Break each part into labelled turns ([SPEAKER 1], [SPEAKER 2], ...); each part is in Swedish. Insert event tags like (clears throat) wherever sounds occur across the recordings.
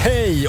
[SPEAKER 1] Hej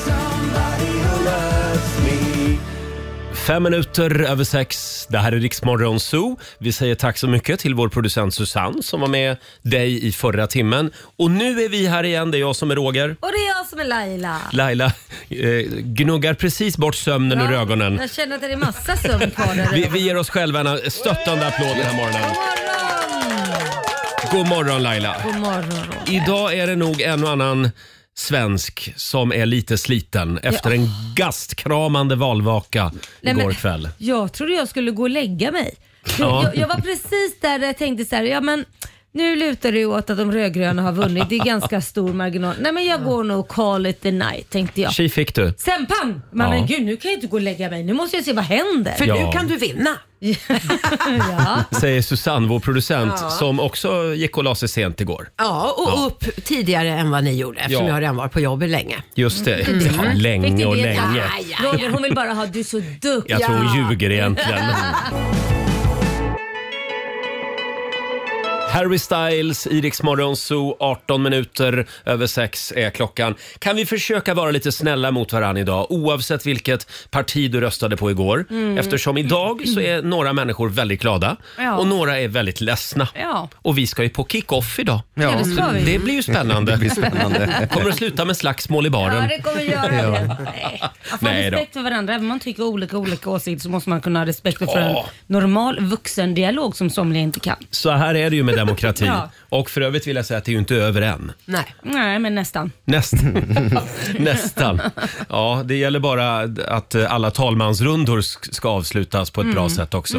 [SPEAKER 1] Fem minuter över sex. Det här är Riksmorgon Zoo. Vi säger tack så mycket till vår producent Susanne som var med dig i förra timmen. Och nu är vi här igen. Det är jag som är Roger.
[SPEAKER 2] Och det är jag som är Laila.
[SPEAKER 1] Laila eh, gnuggar precis bort sömnen ur ögonen.
[SPEAKER 2] Jag känner att det är massa sömn kvar
[SPEAKER 1] (laughs)
[SPEAKER 2] där.
[SPEAKER 1] Vi, vi ger oss själva en stöttande applåd den här morgonen. God morgon Laila!
[SPEAKER 2] God morgon.
[SPEAKER 1] Idag är det nog en och annan svensk som är lite sliten efter en gastkramande valvaka
[SPEAKER 2] Nej,
[SPEAKER 1] igår
[SPEAKER 2] men-
[SPEAKER 1] kväll.
[SPEAKER 2] Jag trodde jag skulle gå och lägga mig. För
[SPEAKER 1] Ja.
[SPEAKER 2] Jag, jag var precis där jag tänkte så här, ja men nu lutar det ju åt att de rödgröna har vunnit. Det är
[SPEAKER 1] (laughs)
[SPEAKER 2] ganska stor marginal. Nej men jag går nog call it the night tänkte jag.
[SPEAKER 1] Tji fick du.
[SPEAKER 2] Sen pang! Man,
[SPEAKER 1] Ja.
[SPEAKER 2] Men gud nu kan jag inte gå och lägga mig. Nu måste jag se vad händer.
[SPEAKER 3] För
[SPEAKER 1] Ja.
[SPEAKER 3] nu kan du vinna.
[SPEAKER 2] (laughs)
[SPEAKER 1] (laughs)
[SPEAKER 2] ja.
[SPEAKER 1] Säger Susanne, vår producent,
[SPEAKER 3] Ja.
[SPEAKER 1] som också gick och la sig sent igår.
[SPEAKER 3] Ja, och upp tidigare än vad ni gjorde eftersom
[SPEAKER 1] Ja.
[SPEAKER 3] jag redan varit på jobbet länge.
[SPEAKER 1] Just det. Ja,
[SPEAKER 2] Mm. Fick
[SPEAKER 1] länge
[SPEAKER 2] du
[SPEAKER 1] och
[SPEAKER 2] det?
[SPEAKER 1] länge.
[SPEAKER 3] Aj, aj,
[SPEAKER 2] Roger hon vill bara ha du är så duktig.
[SPEAKER 1] Jag tror hon
[SPEAKER 3] Ja.
[SPEAKER 1] ljuger egentligen. Harry Styles, Iriks morgonzoo, 18 minuter över sex är klockan. Kan vi försöka vara lite snälla mot varandra idag oavsett vilket parti du röstade på igår? Eftersom idag så är några människor väldigt glada
[SPEAKER 2] Mm. Ja.
[SPEAKER 1] och några är väldigt ledsna.
[SPEAKER 2] (laughs) Ja.
[SPEAKER 1] Och vi ska ju på kick-off idag.
[SPEAKER 2] Ja, det ska vi.
[SPEAKER 1] Det blir ju spännande.
[SPEAKER 4] Det blir spännande.
[SPEAKER 1] (laughs) Kommer att sluta med slagsmål i
[SPEAKER 2] Ja,
[SPEAKER 1] baren.
[SPEAKER 2] det kommer göra
[SPEAKER 1] (laughs)
[SPEAKER 2] det. Nej. Man får ha
[SPEAKER 1] Nej då.
[SPEAKER 2] respekt för varandra. Även om man tycker olika olika åsikter så måste man kunna ha respekt för en
[SPEAKER 1] Ja.
[SPEAKER 2] normal vuxendialog som somliga inte kan.
[SPEAKER 1] Så här är det ju med demokrati.
[SPEAKER 2] Ja.
[SPEAKER 1] Och för övrigt vill jag säga att det är ju inte över än.
[SPEAKER 3] Nej.
[SPEAKER 2] Nej, men nästan.
[SPEAKER 1] Näst, (laughs)
[SPEAKER 2] (laughs)
[SPEAKER 1] nästan. Ja, det gäller bara att eh, alla talmansrundor sk- ska avslutas på ett
[SPEAKER 2] Mm.
[SPEAKER 1] bra sätt också.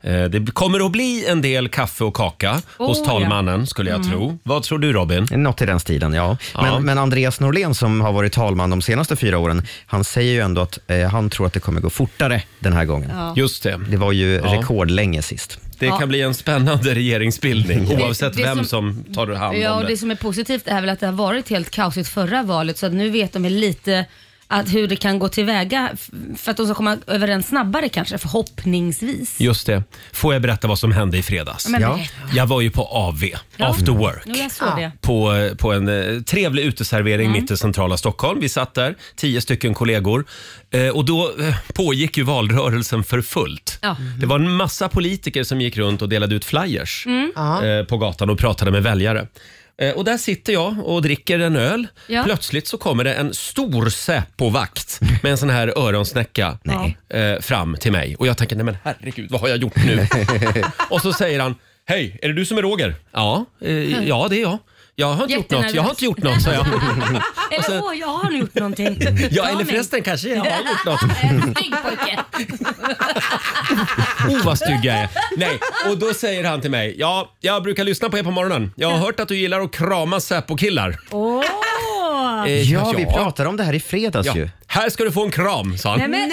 [SPEAKER 1] Eh, Det kommer att bli en del kaffe och kaka hos
[SPEAKER 2] Oh,
[SPEAKER 1] talmannen skulle jag tro. Vad tror du Robin?
[SPEAKER 4] Något i den stilen, ja. Men,
[SPEAKER 1] Ja.
[SPEAKER 4] men Andreas Norlén som har varit talman de senaste fyra åren, han säger ju ändå att eh, han tror att det kommer gå fortare den här gången.
[SPEAKER 1] Just det.
[SPEAKER 4] Det var ju rekordlänge sist.
[SPEAKER 1] Det kan bli en spännande (laughs) regeringsbildning oavsett
[SPEAKER 2] det
[SPEAKER 1] vem som,
[SPEAKER 2] som-
[SPEAKER 1] tar hand om
[SPEAKER 2] Ja, och
[SPEAKER 1] det.
[SPEAKER 2] det som är positivt är väl att det har varit helt kaosigt förra valet så att nu vet de väl lite att hur det kan gå tillväga f- för att de ska komma överens snabbare kanske förhoppningsvis.
[SPEAKER 1] Just det. Får jag berätta vad som hände i fredags?
[SPEAKER 2] Men
[SPEAKER 4] Ja.
[SPEAKER 2] berätta.
[SPEAKER 1] Jag var ju på AV, after work.
[SPEAKER 2] Jo, jag såg det.
[SPEAKER 1] på, på en eh, trevlig uteservering
[SPEAKER 2] Mm.
[SPEAKER 1] mitt i centrala Stockholm. Vi satt där, tio stycken kollegor. Eh, och då eh, pågick ju valrörelsen för fullt.
[SPEAKER 5] 哦
[SPEAKER 2] Ja.
[SPEAKER 1] Det var en massa politiker som gick runt och delade ut flyers
[SPEAKER 5] 嗯
[SPEAKER 2] Mm.
[SPEAKER 1] (laughs) eh, på gatan och pratade med väljare. Eh, Och där sitter jag och dricker en öl.
[SPEAKER 2] Ja.
[SPEAKER 1] Plötsligt så kommer det en stor Säpo-vakt med en sån här öronsnäcka eh, fram till mig. Och jag tänker, nej men herregud, vad har jag gjort
[SPEAKER 4] (laughs)
[SPEAKER 1] nu? och så säger han, hej, är det du som är Roger? Ja, eh, ja det är jag. Jag har inte gjort något, jag har inte gjort något, sa jag. (laughs) Ah.
[SPEAKER 2] Eller åh, jag har nog gjort någonting.
[SPEAKER 1] Alltså- Ja, eller förresten kanske jag har
[SPEAKER 2] (laughs)
[SPEAKER 1] gjort något.
[SPEAKER 2] Snygg pojke.
[SPEAKER 1] (laughs) Oh, vad stygg jag är. Nej, och då säger han till mig, ja, jag brukar lyssna på er på morgonen. Jag har hört att du gillar att krama Säpo-killar.
[SPEAKER 2] Åh!
[SPEAKER 1] Eh,
[SPEAKER 4] Ja, vi pratade om det här i fredags
[SPEAKER 1] Ja.
[SPEAKER 4] ju.
[SPEAKER 1] Här ska du få en kram, sa han.
[SPEAKER 2] Nej, men,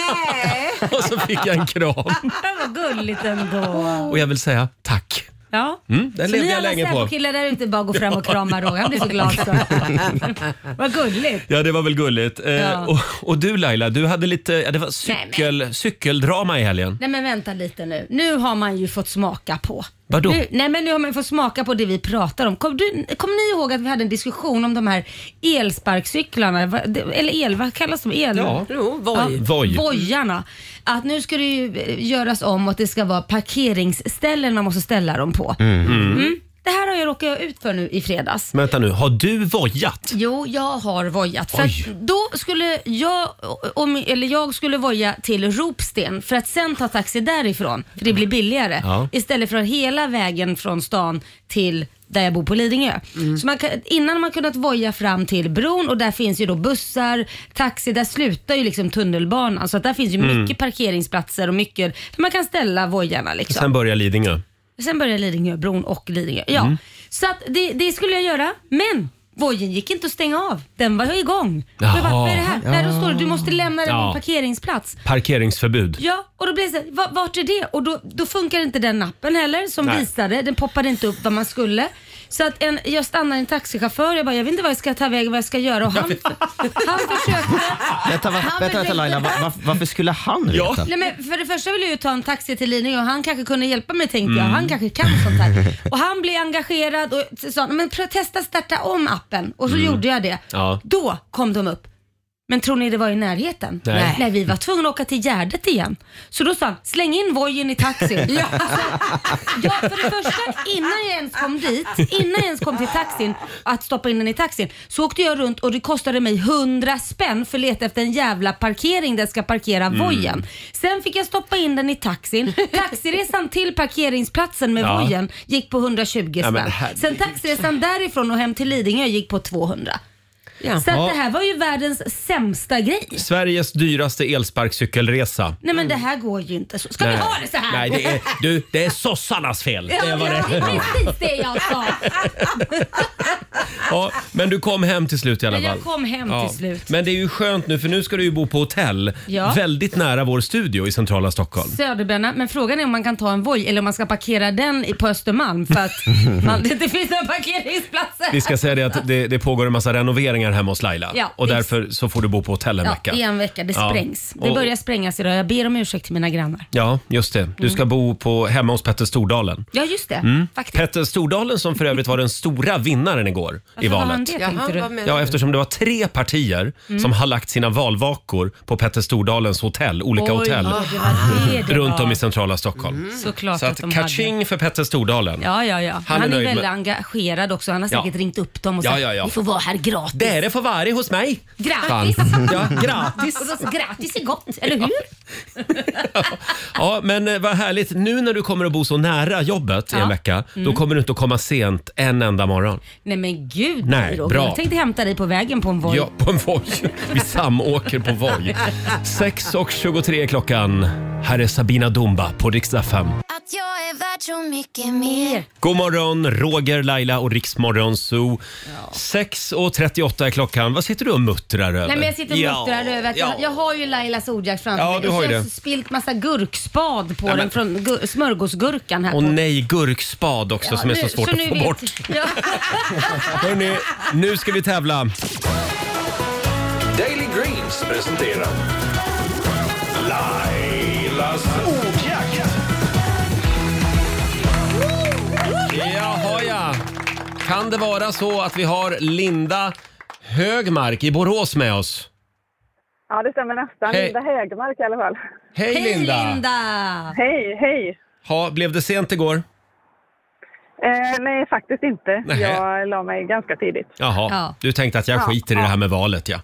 [SPEAKER 1] (laughs)
[SPEAKER 2] (laughs)
[SPEAKER 1] Och så fick jag en kram.
[SPEAKER 2] Det var gulligt ändå.
[SPEAKER 1] Och jag vill säga tack.
[SPEAKER 2] Ja.
[SPEAKER 1] den
[SPEAKER 2] så
[SPEAKER 1] levde
[SPEAKER 2] ni
[SPEAKER 1] jag
[SPEAKER 2] alla
[SPEAKER 1] länge på.
[SPEAKER 2] Säpo-killar där ute bara går fram och kramar Roger. Han blir så glad.
[SPEAKER 3] (laughs)
[SPEAKER 2] Så. Vad gulligt.
[SPEAKER 1] Ja, det var väl gulligt. Eh,
[SPEAKER 2] Ja.
[SPEAKER 1] och, och du Laila, du hade lite ja, det var
[SPEAKER 2] Nej, men- Mm.
[SPEAKER 1] cykel, cykeldrama i helgen.
[SPEAKER 2] Nej men vänta lite nu. Nu har man ju fått smaka på.
[SPEAKER 1] Vadå?
[SPEAKER 2] Nu, nej men nu har man fått smaka på det vi pratar om. Kom, du, kom ni ihåg att vi hade en diskussion om de här elsparkcyklarna? Va- det- Eller el, vad kallas de? El?
[SPEAKER 1] Ja.
[SPEAKER 3] Jo, Voi.
[SPEAKER 1] Voj.
[SPEAKER 2] Vojarna. Att nu ska det ju eh, göras om och att det ska vara parkeringsställen man måste ställa dem på. Mm. Det här har jag råkat ut för nu i fredags.
[SPEAKER 1] Men Vänta nu, har du vojat?
[SPEAKER 2] Jo, jag har vojat. För
[SPEAKER 1] Oj.
[SPEAKER 2] att då skulle jag, om, eller jag skulle voja till Ropsten för att sen ta taxi därifrån, för det blir billigare.
[SPEAKER 1] Ja.
[SPEAKER 2] Istället för hela vägen från stan till där jag bor på Lidingö.
[SPEAKER 1] Mm.
[SPEAKER 2] Så man kan, innan har man kunnat voja fram till bron och där finns ju då bussar, taxi, där slutar ju liksom tunnelbanan. Så att där finns ju
[SPEAKER 1] Mm.
[SPEAKER 2] mycket parkeringsplatser och mycket, där man kan ställa vojarna liksom.
[SPEAKER 1] Sen Mm. börjar Lidingö.
[SPEAKER 2] Sen började Lidingöbron och Lidingö. Ja. Så att det, det skulle jag göra, men vojen gick inte att stänga av. Den var igång. Och jag bara,
[SPEAKER 1] Jaha.
[SPEAKER 2] vad är det här? Nej, då står det, du måste lämna den på
[SPEAKER 1] Ja.
[SPEAKER 2] en parkeringsplats.
[SPEAKER 1] Parkeringsförbud.
[SPEAKER 2] Ja, och då blev det så här, "Va- vart är det? Och då, då funkar inte den appen heller som
[SPEAKER 1] Nej.
[SPEAKER 2] visade, den poppade inte upp vad man skulle. Så att en, jag stannar en taxichaufför jag bara, jag vet inte vad jag ska ta vägen, vad jag ska göra. Och han, han försökte
[SPEAKER 4] Vänta, va,
[SPEAKER 2] Han
[SPEAKER 4] vänta, vänta
[SPEAKER 2] försökte-
[SPEAKER 4] Laila, va, va, varför skulle han
[SPEAKER 1] Ja.
[SPEAKER 4] veta?
[SPEAKER 2] Nej, men för det första ville jag ju ta en taxi till Linus och han kanske kunde hjälpa mig tänkte
[SPEAKER 1] Mm.
[SPEAKER 2] jag. Han kanske kan sånt här. Och han blev engagerad och t- sa men pr- testa starta om appen. Och så
[SPEAKER 4] Mm.
[SPEAKER 1] Mm.
[SPEAKER 2] gjorde jag det.
[SPEAKER 1] Ja.
[SPEAKER 2] Då kom de upp. Men tror ni det var i närheten?
[SPEAKER 1] Nej. Nej.
[SPEAKER 2] vi var tvungna att åka till Gärdet igen. Så då sa han, släng in vojen i
[SPEAKER 1] (laughs)
[SPEAKER 2] taxin. ja. Alltså, ja, för det första, innan jag ens kom dit, innan jag ens kom till taxin, att stoppa in den i taxin, så åkte jag runt och det kostade mig 100 spänn för att leta efter en jävla parkering där jag ska parkera
[SPEAKER 1] Mm.
[SPEAKER 2] vojen. Sen fick jag stoppa in den i taxin. Taxiresan till parkeringsplatsen med
[SPEAKER 1] Ja.
[SPEAKER 2] vojen gick på 120
[SPEAKER 1] Ja, men
[SPEAKER 2] spänn.
[SPEAKER 1] herregud.
[SPEAKER 2] Sen taxiresan därifrån och hem till Lidingö gick på 200.
[SPEAKER 3] Ja.
[SPEAKER 2] Så
[SPEAKER 1] Ja.
[SPEAKER 2] att det här var ju världens sämsta grej.
[SPEAKER 1] Sveriges dyraste elsparkcykelresa.
[SPEAKER 2] Nej men det här går ju inte. Så. Ska
[SPEAKER 1] Nej.
[SPEAKER 2] vi ha det så här?
[SPEAKER 1] Nej, det är, du, det är sossarnas fel.
[SPEAKER 2] (laughs) Ja,
[SPEAKER 1] Det var
[SPEAKER 2] ja, det
[SPEAKER 1] det.
[SPEAKER 2] är precis det jag sa. (laughs)
[SPEAKER 1] Ja, men du kom hem till slut i alla
[SPEAKER 2] Men
[SPEAKER 1] fall.
[SPEAKER 2] jag kom hem till slut.
[SPEAKER 1] Men det är ju skönt nu för nu ska du ju bo på hotell
[SPEAKER 2] Ja.
[SPEAKER 1] väldigt nära vår studio i centrala Stockholm.
[SPEAKER 2] Söderbränna, men frågan är om man kan ta en Voi eller om man ska parkera den i- på Östermalm för
[SPEAKER 1] (laughs)
[SPEAKER 2] att man, (laughs) det inte finns några parkeringsplatser.
[SPEAKER 1] Mm-hmm. Vi ska säga det att det, det pågår en massa renoveringar hemma hos Laila
[SPEAKER 2] Ja,
[SPEAKER 1] och
[SPEAKER 2] visst.
[SPEAKER 1] därför så får du bo på hotell en
[SPEAKER 2] ja,
[SPEAKER 1] vecka.
[SPEAKER 2] I en vecka, det
[SPEAKER 1] Ja.
[SPEAKER 2] sprängs. Det
[SPEAKER 1] Och-
[SPEAKER 2] börjar sprängas idag, jag ber om ursäkt till mina grannar.
[SPEAKER 1] Ja, just det. Du ska bo på, hemma hos Petter Stordalen.
[SPEAKER 2] Mm. Ja just det,
[SPEAKER 1] Mm.
[SPEAKER 2] faktiskt.
[SPEAKER 1] Petter Stordalen som för övrigt var den stora vinnaren igår i
[SPEAKER 2] Varför var
[SPEAKER 1] valet.
[SPEAKER 2] han Mm. det tänkte
[SPEAKER 3] vad
[SPEAKER 2] du?
[SPEAKER 3] menar
[SPEAKER 1] Ja,
[SPEAKER 3] du?
[SPEAKER 1] eftersom det var tre partier som har lagt sina valvakor på Petter Stordalens hotell, olika hotell,
[SPEAKER 2] ja, det var det det
[SPEAKER 1] (laughs) runt
[SPEAKER 2] var. Mm.
[SPEAKER 1] om i centrala Stockholm.
[SPEAKER 2] Såklart
[SPEAKER 1] Så
[SPEAKER 2] att de
[SPEAKER 1] att
[SPEAKER 2] hade.
[SPEAKER 1] catching för Petter Stordalen.
[SPEAKER 2] Ja, ja, ja.
[SPEAKER 1] Han
[SPEAKER 2] Han,
[SPEAKER 1] är
[SPEAKER 2] är,
[SPEAKER 1] nöjd
[SPEAKER 2] väldigt
[SPEAKER 1] med-
[SPEAKER 2] engagerad också. Han har
[SPEAKER 1] Ja.
[SPEAKER 2] säkert ringt upp dem och
[SPEAKER 1] Ja,
[SPEAKER 2] sagt
[SPEAKER 1] ja, ja.
[SPEAKER 2] vi får vara här gratis.
[SPEAKER 1] Det är det för varje hos mig.
[SPEAKER 2] Gratis!
[SPEAKER 1] Fan. Ja,
[SPEAKER 2] (laughs)
[SPEAKER 1] gratis.
[SPEAKER 2] Och då, gratis är gott, eller hur?
[SPEAKER 1] Ja, men eh, vad härligt. Nu när du kommer att bo så nära jobbet i en
[SPEAKER 2] Ja. Mm.
[SPEAKER 1] vecka, då kommer du inte att komma sent en enda morgon.
[SPEAKER 2] Nej men gud
[SPEAKER 1] Nej,
[SPEAKER 2] Roger.
[SPEAKER 1] bra.
[SPEAKER 2] Jag tänkte hämta dig på vägen på en Voi.
[SPEAKER 1] Ja, på en Voi. Vi samåker
[SPEAKER 2] (laughs)
[SPEAKER 1] på Voi. 6.23 är klockan. Här är Sabina Dumba på riksdag 5.
[SPEAKER 6] Att jag är värd så mycket mer.
[SPEAKER 1] God morgon, Roger, Laila och Riksmorgon Zoo. 6.38 är klockan. Vad sitter du och muttrar över?
[SPEAKER 2] Nej men jag sitter och muttrar över att jag, jag har ju Lailas ordjakt framför
[SPEAKER 1] Ja,
[SPEAKER 2] mig.
[SPEAKER 1] du har ju
[SPEAKER 2] jag
[SPEAKER 1] det.
[SPEAKER 2] spilt massa gurkspad på
[SPEAKER 1] men-
[SPEAKER 2] den från gu- smörgåsgurkan här.
[SPEAKER 1] Och
[SPEAKER 2] på.
[SPEAKER 1] nej, gurkspad också
[SPEAKER 2] Ja,
[SPEAKER 1] som är
[SPEAKER 2] nu-
[SPEAKER 1] så svårt
[SPEAKER 2] nu
[SPEAKER 1] att få
[SPEAKER 2] vet-
[SPEAKER 1] bort.
[SPEAKER 2] (laughs) Ja.
[SPEAKER 1] Hörrni, nu ska vi tävla.
[SPEAKER 7] Daily Greens presenterar Lailas ordjakt.
[SPEAKER 1] Jaha ja. Kan det vara så att vi har Linda Högmark i Borås med oss?
[SPEAKER 8] Ja, det stämmer nästan.
[SPEAKER 1] Hej.
[SPEAKER 8] Linda Högmark i alla fall.
[SPEAKER 1] Hej,
[SPEAKER 2] Hej
[SPEAKER 1] Linda!
[SPEAKER 2] Linda!
[SPEAKER 8] Hej, hej!
[SPEAKER 1] Ha, blev det sent igår?
[SPEAKER 8] Eh, nej, faktiskt inte.
[SPEAKER 1] Nej.
[SPEAKER 8] Jag la mig ganska tidigt.
[SPEAKER 1] Jaha,
[SPEAKER 2] Ja.
[SPEAKER 1] du tänkte att jag skiter i det här med valet ja.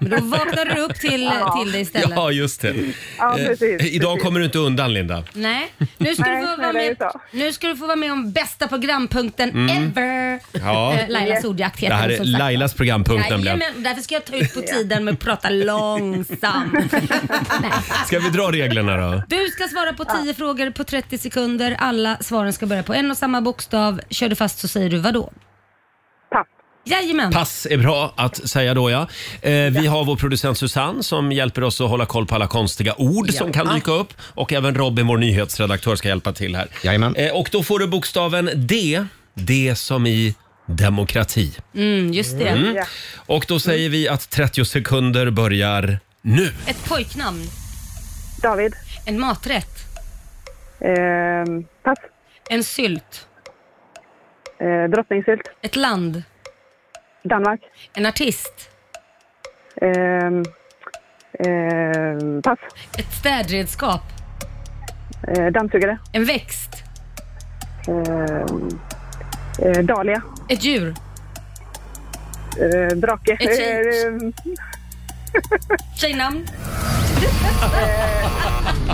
[SPEAKER 2] Men då vaknar du upp till, till det istället.
[SPEAKER 1] Ja, just det.
[SPEAKER 8] Ja,
[SPEAKER 1] Eh,
[SPEAKER 8] precis.
[SPEAKER 1] Idag
[SPEAKER 8] precis.
[SPEAKER 1] kommer du inte undan Linda.
[SPEAKER 2] Nej, nu ska, du
[SPEAKER 8] Nej,
[SPEAKER 2] få vara
[SPEAKER 8] nej, det är
[SPEAKER 2] med,
[SPEAKER 8] så.
[SPEAKER 2] nu ska du få vara med om bästa programpunkten ever.
[SPEAKER 1] Mm. Ja.
[SPEAKER 2] Eh, Lailas ordjakt
[SPEAKER 1] Det
[SPEAKER 2] heter
[SPEAKER 1] här
[SPEAKER 2] den
[SPEAKER 1] är
[SPEAKER 2] som sagt.
[SPEAKER 1] Lailas programpunkt nämligen.
[SPEAKER 2] Jajamän, därför ska jag ta ut på tiden med att
[SPEAKER 1] (laughs)
[SPEAKER 2] prata långsamt. Nej.
[SPEAKER 1] Ska vi dra reglerna då?
[SPEAKER 2] Du ska svara på 10 frågor på 30 sekunder. Alla svaren ska börja på en och samma bokstav. Kör du fast så säger du vadå?
[SPEAKER 8] Pass.
[SPEAKER 2] Jajamän.
[SPEAKER 1] Pass är bra att säga då ja. Eh, vi har vår producent Susanne som hjälper oss att hålla koll på alla konstiga ord som kan dyka upp. Och även Robin, vår nyhetsredaktör, ska hjälpa till här.
[SPEAKER 4] Jajamän.
[SPEAKER 1] Eh, och då får du bokstaven D. D som i demokrati.
[SPEAKER 2] Mm, just det.
[SPEAKER 8] Ja.
[SPEAKER 1] Och då säger vi att 30 sekunder börjar nu.
[SPEAKER 2] Ett pojknamn.
[SPEAKER 8] David.
[SPEAKER 2] En maträtt.
[SPEAKER 8] Ehm, pass.
[SPEAKER 2] En sylt.
[SPEAKER 8] Eh, drottningsylt.
[SPEAKER 2] Ett land.
[SPEAKER 8] Danmark.
[SPEAKER 2] En artist.
[SPEAKER 8] Ehm, ehm, pass.
[SPEAKER 2] Ett städredskap.
[SPEAKER 8] Eh, dammsugare.
[SPEAKER 2] En växt.
[SPEAKER 8] Ehm, eh, dahlia.
[SPEAKER 2] Ett djur.
[SPEAKER 8] Eh, drake.
[SPEAKER 2] Ett tjej.
[SPEAKER 8] Ehm,
[SPEAKER 2] (laughs) Tjejnamn.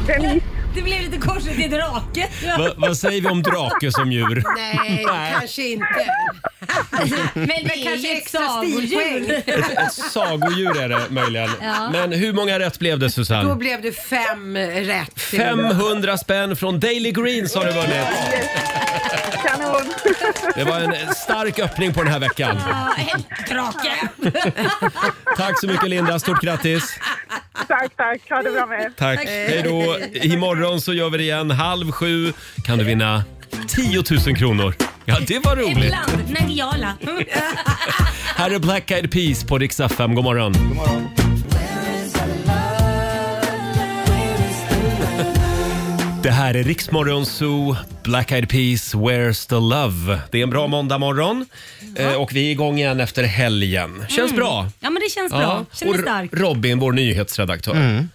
[SPEAKER 8] Denise.
[SPEAKER 2] Det blev lite korsigt i drake.
[SPEAKER 1] Va, vad säger vi om drake som djur?
[SPEAKER 3] Nej, kanske inte.
[SPEAKER 2] (laughs) Men det är
[SPEAKER 3] kanske
[SPEAKER 2] ju ett
[SPEAKER 3] extra
[SPEAKER 2] sagodjur. (laughs)
[SPEAKER 3] stilpoäng.
[SPEAKER 1] Ett sagodjur är det möjligen.
[SPEAKER 2] Ja.
[SPEAKER 1] Men hur många rätt blev det
[SPEAKER 3] Då
[SPEAKER 1] Susanne?
[SPEAKER 3] blev det fem rätt.
[SPEAKER 1] 500 spänn från Daily Greens har du vunnit.
[SPEAKER 8] Kanon.
[SPEAKER 1] Det var en stark öppning på den här veckan.
[SPEAKER 2] Ja, en drake.
[SPEAKER 1] Tack så mycket Linda, stort grattis.
[SPEAKER 8] tack, tack. Ha det bra med er.
[SPEAKER 1] Tack. Hej då. Imorgon så gör vi det igen. Halv sju kan du vinna 10 000 kronor Ja, det var roligt.
[SPEAKER 2] Ibland. Nangijala.
[SPEAKER 1] Här är Black Eyed Peas på Rix FM. God morgon. Det här är Riksmorgon Zoo, Black Eyed Peas, Where's the Love? Det är en bra måndagmorgon eh, och vi är igång igen efter helgen. Känns bra.
[SPEAKER 2] Mm. Ja men det känns bra. Känner
[SPEAKER 1] Och
[SPEAKER 2] mig
[SPEAKER 1] R-
[SPEAKER 2] stark.
[SPEAKER 1] Robin, vår nyhetsredaktör.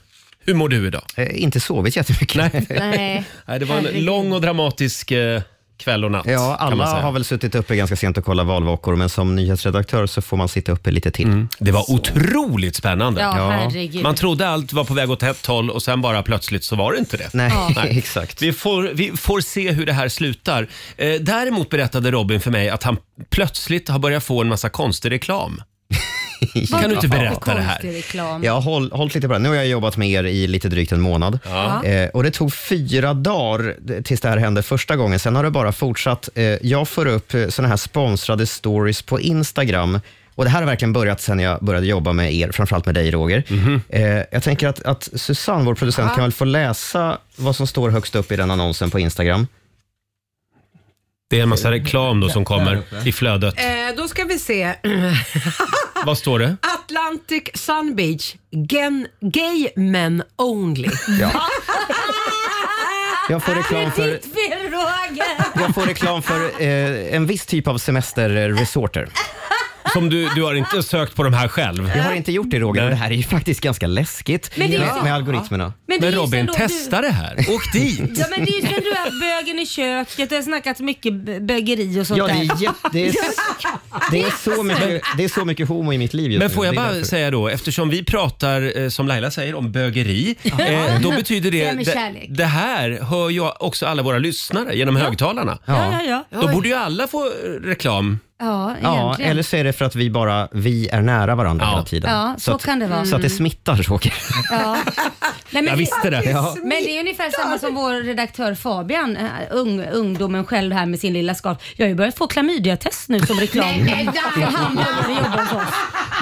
[SPEAKER 1] Hur mår du idag?
[SPEAKER 4] Mm. Eh, inte sovit jättemycket. (laughs)
[SPEAKER 2] Nej.
[SPEAKER 1] Nej, det var en lång och dramatisk eh, kväll och natt.
[SPEAKER 4] Ja,
[SPEAKER 1] kan man
[SPEAKER 4] alla
[SPEAKER 1] säga.
[SPEAKER 4] har väl suttit uppe ganska sent och kollat valvakor, men som nyhetsredaktör så får man sitta uppe lite till.
[SPEAKER 1] Mm. Det var otroligt spännande.
[SPEAKER 2] Ja,
[SPEAKER 4] Ja.
[SPEAKER 2] herregud.
[SPEAKER 1] Man trodde allt var på väg åt ett håll och sen bara plötsligt så var det inte det.
[SPEAKER 4] Nej,
[SPEAKER 2] Ja.
[SPEAKER 4] (laughs) exakt.
[SPEAKER 1] Vi får, vi får se hur det här slutar. Eh, däremot berättade Robin för mig att han plötsligt har börjat få en massa konstig reklam. kan du inte berätta det här?
[SPEAKER 2] Konstig reklam.
[SPEAKER 4] Jag har håll, hållit lite på det. Nu har jag jobbat med er i lite drygt en månad. Eh, och Det tog fyra dagar tills det här hände första gången. Sen har det bara fortsatt. Eh, jag får upp eh, såna här sponsrade stories på Instagram. Och Det här har verkligen börjat sen jag började jobba med er, framförallt med dig Roger.
[SPEAKER 1] Mhm.
[SPEAKER 4] Eh, jag tänker att, att Susanne, vår producent, kan väl få läsa vad som står högst upp i den annonsen på Instagram.
[SPEAKER 1] Det är en massa reklam då som kommer i flödet.
[SPEAKER 3] Eh, då ska vi se. (clears throat)
[SPEAKER 1] Vad står det?
[SPEAKER 3] Atlantic Sun Beach. Gen, gay men only.
[SPEAKER 4] Jag får reklam för,
[SPEAKER 2] Ditt fel Roger!
[SPEAKER 4] jag får reklam för eh, en viss typ av semesterresorter.
[SPEAKER 1] Som du, du har inte sökt på de här själv.
[SPEAKER 4] Jag har inte gjort det Roger,
[SPEAKER 1] Nej.
[SPEAKER 4] men det här är ju faktiskt ganska läskigt
[SPEAKER 2] Men det är
[SPEAKER 4] med,
[SPEAKER 2] ju så-
[SPEAKER 4] med algoritmerna.
[SPEAKER 1] Men
[SPEAKER 2] det är ju sen
[SPEAKER 1] Robin,
[SPEAKER 2] då
[SPEAKER 1] testa det här. Åk
[SPEAKER 2] Du,
[SPEAKER 1] dit.
[SPEAKER 2] ja men det är ju sen du är bögen i köket, det har snackats mycket bö- bögeri och sånt
[SPEAKER 4] Ja, det
[SPEAKER 2] där.
[SPEAKER 4] är, jätte, det, är, det, är så mycket, det är så mycket homo i mitt liv just
[SPEAKER 1] Men
[SPEAKER 4] nu.
[SPEAKER 1] får jag
[SPEAKER 4] Det är
[SPEAKER 1] bara
[SPEAKER 4] därför.
[SPEAKER 1] säga då, eftersom vi pratar, eh, som Laila säger,
[SPEAKER 4] (laughs)
[SPEAKER 1] om bögeri. Eh, då betyder
[SPEAKER 2] Det
[SPEAKER 1] det,
[SPEAKER 2] är med
[SPEAKER 1] det,
[SPEAKER 2] kärlek.
[SPEAKER 1] det här hör ju också alla våra lyssnare genom högtalarna.
[SPEAKER 2] Ja, ja, ja.
[SPEAKER 1] Då borde ju alla få eh, reklam.
[SPEAKER 2] (laughs) Ja,
[SPEAKER 4] Ja,
[SPEAKER 2] egentligen.
[SPEAKER 4] eller så är det för att vi bara vi är nära varandra
[SPEAKER 1] Ja.
[SPEAKER 4] hela tiden.
[SPEAKER 2] Ja, så
[SPEAKER 4] att,
[SPEAKER 2] kan det vara. Mm.
[SPEAKER 4] Så att det smittar,
[SPEAKER 1] (laughs)
[SPEAKER 4] Roger.
[SPEAKER 2] Ja. (laughs) Nej, men,
[SPEAKER 1] Jag visste det.
[SPEAKER 4] Ja.
[SPEAKER 2] Men det är ungefär samma som vår redaktör Fabian, eh, ung, ungdomen själv här med sin lilla scarf. Jag har ju börjat få klamydiatest nu som reklam.
[SPEAKER 3] Nej, nej,
[SPEAKER 2] För han behöver jobba hos oss.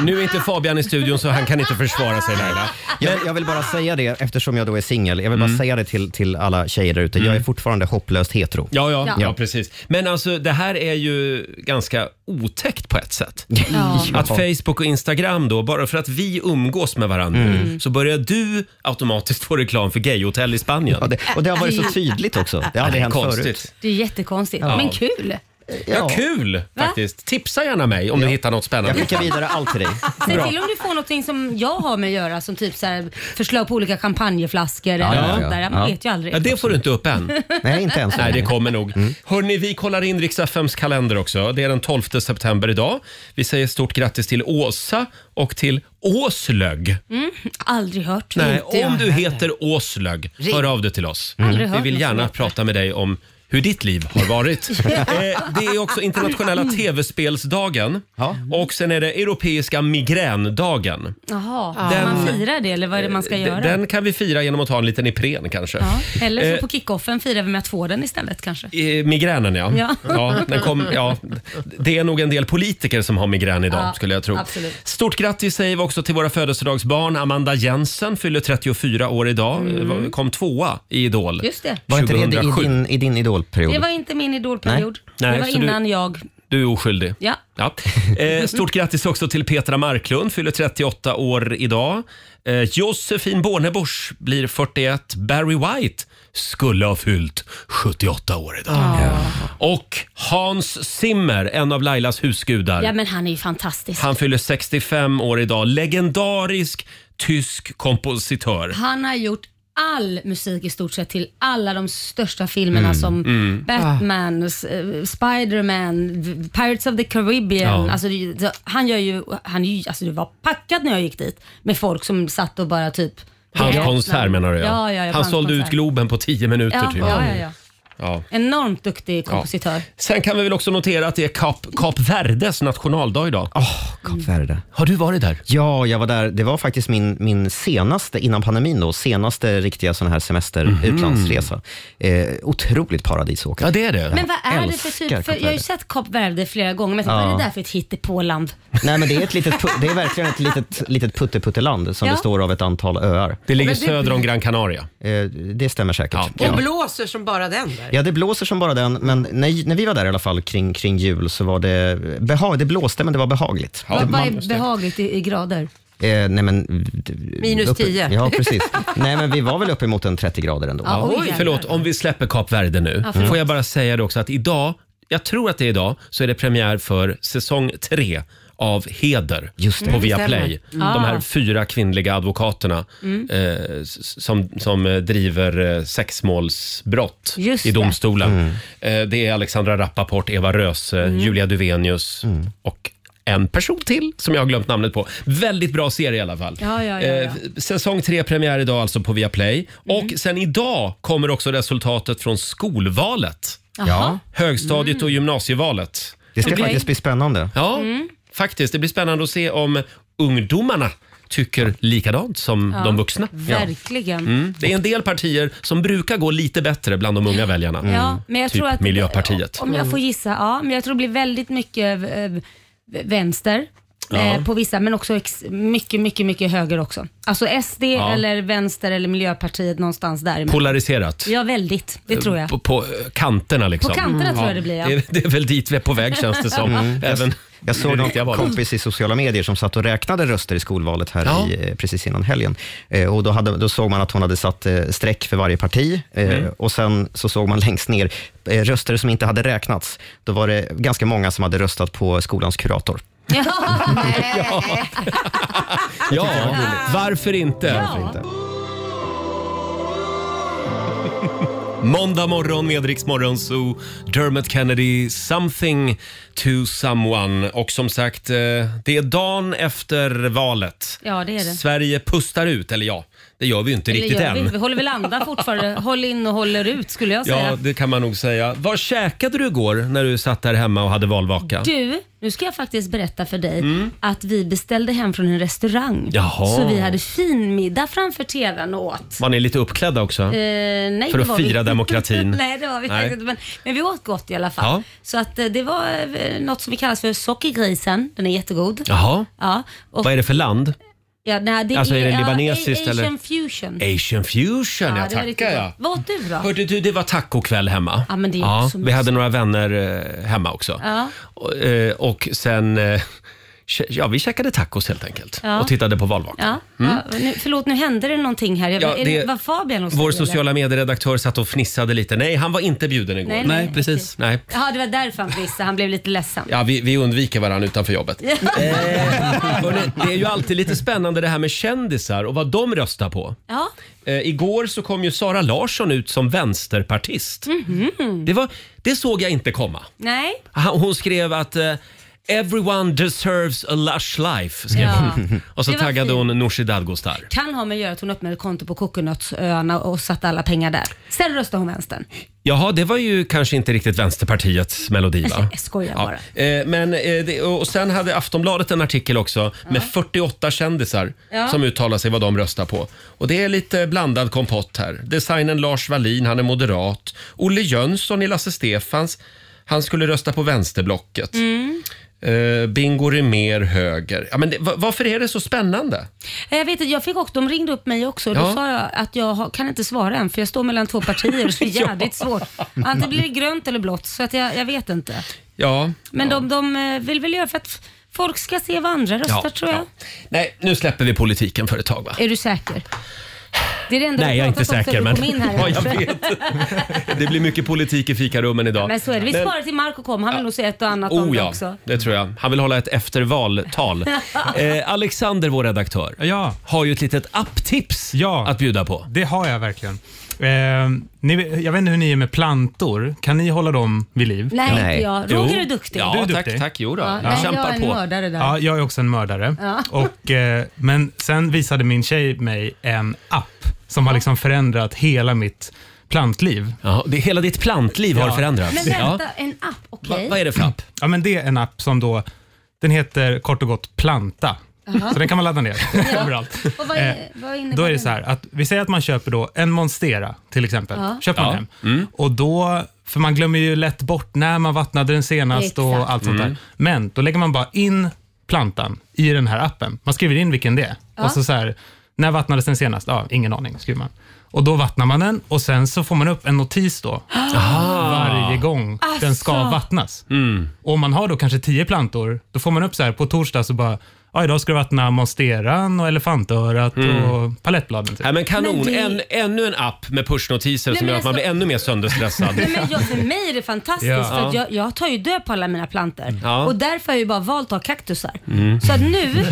[SPEAKER 1] Nu är inte Fabian i studion så han kan inte försvara sig Laila.
[SPEAKER 4] Jag, jag vill bara säga det, eftersom jag då är singel. Jag vill
[SPEAKER 1] Mm.
[SPEAKER 4] bara säga det till, till alla tjejer där ute. Jag är fortfarande hopplöst hetero.
[SPEAKER 1] Ja, ja, ja.
[SPEAKER 2] Ja.
[SPEAKER 1] precis. Men alltså det här är ju ganska otäckt på ett sätt.
[SPEAKER 2] Ja.
[SPEAKER 1] (laughs) Att Facebook och Instagram då, bara för att vi umgås med varandra
[SPEAKER 2] Mm.
[SPEAKER 1] nu, så börjar du automatiskt få reklam för gayhotell i Spanien.
[SPEAKER 4] Ja, det, och det har varit så tydligt också. Det har aldrig hänt förut.
[SPEAKER 2] Det är jättekonstigt, men kul.
[SPEAKER 1] Ja,
[SPEAKER 4] Ja.
[SPEAKER 1] kul faktiskt. Tipsa gärna mig om du hittar något
[SPEAKER 4] Jag
[SPEAKER 1] spännande.
[SPEAKER 4] skickar vidare allt till dig.
[SPEAKER 2] (laughs) Säg till om du får någonting som jag har med att göra, som typ så här, förslag på olika champagneflaskor eller
[SPEAKER 4] ja,
[SPEAKER 2] något
[SPEAKER 4] ja.
[SPEAKER 2] sånt där. Man
[SPEAKER 4] Ja.
[SPEAKER 2] vet ju aldrig.
[SPEAKER 1] Ja, det får du inte upp än.
[SPEAKER 2] (laughs)
[SPEAKER 4] Nej, inte ens
[SPEAKER 1] Nej, det kommer nog.
[SPEAKER 4] Mm.
[SPEAKER 1] Hörni, vi kollar in Rix FMs kalender också. Det är den 12 september idag. Vi säger stort grattis till Åsa och till Åslög.
[SPEAKER 2] Mm, Aldrig hört.
[SPEAKER 1] Nej,
[SPEAKER 3] jag
[SPEAKER 1] om du heter Åslög, hör av dig till oss.
[SPEAKER 2] Aldrig
[SPEAKER 1] Vi
[SPEAKER 2] hört
[SPEAKER 1] vill
[SPEAKER 2] något som
[SPEAKER 1] gärna
[SPEAKER 2] heter.
[SPEAKER 1] prata med dig om hur ditt liv har
[SPEAKER 2] (laughs)
[SPEAKER 1] varit. eh, det är också internationella
[SPEAKER 2] Mm.
[SPEAKER 1] tv-spelsdagen
[SPEAKER 4] Ja.
[SPEAKER 1] och sen är det europeiska migrändagen.
[SPEAKER 2] Jaha,
[SPEAKER 1] Den-
[SPEAKER 2] den, man firar det eller vad är det man ska
[SPEAKER 1] D-
[SPEAKER 2] göra?
[SPEAKER 1] Eh, Den kan vi fira genom att ta en liten Ipren kanske.
[SPEAKER 2] ja. Eller
[SPEAKER 1] Eh,
[SPEAKER 2] så på kickoffen firar vi med att få den istället kanske.
[SPEAKER 1] Eh, Migränen ja. Ja.
[SPEAKER 2] Ja.
[SPEAKER 1] den kom, ja. Det är nog en del politiker som har migrän idag
[SPEAKER 2] Ja,
[SPEAKER 1] skulle jag tro.
[SPEAKER 2] absolut.
[SPEAKER 1] Stort grattis säger vi också till våra födelsedagsbarn. Amanda Jensen fyller 34 år idag. Eh, Kom tvåa i Idol.
[SPEAKER 2] Mm. Just det.
[SPEAKER 4] Var inte det i
[SPEAKER 1] 2007.
[SPEAKER 4] din, i din idolperiod?
[SPEAKER 2] Det var inte min idolperiod.
[SPEAKER 1] Nej,
[SPEAKER 2] det var
[SPEAKER 1] så du-
[SPEAKER 2] innan jag...
[SPEAKER 1] Du är oskyldig.
[SPEAKER 2] Ja.
[SPEAKER 1] Eh, stort grattis också till Petra Marklund, fyller 38 år idag. Eh, Josefin Bornebusch blir 41. Barry White skulle ha fyllt 78 år idag.
[SPEAKER 2] Ah.
[SPEAKER 1] Och Hans Zimmer, en av Lailas husgudar.
[SPEAKER 2] Ja men han är ju fantastisk. Han,
[SPEAKER 1] Han fyller 65 år idag. Legendarisk tysk kompositör.
[SPEAKER 2] har gjort all musik i stort sett till alla de största filmerna
[SPEAKER 1] Mm.
[SPEAKER 2] som Batman, s- eh, Spiderman, v- Pirates of the Caribbean.
[SPEAKER 1] Ja.
[SPEAKER 2] Alltså, det är ju- så- han gör ju, han är ju, alltså det var packat när jag gick dit med folk som satt och bara typ...
[SPEAKER 1] Hans
[SPEAKER 2] grät.
[SPEAKER 1] konsert menar du
[SPEAKER 2] Ja, ja, ja, på
[SPEAKER 1] Han
[SPEAKER 2] hans
[SPEAKER 1] sålde ut
[SPEAKER 2] konsert.
[SPEAKER 1] Globen på 10 minuter
[SPEAKER 2] Ja,
[SPEAKER 1] typ.
[SPEAKER 2] ja, ja, ja.
[SPEAKER 1] Ja.
[SPEAKER 2] Enormt duktig kompositör.
[SPEAKER 1] Sen kan vi väl också notera att det är Kap, Kap Verdes nationaldag idag.
[SPEAKER 4] Åh, Kap Verde.
[SPEAKER 1] Har du varit där?
[SPEAKER 4] Ja, jag var där. Det var faktiskt min, min senaste, innan pandemin då, senaste riktiga sån här semester utlandsresa. Eh, otroligt paradisåkare.
[SPEAKER 1] Mhm. Ja, det är det.
[SPEAKER 2] Men vad är det för
[SPEAKER 4] Älskar
[SPEAKER 2] typ?
[SPEAKER 4] Kap
[SPEAKER 2] För jag har ju
[SPEAKER 4] Verde.
[SPEAKER 2] sett Kap Verde flera gånger, men jag tänkte, vad är det där för ett hittepåland?
[SPEAKER 4] Nej, men det är, ett litet, pu- det är verkligen ett litet, litet putteputteland som
[SPEAKER 2] Ja.
[SPEAKER 4] består av ett antal öar.
[SPEAKER 1] det ligger söder om Gran Canaria.
[SPEAKER 4] Eh, det stämmer säkert.
[SPEAKER 1] Ja.
[SPEAKER 4] Ja.
[SPEAKER 3] Och blåser som bara den. blåser.
[SPEAKER 4] Ja, det blåser som bara den, men när, när vi var där i alla fall kring, kring jul så var det behag, Det blåste, men det var behagligt.
[SPEAKER 1] Ja,
[SPEAKER 2] Vad, vad
[SPEAKER 1] just
[SPEAKER 2] är
[SPEAKER 1] det.
[SPEAKER 2] behagligt i, i grader?
[SPEAKER 4] Eh, nej, men,
[SPEAKER 3] Minus
[SPEAKER 4] uppe-
[SPEAKER 3] 10.
[SPEAKER 2] (laughs)
[SPEAKER 4] Ja, precis. nej, men vi var väl uppemot en 30 grader ändå.
[SPEAKER 2] Ja, oj,
[SPEAKER 1] Oj,
[SPEAKER 2] jävlar.
[SPEAKER 1] förlåt, om vi släpper Kap Verde nu. Får jag bara säga det också att idag, jag tror att det är idag, så är det premiär för säsong tre av Heder
[SPEAKER 4] Just det.
[SPEAKER 1] på
[SPEAKER 4] Mm,
[SPEAKER 3] det
[SPEAKER 1] Viaplay. De
[SPEAKER 2] Ah.
[SPEAKER 1] här fyra kvinnliga advokaterna
[SPEAKER 2] Mm.
[SPEAKER 1] eh, s- som, som eh, driver eh, sexmålsbrott
[SPEAKER 2] Just
[SPEAKER 1] i
[SPEAKER 2] det.
[SPEAKER 1] domstolen.
[SPEAKER 4] Mm.
[SPEAKER 1] Eh, det är Alexandra Rappaport, Eva Röse,
[SPEAKER 2] Mm.
[SPEAKER 1] Julia Duvenius
[SPEAKER 4] Mm.
[SPEAKER 1] och en person till som jag har glömt namnet på. Väldigt bra serie i alla fall.
[SPEAKER 2] Ja, ja, ja, ja. Mm.
[SPEAKER 1] Eh, Säsong tre premiär idag alltså på Viaplay. Och sen idag kommer också resultatet från skolvalet.
[SPEAKER 4] Ja,
[SPEAKER 1] Högstadiet
[SPEAKER 2] Mm.
[SPEAKER 1] och gymnasievalet.
[SPEAKER 4] det ska
[SPEAKER 2] Okej.
[SPEAKER 4] faktiskt bli spännande.
[SPEAKER 1] Ja,
[SPEAKER 2] Mm.
[SPEAKER 1] faktiskt. Det blir spännande att se om ungdomarna tycker likadant som de vuxna.
[SPEAKER 2] Verkligen.
[SPEAKER 1] Mm. Det är en del partier som brukar gå lite bättre bland de unga väljarna.
[SPEAKER 4] Mm.
[SPEAKER 2] Ja, men jag
[SPEAKER 1] Typ
[SPEAKER 2] tror att,
[SPEAKER 1] Miljöpartiet.
[SPEAKER 2] Om jag får gissa, ja. Men jag tror det blir väldigt mycket eh, vänster. eh, På vissa, men också ex- mycket, mycket, mycket höger också. Alltså SD eller vänster eller Miljöpartiet någonstans där.
[SPEAKER 1] Polariserat.
[SPEAKER 2] Ja, väldigt. Det tror jag.
[SPEAKER 1] På, på eh, kanterna liksom.
[SPEAKER 2] På kanterna tror jag det blir, ja.
[SPEAKER 1] Det, är, det är väl dit vi är på väg känns det som. Även
[SPEAKER 4] Mm.
[SPEAKER 1] Mm.
[SPEAKER 4] Jag såg
[SPEAKER 1] det riktiga
[SPEAKER 4] någon
[SPEAKER 1] valet.
[SPEAKER 4] kompis i sociala medier som satt och räknade röster i skolvalet här
[SPEAKER 1] Ja.
[SPEAKER 4] i, eh, precis innan helgen. Eh, och då, hade, då såg man att hon hade satt eh, streck för varje parti eh,
[SPEAKER 1] Mm.
[SPEAKER 4] och sen så såg man (laughs) längst ner eh, röster som inte hade räknats. Då var det ganska många som hade röstat på skolans kurator.
[SPEAKER 1] (laughs) Ja, varför inte?
[SPEAKER 4] inte.
[SPEAKER 1] Måndag morgon med Rix Morgon Zoo, Dermot Kennedy, Something to someone. Och som sagt, eh, det är dagen efter valet.
[SPEAKER 2] Ja, det är det.
[SPEAKER 1] Sverige pustar ut, eller ja, det gör vi ju inte
[SPEAKER 2] Eller
[SPEAKER 1] riktigt
[SPEAKER 2] gör vi,
[SPEAKER 1] än.
[SPEAKER 2] vi håller väl andan
[SPEAKER 1] (laughs)
[SPEAKER 2] fortfarande. Håll in och håller ut skulle jag säga.
[SPEAKER 1] Ja, det kan man nog säga. Vad käkade du igår när du satt där hemma och hade valvaka?
[SPEAKER 2] Du, nu ska jag faktiskt berätta för dig att vi beställde hem från en restaurang.
[SPEAKER 1] Mm. Jaha.
[SPEAKER 2] Så vi hade fin middag framför tvn och åt.
[SPEAKER 1] Var ni lite uppklädda också?
[SPEAKER 2] Eh, nej,
[SPEAKER 1] För att
[SPEAKER 2] det var vi
[SPEAKER 1] fira
[SPEAKER 2] inte.
[SPEAKER 1] demokratin.
[SPEAKER 2] (laughs) nej, det var vi
[SPEAKER 1] Nej.
[SPEAKER 2] faktiskt inte. Men, men vi åt gott i alla fall.
[SPEAKER 1] Ja.
[SPEAKER 2] Så att, eh, det var eh, något som vi kallas för sockergrisen. Den är jättegod.
[SPEAKER 1] Jaha.
[SPEAKER 2] Ja, och,
[SPEAKER 1] Vad är det för land?
[SPEAKER 2] ja, nej, det
[SPEAKER 1] Alltså, är det
[SPEAKER 2] ja,
[SPEAKER 1] libanesiskt
[SPEAKER 2] a-
[SPEAKER 1] eller?
[SPEAKER 2] Asian fusion.
[SPEAKER 1] Asian fusion, ja,
[SPEAKER 2] Mm. det var riktigt
[SPEAKER 1] tackar
[SPEAKER 2] gott.
[SPEAKER 1] jag.
[SPEAKER 2] Vad åt du då?
[SPEAKER 1] Hörde du, det var tacokväll hemma.
[SPEAKER 2] Ja, men det är också
[SPEAKER 1] vi
[SPEAKER 2] mysigt.
[SPEAKER 1] hade några vänner eh, hemma också.
[SPEAKER 2] Ja.
[SPEAKER 1] Och, eh, och sen... Eh, kä- ja, vi käkade tacos helt enkelt
[SPEAKER 2] Ja.
[SPEAKER 1] och tittade på valvakan.
[SPEAKER 2] Ja, ja, nu, förlåt, nu hände det någonting här. Jag,
[SPEAKER 1] Mm. Ja,
[SPEAKER 2] är
[SPEAKER 1] det-
[SPEAKER 2] det, var Fabian hos
[SPEAKER 1] Vår
[SPEAKER 2] dig, eller?
[SPEAKER 1] sociala medieredaktör satt och fnissade lite. Nej, han var inte bjuden igår.
[SPEAKER 2] Nej, nej,
[SPEAKER 1] precis. Nej.
[SPEAKER 2] Jaha, det var därför han visste. Han blev lite ledsen.
[SPEAKER 1] Ja, vi, vi undviker varandra
[SPEAKER 2] (laughs)
[SPEAKER 1] utanför jobbet. eh, hörni, det är ju alltid lite spännande det här med kändisar och vad de röstar på.
[SPEAKER 2] Ja,
[SPEAKER 1] Eh, igår så kom ju Sara Larsson ut som vänsterpartist.
[SPEAKER 2] Mhm.
[SPEAKER 1] Det, var, det såg jag inte komma.
[SPEAKER 2] nej.
[SPEAKER 1] Han- Hon skrev att eh, “Everyone deserves a lush life” skrev
[SPEAKER 2] Ja. (laughs)
[SPEAKER 1] hon. Och så
[SPEAKER 2] Det var
[SPEAKER 1] taggade
[SPEAKER 2] fint.
[SPEAKER 1] hon Nooshi Dadgostar.
[SPEAKER 2] Kan ha med att göra att hon öppnade ett konto på Coconutöarna och satte alla pengar där. Sen röstade hon vänstern.
[SPEAKER 1] Jaha, det var ju kanske inte riktigt Vänsterpartiets melodi
[SPEAKER 2] (laughs)
[SPEAKER 1] va?
[SPEAKER 2] Jag skojar bara.
[SPEAKER 1] Eh, men, eh, det, och sen hade Aftonbladet en artikel också med 48 kändisar
[SPEAKER 2] Ja.
[SPEAKER 1] som uttalar sig vad de röstar på. Och det är lite blandad kompott här. Designen Lars Wallin, han är moderat. Olle Jönsson i Lasse Stefans han skulle rösta på vänsterblocket.
[SPEAKER 2] Mm.
[SPEAKER 1] Eh, Bingo Rimér höger. Ja, men det, va- varför är det så spännande?
[SPEAKER 2] Eh, Jag vet inte, jag fick också, de ringde upp mig också och
[SPEAKER 1] Ja.
[SPEAKER 2] då sa jag att jag har- kan inte svara än för jag står mellan två partier och så är
[SPEAKER 1] (laughs)
[SPEAKER 2] det jävligt svårt. Antingen blir det grönt eller blått så att jag, jag vet inte.
[SPEAKER 1] Ja,
[SPEAKER 2] Men de, de eh, vill väl göra för att f- folk ska se vad andra röstar
[SPEAKER 1] ja,
[SPEAKER 2] tror jag.
[SPEAKER 1] ja. Nej, nu släpper vi politiken för ett tag va?
[SPEAKER 2] Är du säker? Det är det enda
[SPEAKER 1] Nej,
[SPEAKER 2] vi
[SPEAKER 1] jag är inte
[SPEAKER 2] pratat om
[SPEAKER 1] säker.
[SPEAKER 2] sen du
[SPEAKER 1] Men...
[SPEAKER 2] kom in här.
[SPEAKER 1] (laughs) ja, jag vet. Det blir mycket politik i fikarummen idag.
[SPEAKER 2] Men så är det. Vi sparar till Marco kom. Han vill nog säga ett och annat om
[SPEAKER 1] Oh
[SPEAKER 2] det
[SPEAKER 1] ja,
[SPEAKER 2] också.
[SPEAKER 1] det tror jag. Han vill hålla ett eftervaltal.
[SPEAKER 2] (laughs)
[SPEAKER 1] (laughs) Eh, Alexander, vår redaktör,
[SPEAKER 9] Ja,
[SPEAKER 1] har ju ett litet apptips
[SPEAKER 9] Ja.
[SPEAKER 1] att bjuda på.
[SPEAKER 9] det har jag verkligen. Eh, ni, jag vet inte hur ni är med plantor. Kan ni hålla dem vid liv?
[SPEAKER 2] Nej,
[SPEAKER 4] Nej.
[SPEAKER 2] inte jag. Roger är duktig.
[SPEAKER 1] Ja,
[SPEAKER 9] Du är
[SPEAKER 1] tack,
[SPEAKER 9] duktig.
[SPEAKER 1] tack. Jo då.
[SPEAKER 2] Ja,
[SPEAKER 1] Jag
[SPEAKER 2] nej, jag är
[SPEAKER 1] kämpar
[SPEAKER 2] en
[SPEAKER 1] på.
[SPEAKER 2] mördare där.
[SPEAKER 9] Ja, jag är också en mördare. Och, eh, men sen visade min tjej mig en app som har liksom förändrat hela mitt plantliv.
[SPEAKER 1] Ja, det, hela ditt plantliv har
[SPEAKER 9] Ja.
[SPEAKER 1] förändrats.
[SPEAKER 2] Men
[SPEAKER 1] ja.
[SPEAKER 2] vänta, en app,
[SPEAKER 1] Va,
[SPEAKER 2] okej?
[SPEAKER 1] vad är det för app?
[SPEAKER 9] Ja, men det är en app som då, den heter kort och gott Planta. Så den kan man
[SPEAKER 2] (laughs)
[SPEAKER 9] ladda ner överallt. Eh,
[SPEAKER 2] Och vad, är, vad innebär
[SPEAKER 9] Då är det
[SPEAKER 2] den?
[SPEAKER 9] så här att vi säger att man köper då en Monstera till exempel. Köper man
[SPEAKER 1] Ja. Mm.
[SPEAKER 9] hem. Och då, för man glömmer ju lätt bort när man vattnade den senast
[SPEAKER 2] Exakt.
[SPEAKER 9] och allt sånt
[SPEAKER 1] Mm.
[SPEAKER 9] där. Men då lägger man bara in plantan i den här appen. Man skriver in vilken det är. Och så, så här, när vattnades den senast? Ja, ingen aning skriver man. Och då vattnar man den och sen så får man upp en notis då
[SPEAKER 1] (gasps) Ah.
[SPEAKER 9] varje gång den ska
[SPEAKER 2] Asså.
[SPEAKER 9] vattnas.
[SPEAKER 1] Mm.
[SPEAKER 9] Och om man har då kanske tio plantor, då får man upp så här på torsdag så bara Ja, idag ska du vattna monsteran och elefantörat och palettbladen. Typ.
[SPEAKER 1] Mm. Nej, men kanon.
[SPEAKER 2] Men det-
[SPEAKER 1] En, ännu en app med pushnotiser
[SPEAKER 2] Nej,
[SPEAKER 1] som
[SPEAKER 2] men
[SPEAKER 1] gör att man
[SPEAKER 2] alltså-
[SPEAKER 1] blir ännu mer sönderstressad.
[SPEAKER 2] Nej, men jag, för mig är det fantastiskt
[SPEAKER 9] Ja. Mm.
[SPEAKER 2] för att jag, jag tar ju död på alla mina plantor
[SPEAKER 1] Ja.
[SPEAKER 2] och därför har jag ju bara valt att ha kaktusar.
[SPEAKER 1] Mm.
[SPEAKER 2] Så att nu, (laughs)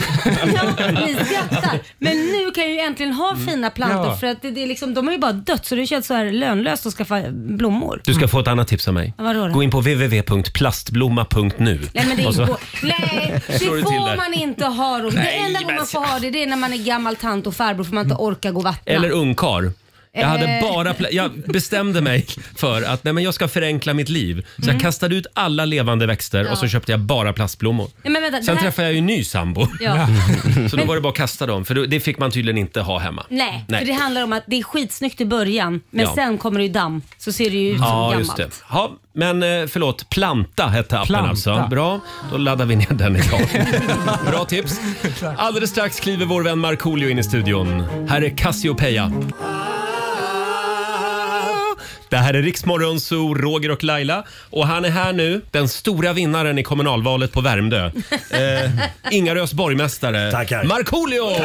[SPEAKER 2] ja, ni skrattar, men nu kan jag ju äntligen ha fina plantor
[SPEAKER 9] Mm. Ja.
[SPEAKER 2] för att det, det är liksom, de har ju bara dött så det känns så här lönlöst att skaffa blommor.
[SPEAKER 1] Du ska få ett annat tips av mig.
[SPEAKER 2] Vadå då?
[SPEAKER 1] Gå in på www.plastblomma.nu.
[SPEAKER 2] Nej men det
[SPEAKER 1] Och så-
[SPEAKER 2] går, nej, det
[SPEAKER 1] Alltså. Slår du till där.
[SPEAKER 2] får man inte ha Roger. Det
[SPEAKER 1] Nej,
[SPEAKER 2] enda gång
[SPEAKER 1] men-
[SPEAKER 2] man får ha det, det är när man är gammal tant och farbror för man inte orkar gå och vattna.
[SPEAKER 1] Eller ungkar. Jag, hade
[SPEAKER 2] Eh.
[SPEAKER 1] bara pla- jag bestämde mig för att nej, men jag ska förenkla mitt liv. Så
[SPEAKER 2] Mm.
[SPEAKER 1] jag kastade ut alla levande växter och så köpte jag bara plastblommor.
[SPEAKER 2] Nej, men vänta, det
[SPEAKER 1] Sen
[SPEAKER 2] här-
[SPEAKER 1] träffade jag ju en ny sambo.
[SPEAKER 2] Ja.
[SPEAKER 1] (laughs) Så då var det bara att kasta dem, för då- det fick man tydligen inte ha hemma.
[SPEAKER 2] Nej, för det handlar om att det är skitsnyggt i början men
[SPEAKER 1] Ja.
[SPEAKER 2] sen kommer det ju damm så ser det ju ut som
[SPEAKER 1] Mm. Ja,
[SPEAKER 2] gammalt.
[SPEAKER 1] just det. Ja, men eh, förlåt, Planta hette appen
[SPEAKER 9] Planta.
[SPEAKER 1] alltså. Bra, då laddar vi ner den idag. Bra tips. Alldeles strax kliver vår vän Markoolio in i studion. Här är Cassiopeia. Det här är Riksmorgon Zoo, Roger och Laila. Och han är här nu, den stora vinnaren i kommunalvalet på Värmdö. Eh, Ingarös borgmästare,
[SPEAKER 10] Tackar.
[SPEAKER 1] Markoolio!
[SPEAKER 10] Nej,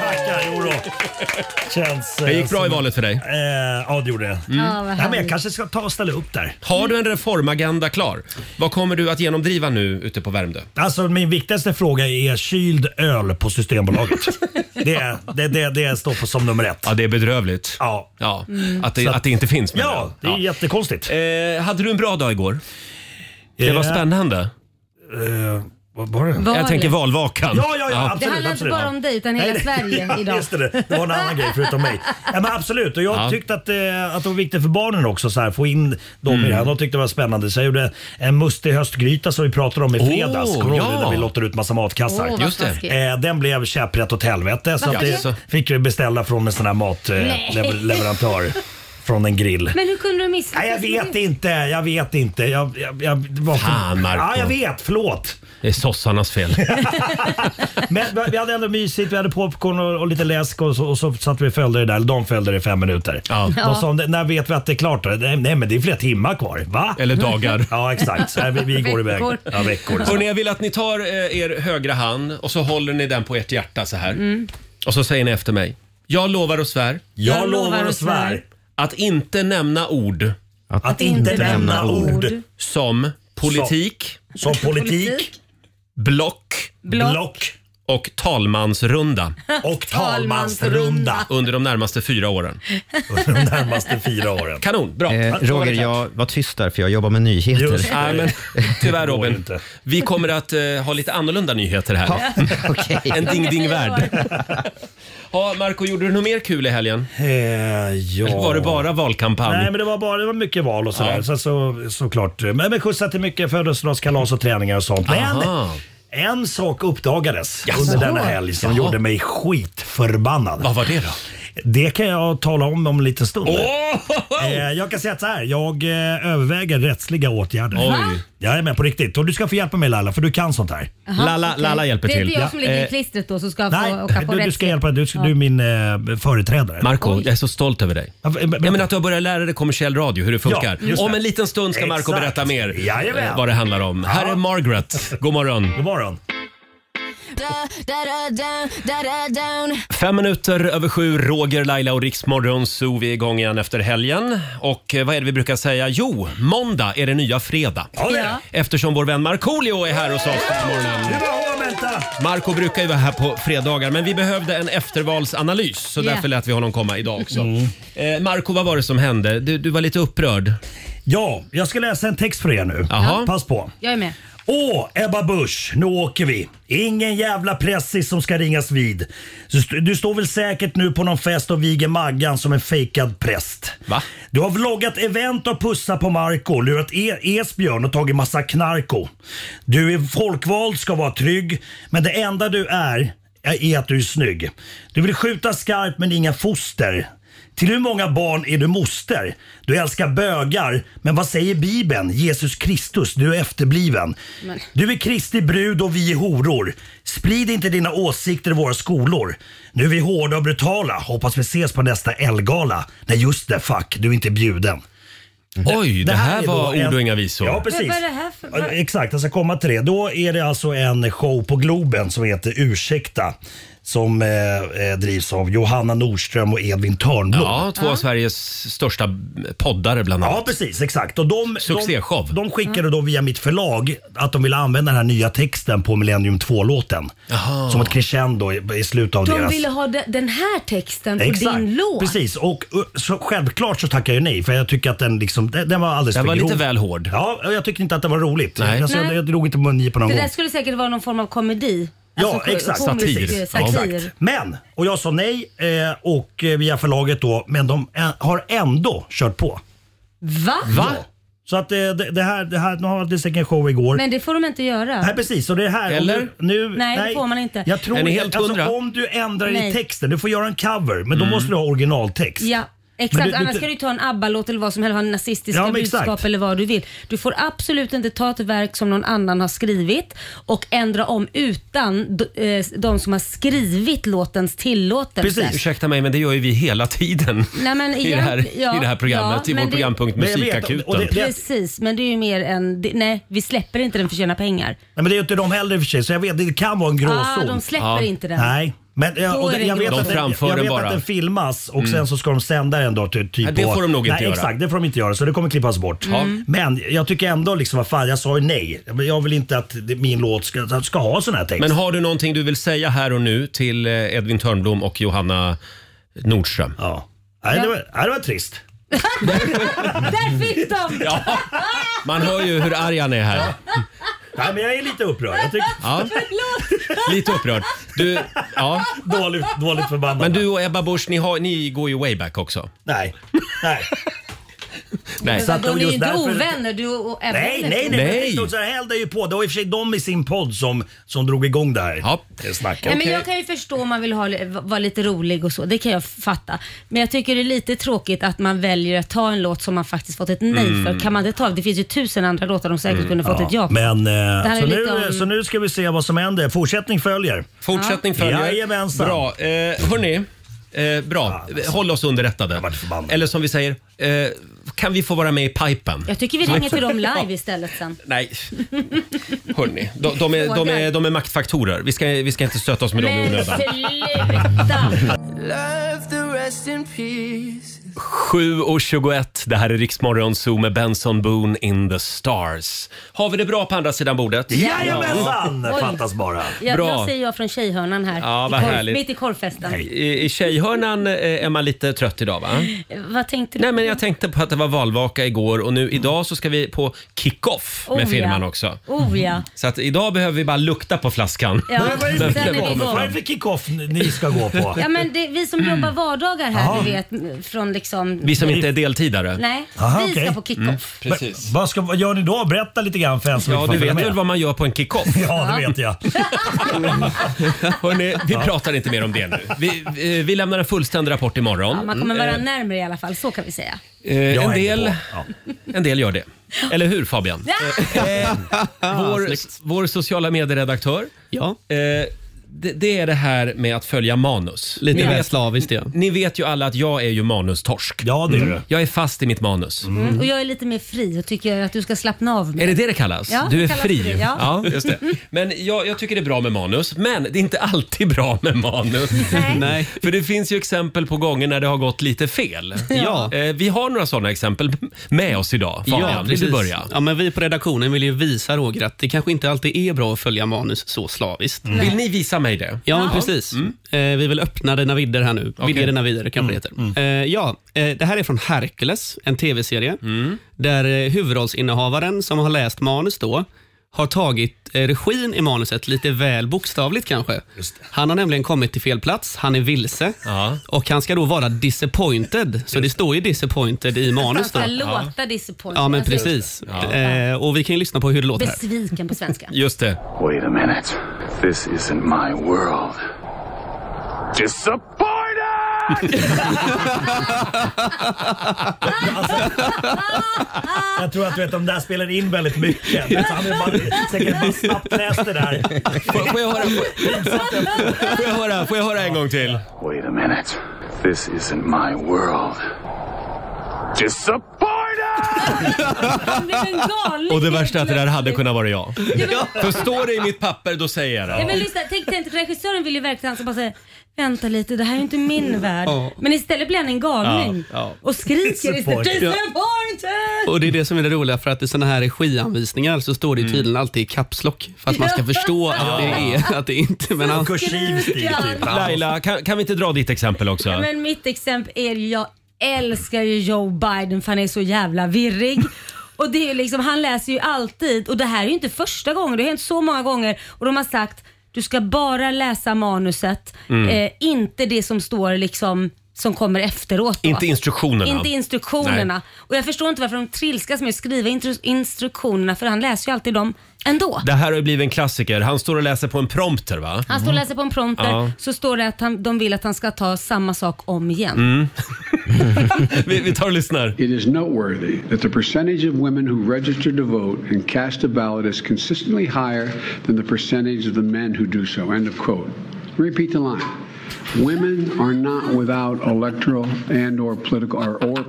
[SPEAKER 10] tackar, jodå. Känns...
[SPEAKER 1] Det gick bra i valet för dig.
[SPEAKER 10] Eh, ja, det gjorde det.
[SPEAKER 2] Ja, vad
[SPEAKER 10] Ja, men jag
[SPEAKER 2] härligt.
[SPEAKER 10] kanske ska ta och ställa upp där.
[SPEAKER 1] Har du en reformagenda klar? Vad kommer du att genomdriva nu ute på Värmdö?
[SPEAKER 10] Alltså min viktigaste fråga är kyld öl på Systembolaget. det, det, det, det står på som nummer ett.
[SPEAKER 1] Ja, det är bedrövligt.
[SPEAKER 10] Ja,
[SPEAKER 1] Ja,
[SPEAKER 2] Mm.
[SPEAKER 1] att, det,
[SPEAKER 10] Så att-
[SPEAKER 1] att det inte finns. menar
[SPEAKER 10] ja det är
[SPEAKER 1] jag.
[SPEAKER 10] jättekonstigt.
[SPEAKER 1] Ja. Eh, hade du en bra dag igår? Det var
[SPEAKER 10] Eh,
[SPEAKER 1] spännande.
[SPEAKER 10] eh, vad var det?
[SPEAKER 2] Valet.
[SPEAKER 1] Jag tänker valvakan.
[SPEAKER 10] Ja, ja,
[SPEAKER 2] Det
[SPEAKER 10] ja, absolut.
[SPEAKER 2] handlar inte
[SPEAKER 10] absolut.
[SPEAKER 2] bara
[SPEAKER 10] Ja.
[SPEAKER 2] om dig utan hela
[SPEAKER 10] Nej,
[SPEAKER 2] Sverige
[SPEAKER 10] (laughs) ja,
[SPEAKER 2] idag.
[SPEAKER 10] Just det, det var en annan grej förutom mig. Ja, men absolut, och jag
[SPEAKER 1] Ja.
[SPEAKER 10] tyckte att, eh, att det var viktigt för barnen också så här, få in dem
[SPEAKER 1] Mm.
[SPEAKER 10] i det här. De tyckte det var spännande. Så jag gjorde en mustig höstgryta som vi pratade om i fredags.
[SPEAKER 1] Åh,
[SPEAKER 10] Kommer du ihåg
[SPEAKER 1] ja.
[SPEAKER 10] det? Där vi lottade ut massa matkassar.
[SPEAKER 2] Åh, vad
[SPEAKER 1] Just det.
[SPEAKER 2] taskigt.
[SPEAKER 10] Eh, den blev käpprätt åt helvete så att
[SPEAKER 1] Varför
[SPEAKER 10] det
[SPEAKER 1] det?
[SPEAKER 10] fick vi beställa från en sån här matleverantör från en grill.
[SPEAKER 2] (laughs) Men hur kunde du missa?
[SPEAKER 10] Nej, jag vet inte, jag vet inte. Jag, jag, jag, det var för...
[SPEAKER 1] Fan, Marco.
[SPEAKER 10] Ja, jag vet. Förlåt.
[SPEAKER 1] Det är sossarnas fel.
[SPEAKER 10] Men vi hade ändå mysigt, vi hade popcorn och, och lite läsk och så, och så satt vi och följde det där. De följde det i fem minuter.
[SPEAKER 1] Ja.
[SPEAKER 10] De sa, när vet vi att det är klart? då?" Nej, nej men det är flera timmar kvar. Va?
[SPEAKER 1] Eller dagar.
[SPEAKER 10] Ja exakt, så här, vi, vi går iväg.
[SPEAKER 2] Veckor.
[SPEAKER 10] Ja, veckor.
[SPEAKER 1] Hörrni, jag vill att ni tar eh, er högra hand och så håller ni den på ert hjärta så här. Och så säger ni efter mig. Jag lovar och svär
[SPEAKER 10] Mm. Jag lovar och svär
[SPEAKER 1] att inte nämna ord
[SPEAKER 4] Att,
[SPEAKER 10] att inte nämna ord
[SPEAKER 1] som politik,
[SPEAKER 10] som politik,
[SPEAKER 1] block
[SPEAKER 10] block
[SPEAKER 1] och talmansrunda
[SPEAKER 10] och talmansrunda
[SPEAKER 1] under de närmaste
[SPEAKER 10] (laughs)
[SPEAKER 1] fyra åren.
[SPEAKER 10] de närmaste fyra åren.
[SPEAKER 1] Kanon, bra.
[SPEAKER 4] Eh, Roger, jag var tyst där för jag jobbar med nyheter.
[SPEAKER 10] Just det.
[SPEAKER 1] Nej, men tyvärr
[SPEAKER 10] Det går
[SPEAKER 1] Robin.
[SPEAKER 10] inte.
[SPEAKER 1] Vi kommer att eh, ha lite annorlunda nyheter här.
[SPEAKER 4] (laughs) Okej.
[SPEAKER 1] En ding-ding-värld. Ja, Marco, gjorde du något mer kul i helgen?
[SPEAKER 10] Eh, ja.
[SPEAKER 1] Eller var det bara valkampanj?
[SPEAKER 10] Nej men det var, bara, det var mycket val och sådär.
[SPEAKER 1] Ja.
[SPEAKER 10] Så, så, såklart. Men, men skjutsa till mycket födelsedagskalas och träningar och sånt. Men
[SPEAKER 1] Aha.
[SPEAKER 10] en sak uppdagades
[SPEAKER 1] Jaså?
[SPEAKER 10] under denna helg som
[SPEAKER 1] Jaha.
[SPEAKER 10] gjorde mig skitförbannad.
[SPEAKER 1] Vad var det då?
[SPEAKER 10] Det kan jag tala om om en liten stund.
[SPEAKER 1] Åh!
[SPEAKER 10] Eh, jag kan säga att så här, jag eh, överväger rättsliga åtgärder.
[SPEAKER 1] Oj.
[SPEAKER 10] Jag är med på riktigt. Och du ska få hjälpa mig Laila, för du kan sånt här.
[SPEAKER 1] Lalla, Lalla hjälper
[SPEAKER 2] Det är
[SPEAKER 1] till.
[SPEAKER 2] inte jag som ligger
[SPEAKER 1] Eh,
[SPEAKER 2] i klistret då som ska
[SPEAKER 10] Nej,
[SPEAKER 2] få åka på
[SPEAKER 10] du, du ska
[SPEAKER 2] rättshjälp.
[SPEAKER 10] hjälpa Du, du är min eh, företrädare.
[SPEAKER 1] Marco, jag är så stolt över dig.
[SPEAKER 10] Ja, men-
[SPEAKER 1] Jag menar att du har börjat lära dig kommersiell radio, hur det funkar.
[SPEAKER 10] Ja, just det.
[SPEAKER 1] om en liten stund ska Marco
[SPEAKER 10] Exakt.
[SPEAKER 1] berätta mer
[SPEAKER 10] Jajamän.
[SPEAKER 1] eh, vad det handlar om. Här är Margaret. God morgon.
[SPEAKER 10] God morgon.
[SPEAKER 6] Da, da, da, down, da, da, down.
[SPEAKER 1] Fem minuter över sju, Roger, Laila och Riksmorgon så vi är igång igen efter helgen. Och eh, vad är det vi brukar säga? Jo, måndag är det nya fredag.
[SPEAKER 10] Ja, det är det.
[SPEAKER 2] Ja.
[SPEAKER 1] Eftersom vår vän Markoolio är här hos oss den här morgonen.
[SPEAKER 10] Det var vänta.
[SPEAKER 1] Marco brukar ju vara här på fredagar, men vi behövde en eftervalsanalys så
[SPEAKER 2] Ja.
[SPEAKER 1] därför lät vi honom komma idag också.
[SPEAKER 10] Mm.
[SPEAKER 1] Eh, Marco, vad var det som hände? Du, du var lite upprörd.
[SPEAKER 10] Ja, jag ska läsa en text för er nu.
[SPEAKER 1] Jaha.
[SPEAKER 10] Pass på.
[SPEAKER 2] Jag är med.
[SPEAKER 10] Åh, Ebba Busch, nu åker vi. Ingen jävla pressis som ska ringas vid. Du, st- du står väl säkert nu på någon fest och viger Maggan som en fejkad präst.
[SPEAKER 1] Va?
[SPEAKER 10] Du har vloggat event och pussat på Marco, lurat e- Esbjörn och tagit massa knarko. Du är folkvald, ska vara trygg, men det enda du är är att du är snygg. Du vill skjuta skarpt men inga foster. Till hur många barn är du moster? Du älskar bögar, men vad säger Bibeln? Jesus Kristus, du är efterbliven. Du är Kristi brud och vi är horor. Sprid inte dina åsikter i våra skolor. Nu är vi hårda och brutala. Hoppas vi ses på nästa Elgala. Nej just det, fuck, du är inte bjuden.
[SPEAKER 1] Oj, det här
[SPEAKER 10] är då
[SPEAKER 1] var
[SPEAKER 10] en-
[SPEAKER 1] ord och inga visor.
[SPEAKER 10] Ja,
[SPEAKER 2] Men
[SPEAKER 10] precis.
[SPEAKER 2] vad är det här för- vad-
[SPEAKER 10] Exakt, jag ska komma till det. Då är det alltså en show på Globen som heter Ursäkta. Som eh, eh, drivs av Johanna Nordström och Edvin Törnblom.
[SPEAKER 1] Ja, två av Sveriges största poddare bland annat.
[SPEAKER 10] Ja, precis. Exakt. Och de,
[SPEAKER 1] Succéshow.
[SPEAKER 10] De, de skickade då via mitt förlag att de ville använda den här nya texten på Millennium 2-låten. Som ett crescendo i, i slutet av
[SPEAKER 2] De
[SPEAKER 10] deras...
[SPEAKER 2] ville ha de- den här texten på
[SPEAKER 10] Exakt.
[SPEAKER 2] din låt.
[SPEAKER 10] Precis, och uh, så, självklart så tackar jag nej för jag tycker att den, liksom, den, den var alldeles
[SPEAKER 1] Den
[SPEAKER 10] för
[SPEAKER 1] var lite
[SPEAKER 10] grov.
[SPEAKER 1] väl hård.
[SPEAKER 10] Ja, och jag tyckte inte att det var roligt.
[SPEAKER 1] Nej.
[SPEAKER 10] Alltså, jag,
[SPEAKER 2] Nej.
[SPEAKER 10] jag drog inte mungipan någon
[SPEAKER 2] Det
[SPEAKER 10] gång.
[SPEAKER 2] där skulle säkert vara någon form av komedi.
[SPEAKER 10] Ja,
[SPEAKER 2] ko-
[SPEAKER 10] exakt.
[SPEAKER 2] komisk,
[SPEAKER 1] Satir.
[SPEAKER 2] eh, Satir.
[SPEAKER 10] Exakt. Men, och jag sa nej eh, och eh, via förlaget då, men de ä- har ändå kört på.
[SPEAKER 2] Va?
[SPEAKER 1] Va?
[SPEAKER 10] Så att eh, det, det här, det här, nu har det säkert en show igår.
[SPEAKER 2] Men det får de inte göra.
[SPEAKER 10] Nej precis, och det är här. om
[SPEAKER 1] Eller?
[SPEAKER 10] du- Nu,
[SPEAKER 2] Nej, det får man inte.
[SPEAKER 10] Jag tror,
[SPEAKER 1] Är ni helt
[SPEAKER 10] alltså,
[SPEAKER 1] hundra? Mm.
[SPEAKER 10] om du ändrar i
[SPEAKER 2] Nej.
[SPEAKER 10] texten, du får göra en cover, men då måste du ha originaltext.
[SPEAKER 2] Ja,
[SPEAKER 10] Men
[SPEAKER 2] exakt.
[SPEAKER 10] du- du-
[SPEAKER 2] Annars kan du ju ta en ABBA-låt eller vad som helst, ha nazistiska
[SPEAKER 10] Ja, men
[SPEAKER 2] budskap
[SPEAKER 10] exakt.
[SPEAKER 2] eller vad du vill. Du får absolut inte ta ett verk som någon annan har skrivit och ändra om utan d- eh, de som har skrivit låtens tillåtelse.
[SPEAKER 10] Precis.
[SPEAKER 1] Ursäkta mig, men det gör ju vi hela tiden
[SPEAKER 2] Nej, men
[SPEAKER 1] (laughs) i, det här,
[SPEAKER 2] egent- ja,
[SPEAKER 1] i det här programmet,
[SPEAKER 2] ja,
[SPEAKER 1] i vår
[SPEAKER 2] men det-
[SPEAKER 1] programpunkt
[SPEAKER 10] Men jag vet, och
[SPEAKER 1] Musikakuten.
[SPEAKER 10] det- det-
[SPEAKER 2] Precis, men det är ju mer en... det- Nej, vi släpper inte den för att tjäna pengar.
[SPEAKER 10] Nej, men det är ju inte de heller i och för sig, så jag vet, det kan vara en
[SPEAKER 2] Ah,
[SPEAKER 10] gråzon.
[SPEAKER 2] de släpper
[SPEAKER 1] Ja.
[SPEAKER 2] inte den.
[SPEAKER 10] Nej. Men jag,
[SPEAKER 2] Då
[SPEAKER 10] och
[SPEAKER 2] är det
[SPEAKER 10] jag vet,
[SPEAKER 2] gråzon.
[SPEAKER 10] att,
[SPEAKER 1] De framför
[SPEAKER 10] jag
[SPEAKER 1] den
[SPEAKER 10] vet
[SPEAKER 1] bara.
[SPEAKER 10] att den filmas och sen så ska de sända den då till typ
[SPEAKER 1] Mm. Nej, det
[SPEAKER 10] på-
[SPEAKER 1] får de nog inte
[SPEAKER 10] nej,
[SPEAKER 1] göra.
[SPEAKER 10] Exakt, det får de inte göra så det kommer klippas bort. Mm. Men jag tycker ändå liksom, vad fan, jag sa ju nej. Jag vill inte att det- min låt ska, ska ha sån här text.
[SPEAKER 1] Men har du någonting du vill säga här och nu till eh, Edvin Törnblom och Johanna Nordström?
[SPEAKER 10] ja. Nej, det, var, nej, det var trist.
[SPEAKER 2] Där fick de!
[SPEAKER 1] Ja, man hör ju hur arg han är här.
[SPEAKER 10] Nej, men jag är lite upprörd. Jag tycker,
[SPEAKER 1] Ja,
[SPEAKER 2] Förlåt!
[SPEAKER 1] lite upprörd. Du, ja.
[SPEAKER 10] dåligt, dåligt förbannad.
[SPEAKER 1] Men du och Ebba Busch, ni, har, ni går ju way back också.
[SPEAKER 10] Nej. Nej.
[SPEAKER 1] Nej.
[SPEAKER 10] Så att de
[SPEAKER 2] De är ju
[SPEAKER 10] just
[SPEAKER 2] inte
[SPEAKER 10] därför-
[SPEAKER 2] ovänner, du och Ebba.
[SPEAKER 10] Nej, nej, nej.
[SPEAKER 1] Nej.
[SPEAKER 10] nej. Så här hällde ju på. Det var i och för sig de i sin podd som, som drog igång det här
[SPEAKER 1] Ja.
[SPEAKER 10] eh, snacket.
[SPEAKER 2] Nej, men
[SPEAKER 1] Okej.
[SPEAKER 2] jag kan ju förstå om man vill ha, vara lite rolig och så, det kan jag fatta. Men jag tycker det är lite tråkigt att man väljer att ta en låt som man faktiskt fått ett nej
[SPEAKER 1] Mm.
[SPEAKER 2] för. Kan man inte ta, det finns ju tusen andra låtar de säkert kunde fått ett ja på.
[SPEAKER 10] Men,
[SPEAKER 2] här
[SPEAKER 10] eh,
[SPEAKER 2] är
[SPEAKER 10] så, nu,
[SPEAKER 2] lite om-
[SPEAKER 10] så nu ska vi se vad som händer. Fortsättning följer.
[SPEAKER 1] Fortsättning följer.
[SPEAKER 10] Jajamensan. Ah, alltså.
[SPEAKER 1] Bra. Eh, hörni, eh, bra. Håll oss underrättade.
[SPEAKER 10] vart förbannad.
[SPEAKER 1] Eller som vi säger, eh, kan vi få vara med i pipen?
[SPEAKER 2] Jag tycker vi ringer till dem live istället sen.
[SPEAKER 1] (laughs) Nej, hörni. De, de, är, de, är, de är maktfaktorer. Vi ska, vi ska inte stöta oss med dem i
[SPEAKER 2] Men
[SPEAKER 1] onödan.
[SPEAKER 2] sluta!
[SPEAKER 1] 7.21, det här är Riksmorgon Zoo med Benson Boone in the stars. Har vi det bra på andra sidan bordet?
[SPEAKER 10] Jajamensan!
[SPEAKER 2] Oj.
[SPEAKER 10] Fattas bara.
[SPEAKER 2] Jag,
[SPEAKER 1] Bra.
[SPEAKER 2] jag säger jag från Tjejhörnan här.
[SPEAKER 1] Ja,
[SPEAKER 2] I
[SPEAKER 1] vad
[SPEAKER 2] korv-
[SPEAKER 1] härligt.
[SPEAKER 2] Mitt i korvfesten.
[SPEAKER 1] I, I tjejhörnan eh, är man lite trött idag va?
[SPEAKER 2] Eh, Vad tänkte du?
[SPEAKER 1] Nej men jag tänkte på att det var valvaka igår och nu idag så ska vi på kick-off med
[SPEAKER 2] Mm. Oh,
[SPEAKER 1] firman
[SPEAKER 2] ja.
[SPEAKER 1] också.
[SPEAKER 2] Oh ja.
[SPEAKER 1] (laughs) Så att idag behöver vi bara lukta på flaskan.
[SPEAKER 2] ja.
[SPEAKER 10] Men vad är det
[SPEAKER 2] sen är
[SPEAKER 10] för
[SPEAKER 2] vi
[SPEAKER 10] kick-off?
[SPEAKER 2] igång.
[SPEAKER 10] Vad är det för kick-off ni ska gå på?
[SPEAKER 2] Ja, men det, vi som jobbar vardagar här, du vet, från liksom...
[SPEAKER 1] Mm. Vi som inte är deltidare.
[SPEAKER 2] Nej,
[SPEAKER 10] Aha,
[SPEAKER 2] vi ska
[SPEAKER 10] okej.
[SPEAKER 2] på kick-off.
[SPEAKER 10] Men Mm. Vad, ska, vad gör ni då? Berätta lite grann för en som
[SPEAKER 1] Ja,
[SPEAKER 10] inte
[SPEAKER 1] du
[SPEAKER 10] får
[SPEAKER 1] vet
[SPEAKER 10] följa
[SPEAKER 1] väl
[SPEAKER 10] med.
[SPEAKER 1] vad man gör på en kick-off?
[SPEAKER 10] (laughs) Ja, det vet jag.
[SPEAKER 1] Hörrni, vi pratar inte mer om det nu. Vi, eh, vi, vi lämnar en fullständig rapport
[SPEAKER 2] (laughs)
[SPEAKER 1] imorgon.
[SPEAKER 2] Ja, man kommer vara
[SPEAKER 1] Mm.
[SPEAKER 2] närmre i alla fall, så kan vi säga.
[SPEAKER 1] Eh,
[SPEAKER 10] Jag
[SPEAKER 1] en,
[SPEAKER 10] hänger
[SPEAKER 1] del,
[SPEAKER 10] på. Ja.
[SPEAKER 1] en del gör det. Eller hur Fabian? Eh,
[SPEAKER 2] Ja!
[SPEAKER 1] Vår, vår sociala medieredaktör.
[SPEAKER 5] Ja,
[SPEAKER 1] Eh, det, det är det här med att följa manus.
[SPEAKER 5] lite
[SPEAKER 1] ni,
[SPEAKER 5] väl
[SPEAKER 1] vet,
[SPEAKER 5] slaviskt ja.
[SPEAKER 1] ni vet ju alla att jag är ju manustorsk. Mm.
[SPEAKER 10] ja, det är det.
[SPEAKER 1] Jag är fast i mitt manus.
[SPEAKER 2] Mm. Och jag är lite mer fri och tycker att du ska slappna av.
[SPEAKER 1] Är
[SPEAKER 2] Med.
[SPEAKER 1] det det det kallas?
[SPEAKER 2] Ja,
[SPEAKER 1] du
[SPEAKER 2] det
[SPEAKER 1] är
[SPEAKER 2] kallas
[SPEAKER 1] fri.
[SPEAKER 2] fri, ja.
[SPEAKER 1] just det. Men jag, jag tycker det är bra med manus, men det är inte alltid bra med manus.
[SPEAKER 5] Nej.
[SPEAKER 1] För det finns ju exempel på gånger när det har gått lite fel.
[SPEAKER 5] Ja.
[SPEAKER 1] Eh, vi har några sådana exempel med oss idag. Fabian, vill du
[SPEAKER 5] precis.
[SPEAKER 1] börja?
[SPEAKER 5] Ja, men vi på redaktionen vill ju visa Roger att det kanske inte alltid är bra att följa manus så slaviskt.
[SPEAKER 1] Vill ni visa mig det? Mm.
[SPEAKER 5] Ja, men precis. Eh, vi vill öppna dina vidder här nu. Vidga dina vidder kanske det
[SPEAKER 1] Mm.
[SPEAKER 5] heter. Eh, ja, eh, det här är från Hercules, en tv-serie,
[SPEAKER 1] Mm.
[SPEAKER 5] där eh, huvudrollsinnehavaren som har läst manus då har tagit eh, regin i manuset lite väl bokstavligt kanske. Han har nämligen kommit till fel plats, han är vilse
[SPEAKER 1] Ja.
[SPEAKER 5] och han ska då vara disappointed. Så det står ju disappointed i
[SPEAKER 2] Man
[SPEAKER 5] manus då.
[SPEAKER 2] ska låta disappointed.
[SPEAKER 5] Ja, men
[SPEAKER 2] Alltså,
[SPEAKER 5] precis. Eh, och vi kan ju lyssna på hur det låter här.
[SPEAKER 2] Besviken på
[SPEAKER 5] (laughs)
[SPEAKER 2] svenska.
[SPEAKER 1] Just det.
[SPEAKER 7] Wait a minute. This isn't my world. Disappointed!
[SPEAKER 2] Ah.
[SPEAKER 10] Jag tror att du vet, de där spelar in väldigt mycket. Men så han har ju bara, säkert bara snabbt läst det där.
[SPEAKER 1] (laughs) Får, får, jag höra, får, får jag höra? Får jag höra en gång till?
[SPEAKER 11] Wait a minute. This isn't my world. Disappointed!
[SPEAKER 1] Och det värsta är att det där hade kunnat vara jag.
[SPEAKER 2] Ja, men-
[SPEAKER 1] För står det i mitt papper då säger jag
[SPEAKER 2] Ja, men
[SPEAKER 1] det.
[SPEAKER 2] lyssna, tänk dig inte, regissören vill ju verkligen alltså bara säga Vänta lite, det här är ju inte min värld.
[SPEAKER 5] Ja.
[SPEAKER 2] Men istället blir han en galning.
[SPEAKER 5] Ja, ja.
[SPEAKER 2] Och skriker istället.
[SPEAKER 5] Disappointed.
[SPEAKER 2] Disappointed!
[SPEAKER 5] Och det är det som är det roliga för att i sådana här regianvisningar så står det ju
[SPEAKER 1] Mm.
[SPEAKER 5] tydligen alltid i kapslock för att man ska förstå att det är att det inte... Men han...
[SPEAKER 2] Kursiv stil, typ.
[SPEAKER 1] Laila, kan, kan vi inte dra ditt exempel också?
[SPEAKER 2] Men mitt exempel är ju, jag älskar ju Joe Biden för han är så jävla
[SPEAKER 1] (laughs)
[SPEAKER 2] virrig. Och det är ju liksom, han läser ju alltid och det här är ju inte första gången, det har hänt så många gånger och de har sagt du ska bara läsa manuset,
[SPEAKER 1] Mm.
[SPEAKER 2] eh, inte det som står liksom som kommer efteråt. Då.
[SPEAKER 1] Inte instruktionerna.
[SPEAKER 2] Inte instruktionerna.
[SPEAKER 1] Nej.
[SPEAKER 2] Och jag förstår inte varför de trilskas med att skriva intru- instruktionerna för han läser ju alltid dem ändå.
[SPEAKER 1] Det här har ju blivit en klassiker. Han står och läser på en prompter va?
[SPEAKER 2] Han står och läser på en prompter
[SPEAKER 1] Ja.
[SPEAKER 2] så står det att han, de vill att han ska ta samma sak om igen.
[SPEAKER 1] Mm. (laughs) vi, vi tar och lyssnar.
[SPEAKER 12] It is noteworthy that the percentage of women who register to vote and cast a ballot is consistently higher than the percentage of the men who do so. End of quote. Repeat the line. Women are not without electoral and or political or, or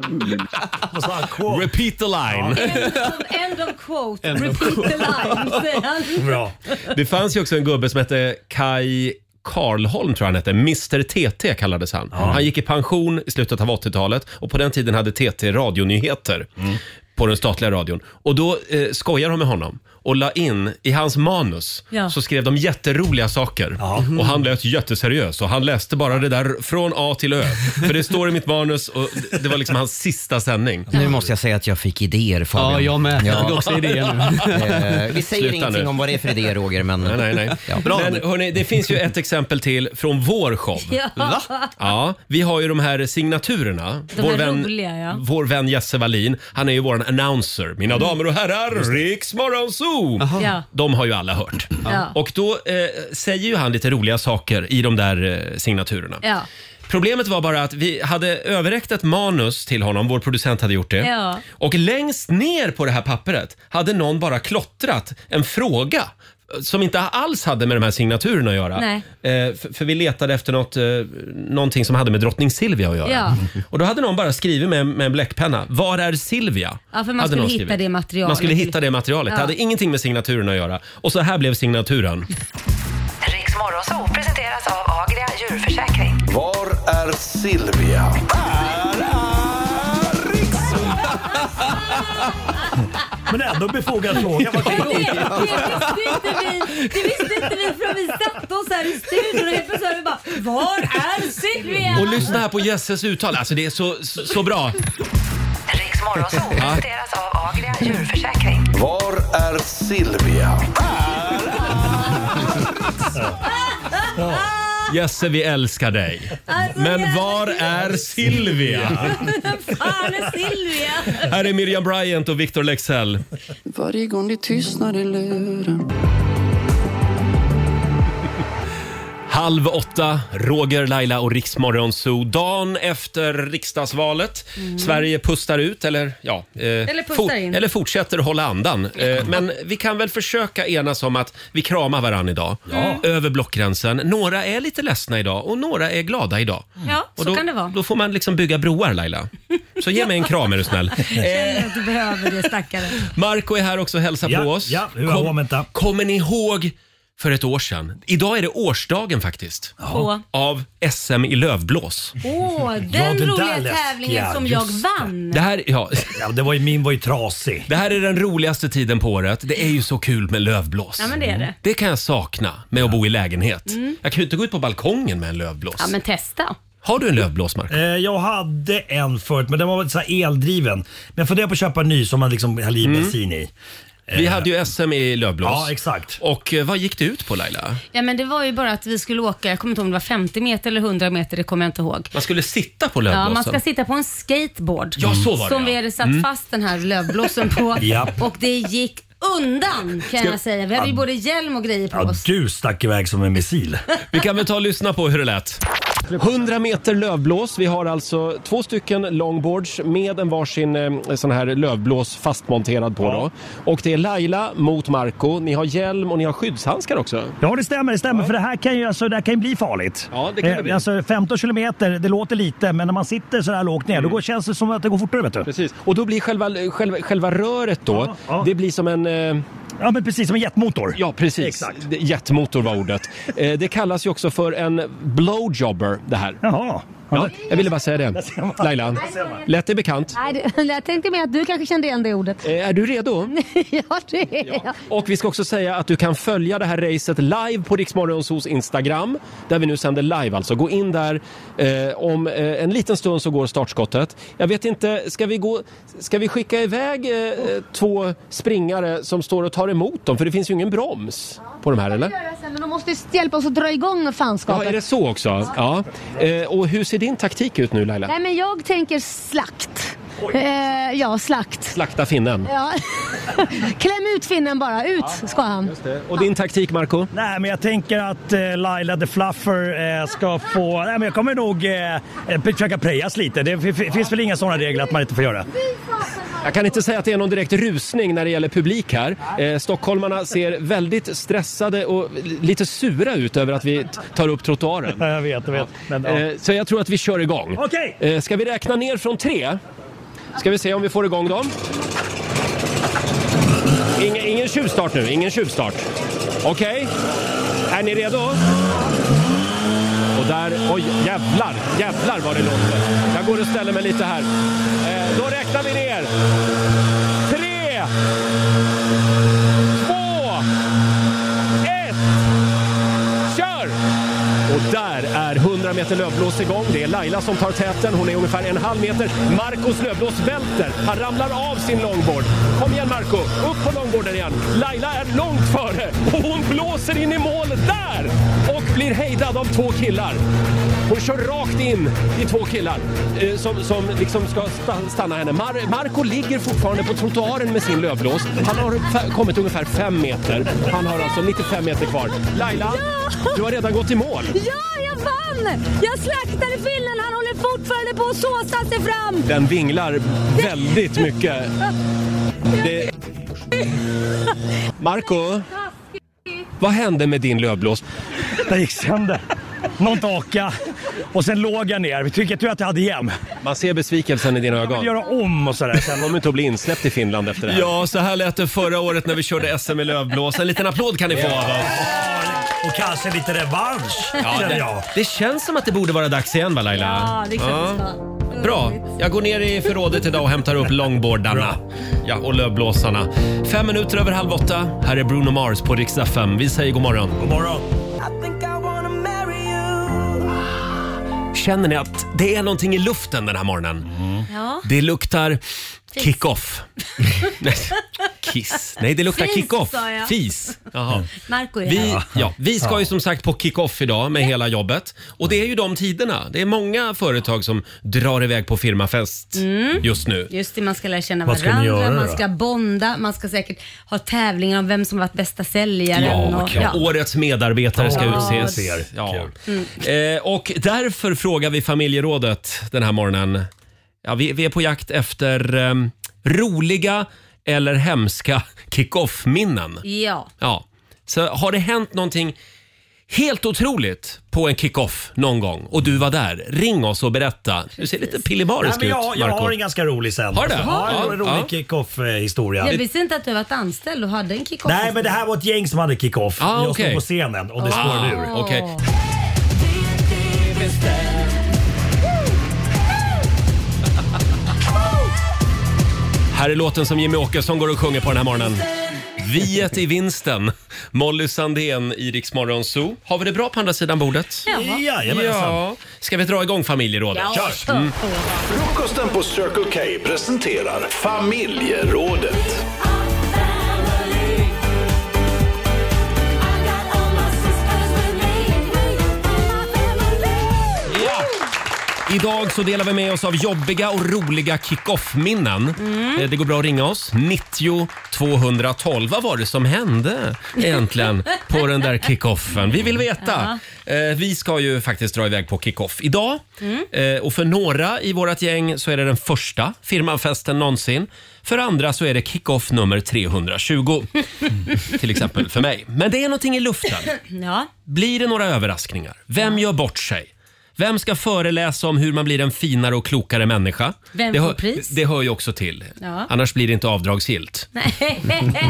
[SPEAKER 1] Repeat the line. (laughs)
[SPEAKER 2] End of quote.
[SPEAKER 1] End of
[SPEAKER 2] Repeat
[SPEAKER 1] quote.
[SPEAKER 2] the line, säger han.
[SPEAKER 1] Det fanns ju också en gubbe som hette Kai Karlholm tror jag han hette. Mr TT kallades han. Han gick i pension i slutet av 80-talet och på den tiden hade TT radionyheter på den statliga radion. Och då eh, skojade de med honom och la in i hans manus
[SPEAKER 13] Ja.
[SPEAKER 1] så skrev de jätteroliga saker. Och han lät jätteseriös och han läste bara det där från A till Ö. För det står i mitt manus och det var liksom hans sista sändning.
[SPEAKER 4] Nu måste jag säga att jag fick idéer Fabian.
[SPEAKER 1] Ja, jag med. Jag hade också idéer nu.
[SPEAKER 4] Eh, vi säger
[SPEAKER 1] Sluta
[SPEAKER 4] ingenting
[SPEAKER 1] nu.
[SPEAKER 4] om vad det är för idéer Roger, men...
[SPEAKER 1] Nej, nej, nej.
[SPEAKER 4] Ja.
[SPEAKER 1] Bra. Men hörni, det finns ju ett exempel till från vår show.
[SPEAKER 2] Ja.
[SPEAKER 1] Ja, vi har ju de här signaturerna.
[SPEAKER 2] De
[SPEAKER 1] vår,
[SPEAKER 2] här
[SPEAKER 1] vän,
[SPEAKER 2] roliga ja.
[SPEAKER 1] Mm. vår vän Jesse Wallin, han är ju vår announcer. Mina damer och herrar, Riks Morgonzoo!
[SPEAKER 2] Ja.
[SPEAKER 1] De har ju alla hört.
[SPEAKER 2] Ja.
[SPEAKER 1] Och då eh, säger ju han lite roliga saker i de där eh, signaturerna.
[SPEAKER 2] Ja.
[SPEAKER 1] Problemet var bara att vi hade överräckt ett manus till honom, vår producent hade gjort det.
[SPEAKER 2] Ja.
[SPEAKER 1] Och längst ner på det här pappret hade någon bara klottrat en fråga som inte alls hade med de här signaturerna att göra.
[SPEAKER 2] Nej.
[SPEAKER 1] Eh, för, för vi letade efter något, eh, någonting som hade med drottning Silvia att göra.
[SPEAKER 2] Ja.
[SPEAKER 1] Och då hade någon bara skrivit med, med en bläckpenna, var är Silvia?
[SPEAKER 2] Ja, för man
[SPEAKER 1] Hade
[SPEAKER 2] skulle
[SPEAKER 1] någon
[SPEAKER 2] hitta
[SPEAKER 1] skrivit.
[SPEAKER 2] det materialet.
[SPEAKER 1] Man skulle hitta det materialet.
[SPEAKER 2] Ja.
[SPEAKER 1] Det hade ingenting med signaturen att göra. Och så här blev signaturen.
[SPEAKER 14] Riks Morgonzoo presenteras av Agria djurförsäkring.
[SPEAKER 7] Var är Silvia?
[SPEAKER 10] Men ändå befogad fråga. Vad kan
[SPEAKER 2] Det,
[SPEAKER 10] jag
[SPEAKER 2] det visste inte vi Det visste inte vi förrän vi satte oss här i studion och helt plötsligt hörde vi bara Var är Silvia?
[SPEAKER 1] Och lyssna här på Jesses uttal. Alltså det är så, så, så bra.
[SPEAKER 14] Riks Morgonzoo presenteras av Agria djurförsäkring.
[SPEAKER 7] Var är Silvia?
[SPEAKER 1] Jesse, vi älskar dig.
[SPEAKER 2] Alltså,
[SPEAKER 1] Men var är Silvia?
[SPEAKER 2] Fan är Silvia?
[SPEAKER 1] Här är Miriam Bryant och Victor Lexell.
[SPEAKER 15] Varje gång det tystnar i luren
[SPEAKER 1] Halv åtta, Roger, Laila och Riksmorgon Zoo. Dagen efter riksdagsvalet. Sverige pustar ut, eller ja... eh,
[SPEAKER 2] Mm. Eller pustar
[SPEAKER 1] fort-
[SPEAKER 2] in.
[SPEAKER 1] Eller fortsätter hålla andan. Eh, men vi kan väl försöka enas om att vi kramar varandra idag.
[SPEAKER 2] Ja. Mm.
[SPEAKER 1] Över blockgränsen. Några är lite ledsna idag och några är glada idag.
[SPEAKER 2] Ja,
[SPEAKER 1] Och
[SPEAKER 2] så
[SPEAKER 1] då,
[SPEAKER 2] kan det vara.
[SPEAKER 1] Då får man liksom bygga broar, Laila. Så ge mig en kram är
[SPEAKER 2] (laughs)
[SPEAKER 1] du snäll.
[SPEAKER 2] Jag känner att du behöver det stackare.
[SPEAKER 1] Marco är här också och hälsar
[SPEAKER 10] Ja,
[SPEAKER 1] på oss.
[SPEAKER 10] ja, hur har momenta?
[SPEAKER 1] Kommer ni ihåg för ett år sedan? Idag är det årsdagen faktiskt.
[SPEAKER 2] Ja.
[SPEAKER 1] Av SM i lövblås.
[SPEAKER 2] Åh, den
[SPEAKER 1] Ja, det där
[SPEAKER 2] roliga
[SPEAKER 1] läskiga,
[SPEAKER 2] tävlingen som jag
[SPEAKER 1] just
[SPEAKER 2] vann.
[SPEAKER 1] Det här, ja. det var, min var ju trasig. Det här är den roligaste tiden på året. Det är ju så kul med lövblås.
[SPEAKER 2] Ja, men det är det.
[SPEAKER 1] Det kan jag sakna med att bo i lägenhet.
[SPEAKER 2] Mm.
[SPEAKER 1] Jag kan ju inte gå ut på balkongen med en lövblås.
[SPEAKER 2] Ja men testa.
[SPEAKER 1] Har du en lövblås, Mark?
[SPEAKER 10] Eh, Jag hade en förut, men den var så här eldriven. Men jag funderar på att köpa en ny som man liksom häller i
[SPEAKER 1] Mm.
[SPEAKER 10] bensin i.
[SPEAKER 1] Vi hade ju SM i lövblås.
[SPEAKER 10] Ja, exakt.
[SPEAKER 1] Och eh, vad gick det ut på Laila?
[SPEAKER 2] Ja men det var ju bara att vi skulle åka, jag kommer inte ihåg om det var 50 meter eller 100 meter, det kommer jag inte ihåg.
[SPEAKER 1] Man skulle sitta på lövblåsen.
[SPEAKER 2] Ja, man ska sitta på en skateboard.
[SPEAKER 1] Ja, så var det,
[SPEAKER 2] Som
[SPEAKER 1] ja.
[SPEAKER 2] vi hade satt
[SPEAKER 1] Mm.
[SPEAKER 2] fast den här lövblåsen
[SPEAKER 1] (laughs)
[SPEAKER 2] på.
[SPEAKER 10] Japp.
[SPEAKER 2] Och det gick undan kan
[SPEAKER 10] Ska-
[SPEAKER 2] jag säga. Vi hade ju
[SPEAKER 10] Ja.
[SPEAKER 2] både hjälm och grejer på
[SPEAKER 10] Ja,
[SPEAKER 2] oss.
[SPEAKER 10] du stack iväg som en missil.
[SPEAKER 1] Vi kan väl ta och lyssna på hur det lät. 100 meter lövblås. Vi har alltså två stycken longboards med en varsin eh, sån här lövblås fastmonterad på. Då. Och det är Laila mot Marco. Ni har hjälm och ni har skyddshandskar också.
[SPEAKER 13] Ja, det stämmer. Det stämmer. För det här kan ju, alltså, det här kan ju bli farligt.
[SPEAKER 1] Ja, det kan det bli.
[SPEAKER 13] Alltså, 15 kilometer, det låter lite, men när man sitter så här lågt ner, då går, känns det som att det går fortare. Vet du.
[SPEAKER 1] Mm. Precis. Och då blir själva, själva, själva röret då, det blir som en... Eh...
[SPEAKER 13] Ja, men precis som en jetmotor.
[SPEAKER 1] Ja, precis. Exakt. Jetmotor var ordet. Eh, det kallas ju också för en blowjobber det här.
[SPEAKER 13] Jaha.
[SPEAKER 1] Ja, jag ville bara säga det. Laila, lät det bekant?
[SPEAKER 16] Nej, det- jag tänkte mer att du (laughs) kanske kände igen det ordet.
[SPEAKER 1] Eh, Är du redo?
[SPEAKER 16] (laughs) ja, det är jag.
[SPEAKER 1] Och vi ska också säga att du kan följa det här racet live på Riksmorgonsos Instagram, där vi nu sänder live alltså. Gå in där. Eh, om eh, en liten stund så går startskottet. Jag vet inte, ska vi, gå, ska vi skicka iväg eh, eh, två springare som står och tar emot dem? För det finns ju ingen broms på de här, eller?
[SPEAKER 16] göra sen, men de måste ju hjälpa oss att dra igång
[SPEAKER 1] Ja,
[SPEAKER 16] fanskapet.
[SPEAKER 1] är det så också? Ja. Eh, och hur ser din taktik ut nu Laila?
[SPEAKER 16] Nej, men jag tänker slakt. Eh, ja, slakt.
[SPEAKER 1] Slakta finnen.
[SPEAKER 16] Ja. (laughs) Kläm ut finnen bara, ut ska han.
[SPEAKER 1] Och din taktik Marco?
[SPEAKER 13] Nej, men jag tänker att eh, Laila the Fluffer eh, ska få... Nej, men jag kommer nog eh, eh, försöka prejas lite. Det f- f- finns väl inga sådana regler att man inte får göra.
[SPEAKER 1] Jag kan inte säga att det är någon direkt rusning när det gäller publik här. Eh, stockholmarna ser väldigt stressade och lite sura ut över att vi t- tar upp trottoaren.
[SPEAKER 13] (laughs) Jag vet, jag vet. Men, ja.
[SPEAKER 1] eh, så jag tror att vi kör igång.
[SPEAKER 13] Okej.
[SPEAKER 1] Eh, ska vi räkna ner från tre? Ska vi se om vi får igång dem. Ingen, ingen tjuvstart nu, ingen tjuvstart. Okej, är ni redo? Och där, oj jävlar, jävlar vad det låter. Jag går och ställer mig lite här. Eh, då räknar vi ner. Tre, två, ett, kör! Och där är 100 meter lövblås igång. Det är Laila som tar täten. Hon är ungefär en halv meter. Marcos lövblås välter. Han ramlar av sin longboard. Kom igen Marco, upp på longboarden igen. Laila är långt före och hon blåser in i mål där! Och blir hejdad av två killar. Hon kör rakt in i två killar eh, som, som liksom ska sta- stanna henne. Mar- Marco ligger fortfarande på trottoaren med sin lövblås. Han har fa- kommit ungefär fem meter. Han har alltså 95 meter kvar. Laila, du har redan gått i mål.
[SPEAKER 16] Ja, jag vann! Jag slaktade finnen, han håller fortfarande på att såsa sig fram!
[SPEAKER 1] Den vinglar väldigt mycket. Det... Marco, vad hände med din lövblås?
[SPEAKER 13] Den gick sönder. Någon taka och sen låg jag ner. Vi tycker tur att jag hade hjälm.
[SPEAKER 1] Man ser besvikelsen i dina ögon.
[SPEAKER 13] vill göra om och sådär.
[SPEAKER 1] Sen kommer du inte att bli insläppt i Finland efter det här. Ja, så här lät det förra året när vi körde SM i lövblås. En liten applåd kan ni få av oss.
[SPEAKER 10] Och kanske lite revansch,
[SPEAKER 1] Ja,
[SPEAKER 10] känner
[SPEAKER 1] det,
[SPEAKER 10] jag.
[SPEAKER 1] det känns som att det borde vara dags igen va Laila?
[SPEAKER 10] Ja, det känns
[SPEAKER 1] så. Bra, jag går ner i förrådet idag och hämtar upp longboardarna ja, och lövblåsarna. Fem minuter över halv åtta. Här är Bruno Mars på riksdag 5. Vi säger god morgon. God morgon. Känner ni att det är någonting i luften den här morgonen?
[SPEAKER 2] Mm. Ja.
[SPEAKER 1] Det luktar
[SPEAKER 2] (laughs)
[SPEAKER 1] kick-off. Nej, Kiss. Nej, det luktar
[SPEAKER 2] Fis,
[SPEAKER 1] kick-off.
[SPEAKER 2] sa jag.
[SPEAKER 1] Fis. Jaha.
[SPEAKER 2] Marco är
[SPEAKER 1] Vi,
[SPEAKER 2] här.
[SPEAKER 1] ja, vi ska ju som sagt på kick-off idag med hela jobbet. Och det är ju de tiderna. Det är många företag som drar iväg på firmafest
[SPEAKER 2] Mm.
[SPEAKER 1] just nu.
[SPEAKER 2] Just det, man ska lära känna
[SPEAKER 1] Vad ska ni
[SPEAKER 2] varandra,
[SPEAKER 1] göra
[SPEAKER 2] man
[SPEAKER 1] då?
[SPEAKER 2] ska bonda, man ska säkert ha tävlingar om vem som varit bästa säljaren. och,
[SPEAKER 1] kul. Årets medarbetare ska
[SPEAKER 2] Ja,
[SPEAKER 1] utses.
[SPEAKER 2] ser.
[SPEAKER 1] Ja.
[SPEAKER 2] Mm.
[SPEAKER 1] Eh, och därför frågar vi familjerådet den här morgonen. Ja, vi, vi är på jakt efter ehm, roliga eller hemska kick-off-minnen.
[SPEAKER 2] Ja.
[SPEAKER 1] Ja. Så har det hänt någonting helt otroligt på en kick-off någon gång och du var där, ring oss och berätta. Du ser lite
[SPEAKER 10] Nej,
[SPEAKER 1] pillemarisk
[SPEAKER 10] men
[SPEAKER 1] ut,
[SPEAKER 10] jag, jag
[SPEAKER 1] Marco.
[SPEAKER 10] har en ganska rolig sen.
[SPEAKER 1] Har du det?
[SPEAKER 10] Ja,
[SPEAKER 1] Ja,
[SPEAKER 10] en rolig
[SPEAKER 1] ja.
[SPEAKER 10] kick-off-historia.
[SPEAKER 2] Jag visste inte att du varit anställd och hade en kick-off.
[SPEAKER 10] Nej, men det här var ett gäng som hade kick-off.
[SPEAKER 1] Ah,
[SPEAKER 10] jag
[SPEAKER 1] okej.
[SPEAKER 10] stod på scenen och det
[SPEAKER 1] Ah,
[SPEAKER 10] spårade ur.
[SPEAKER 1] okej. Här är låten som Jimmy Åkesson går och sjunger på den här morgonen. Viet i vinsten. Molly Sandén i Rix Morgon Zoo. Har vi det bra på andra sidan bordet?
[SPEAKER 10] Jaha. Jajamensan.
[SPEAKER 1] Ja. Ska vi dra igång familjerådet?
[SPEAKER 7] Ja, kör. Mm. Frukosten på Circle K presenterar Familjerådet.
[SPEAKER 1] Ja. Idag så delar vi med oss av jobbiga och roliga kick-off-minnen. Eh, Det går bra att ringa oss. 90 212. Vad var det som hände egentligen på den där kick-offen? Vi vill veta. Eh, Vi ska ju faktiskt dra iväg på kick-off idag.
[SPEAKER 2] Mm.
[SPEAKER 1] Eh, Och för några i vårt gäng så är det den första firmanfesten någonsin. För andra så är det kick-off nummer 320. Till exempel för mig. Men det är någonting i luften.
[SPEAKER 2] (clears throat) Ja.
[SPEAKER 1] Blir det några överraskningar? Vem gör bort sig? Vem ska föreläsa om hur man blir en finare och klokare människa?
[SPEAKER 2] Vem
[SPEAKER 1] det,
[SPEAKER 2] får
[SPEAKER 1] hör,
[SPEAKER 2] pris?
[SPEAKER 1] det hör ju också till.
[SPEAKER 2] Ja.
[SPEAKER 1] Annars blir det inte avdragsgillt.
[SPEAKER 2] Nej.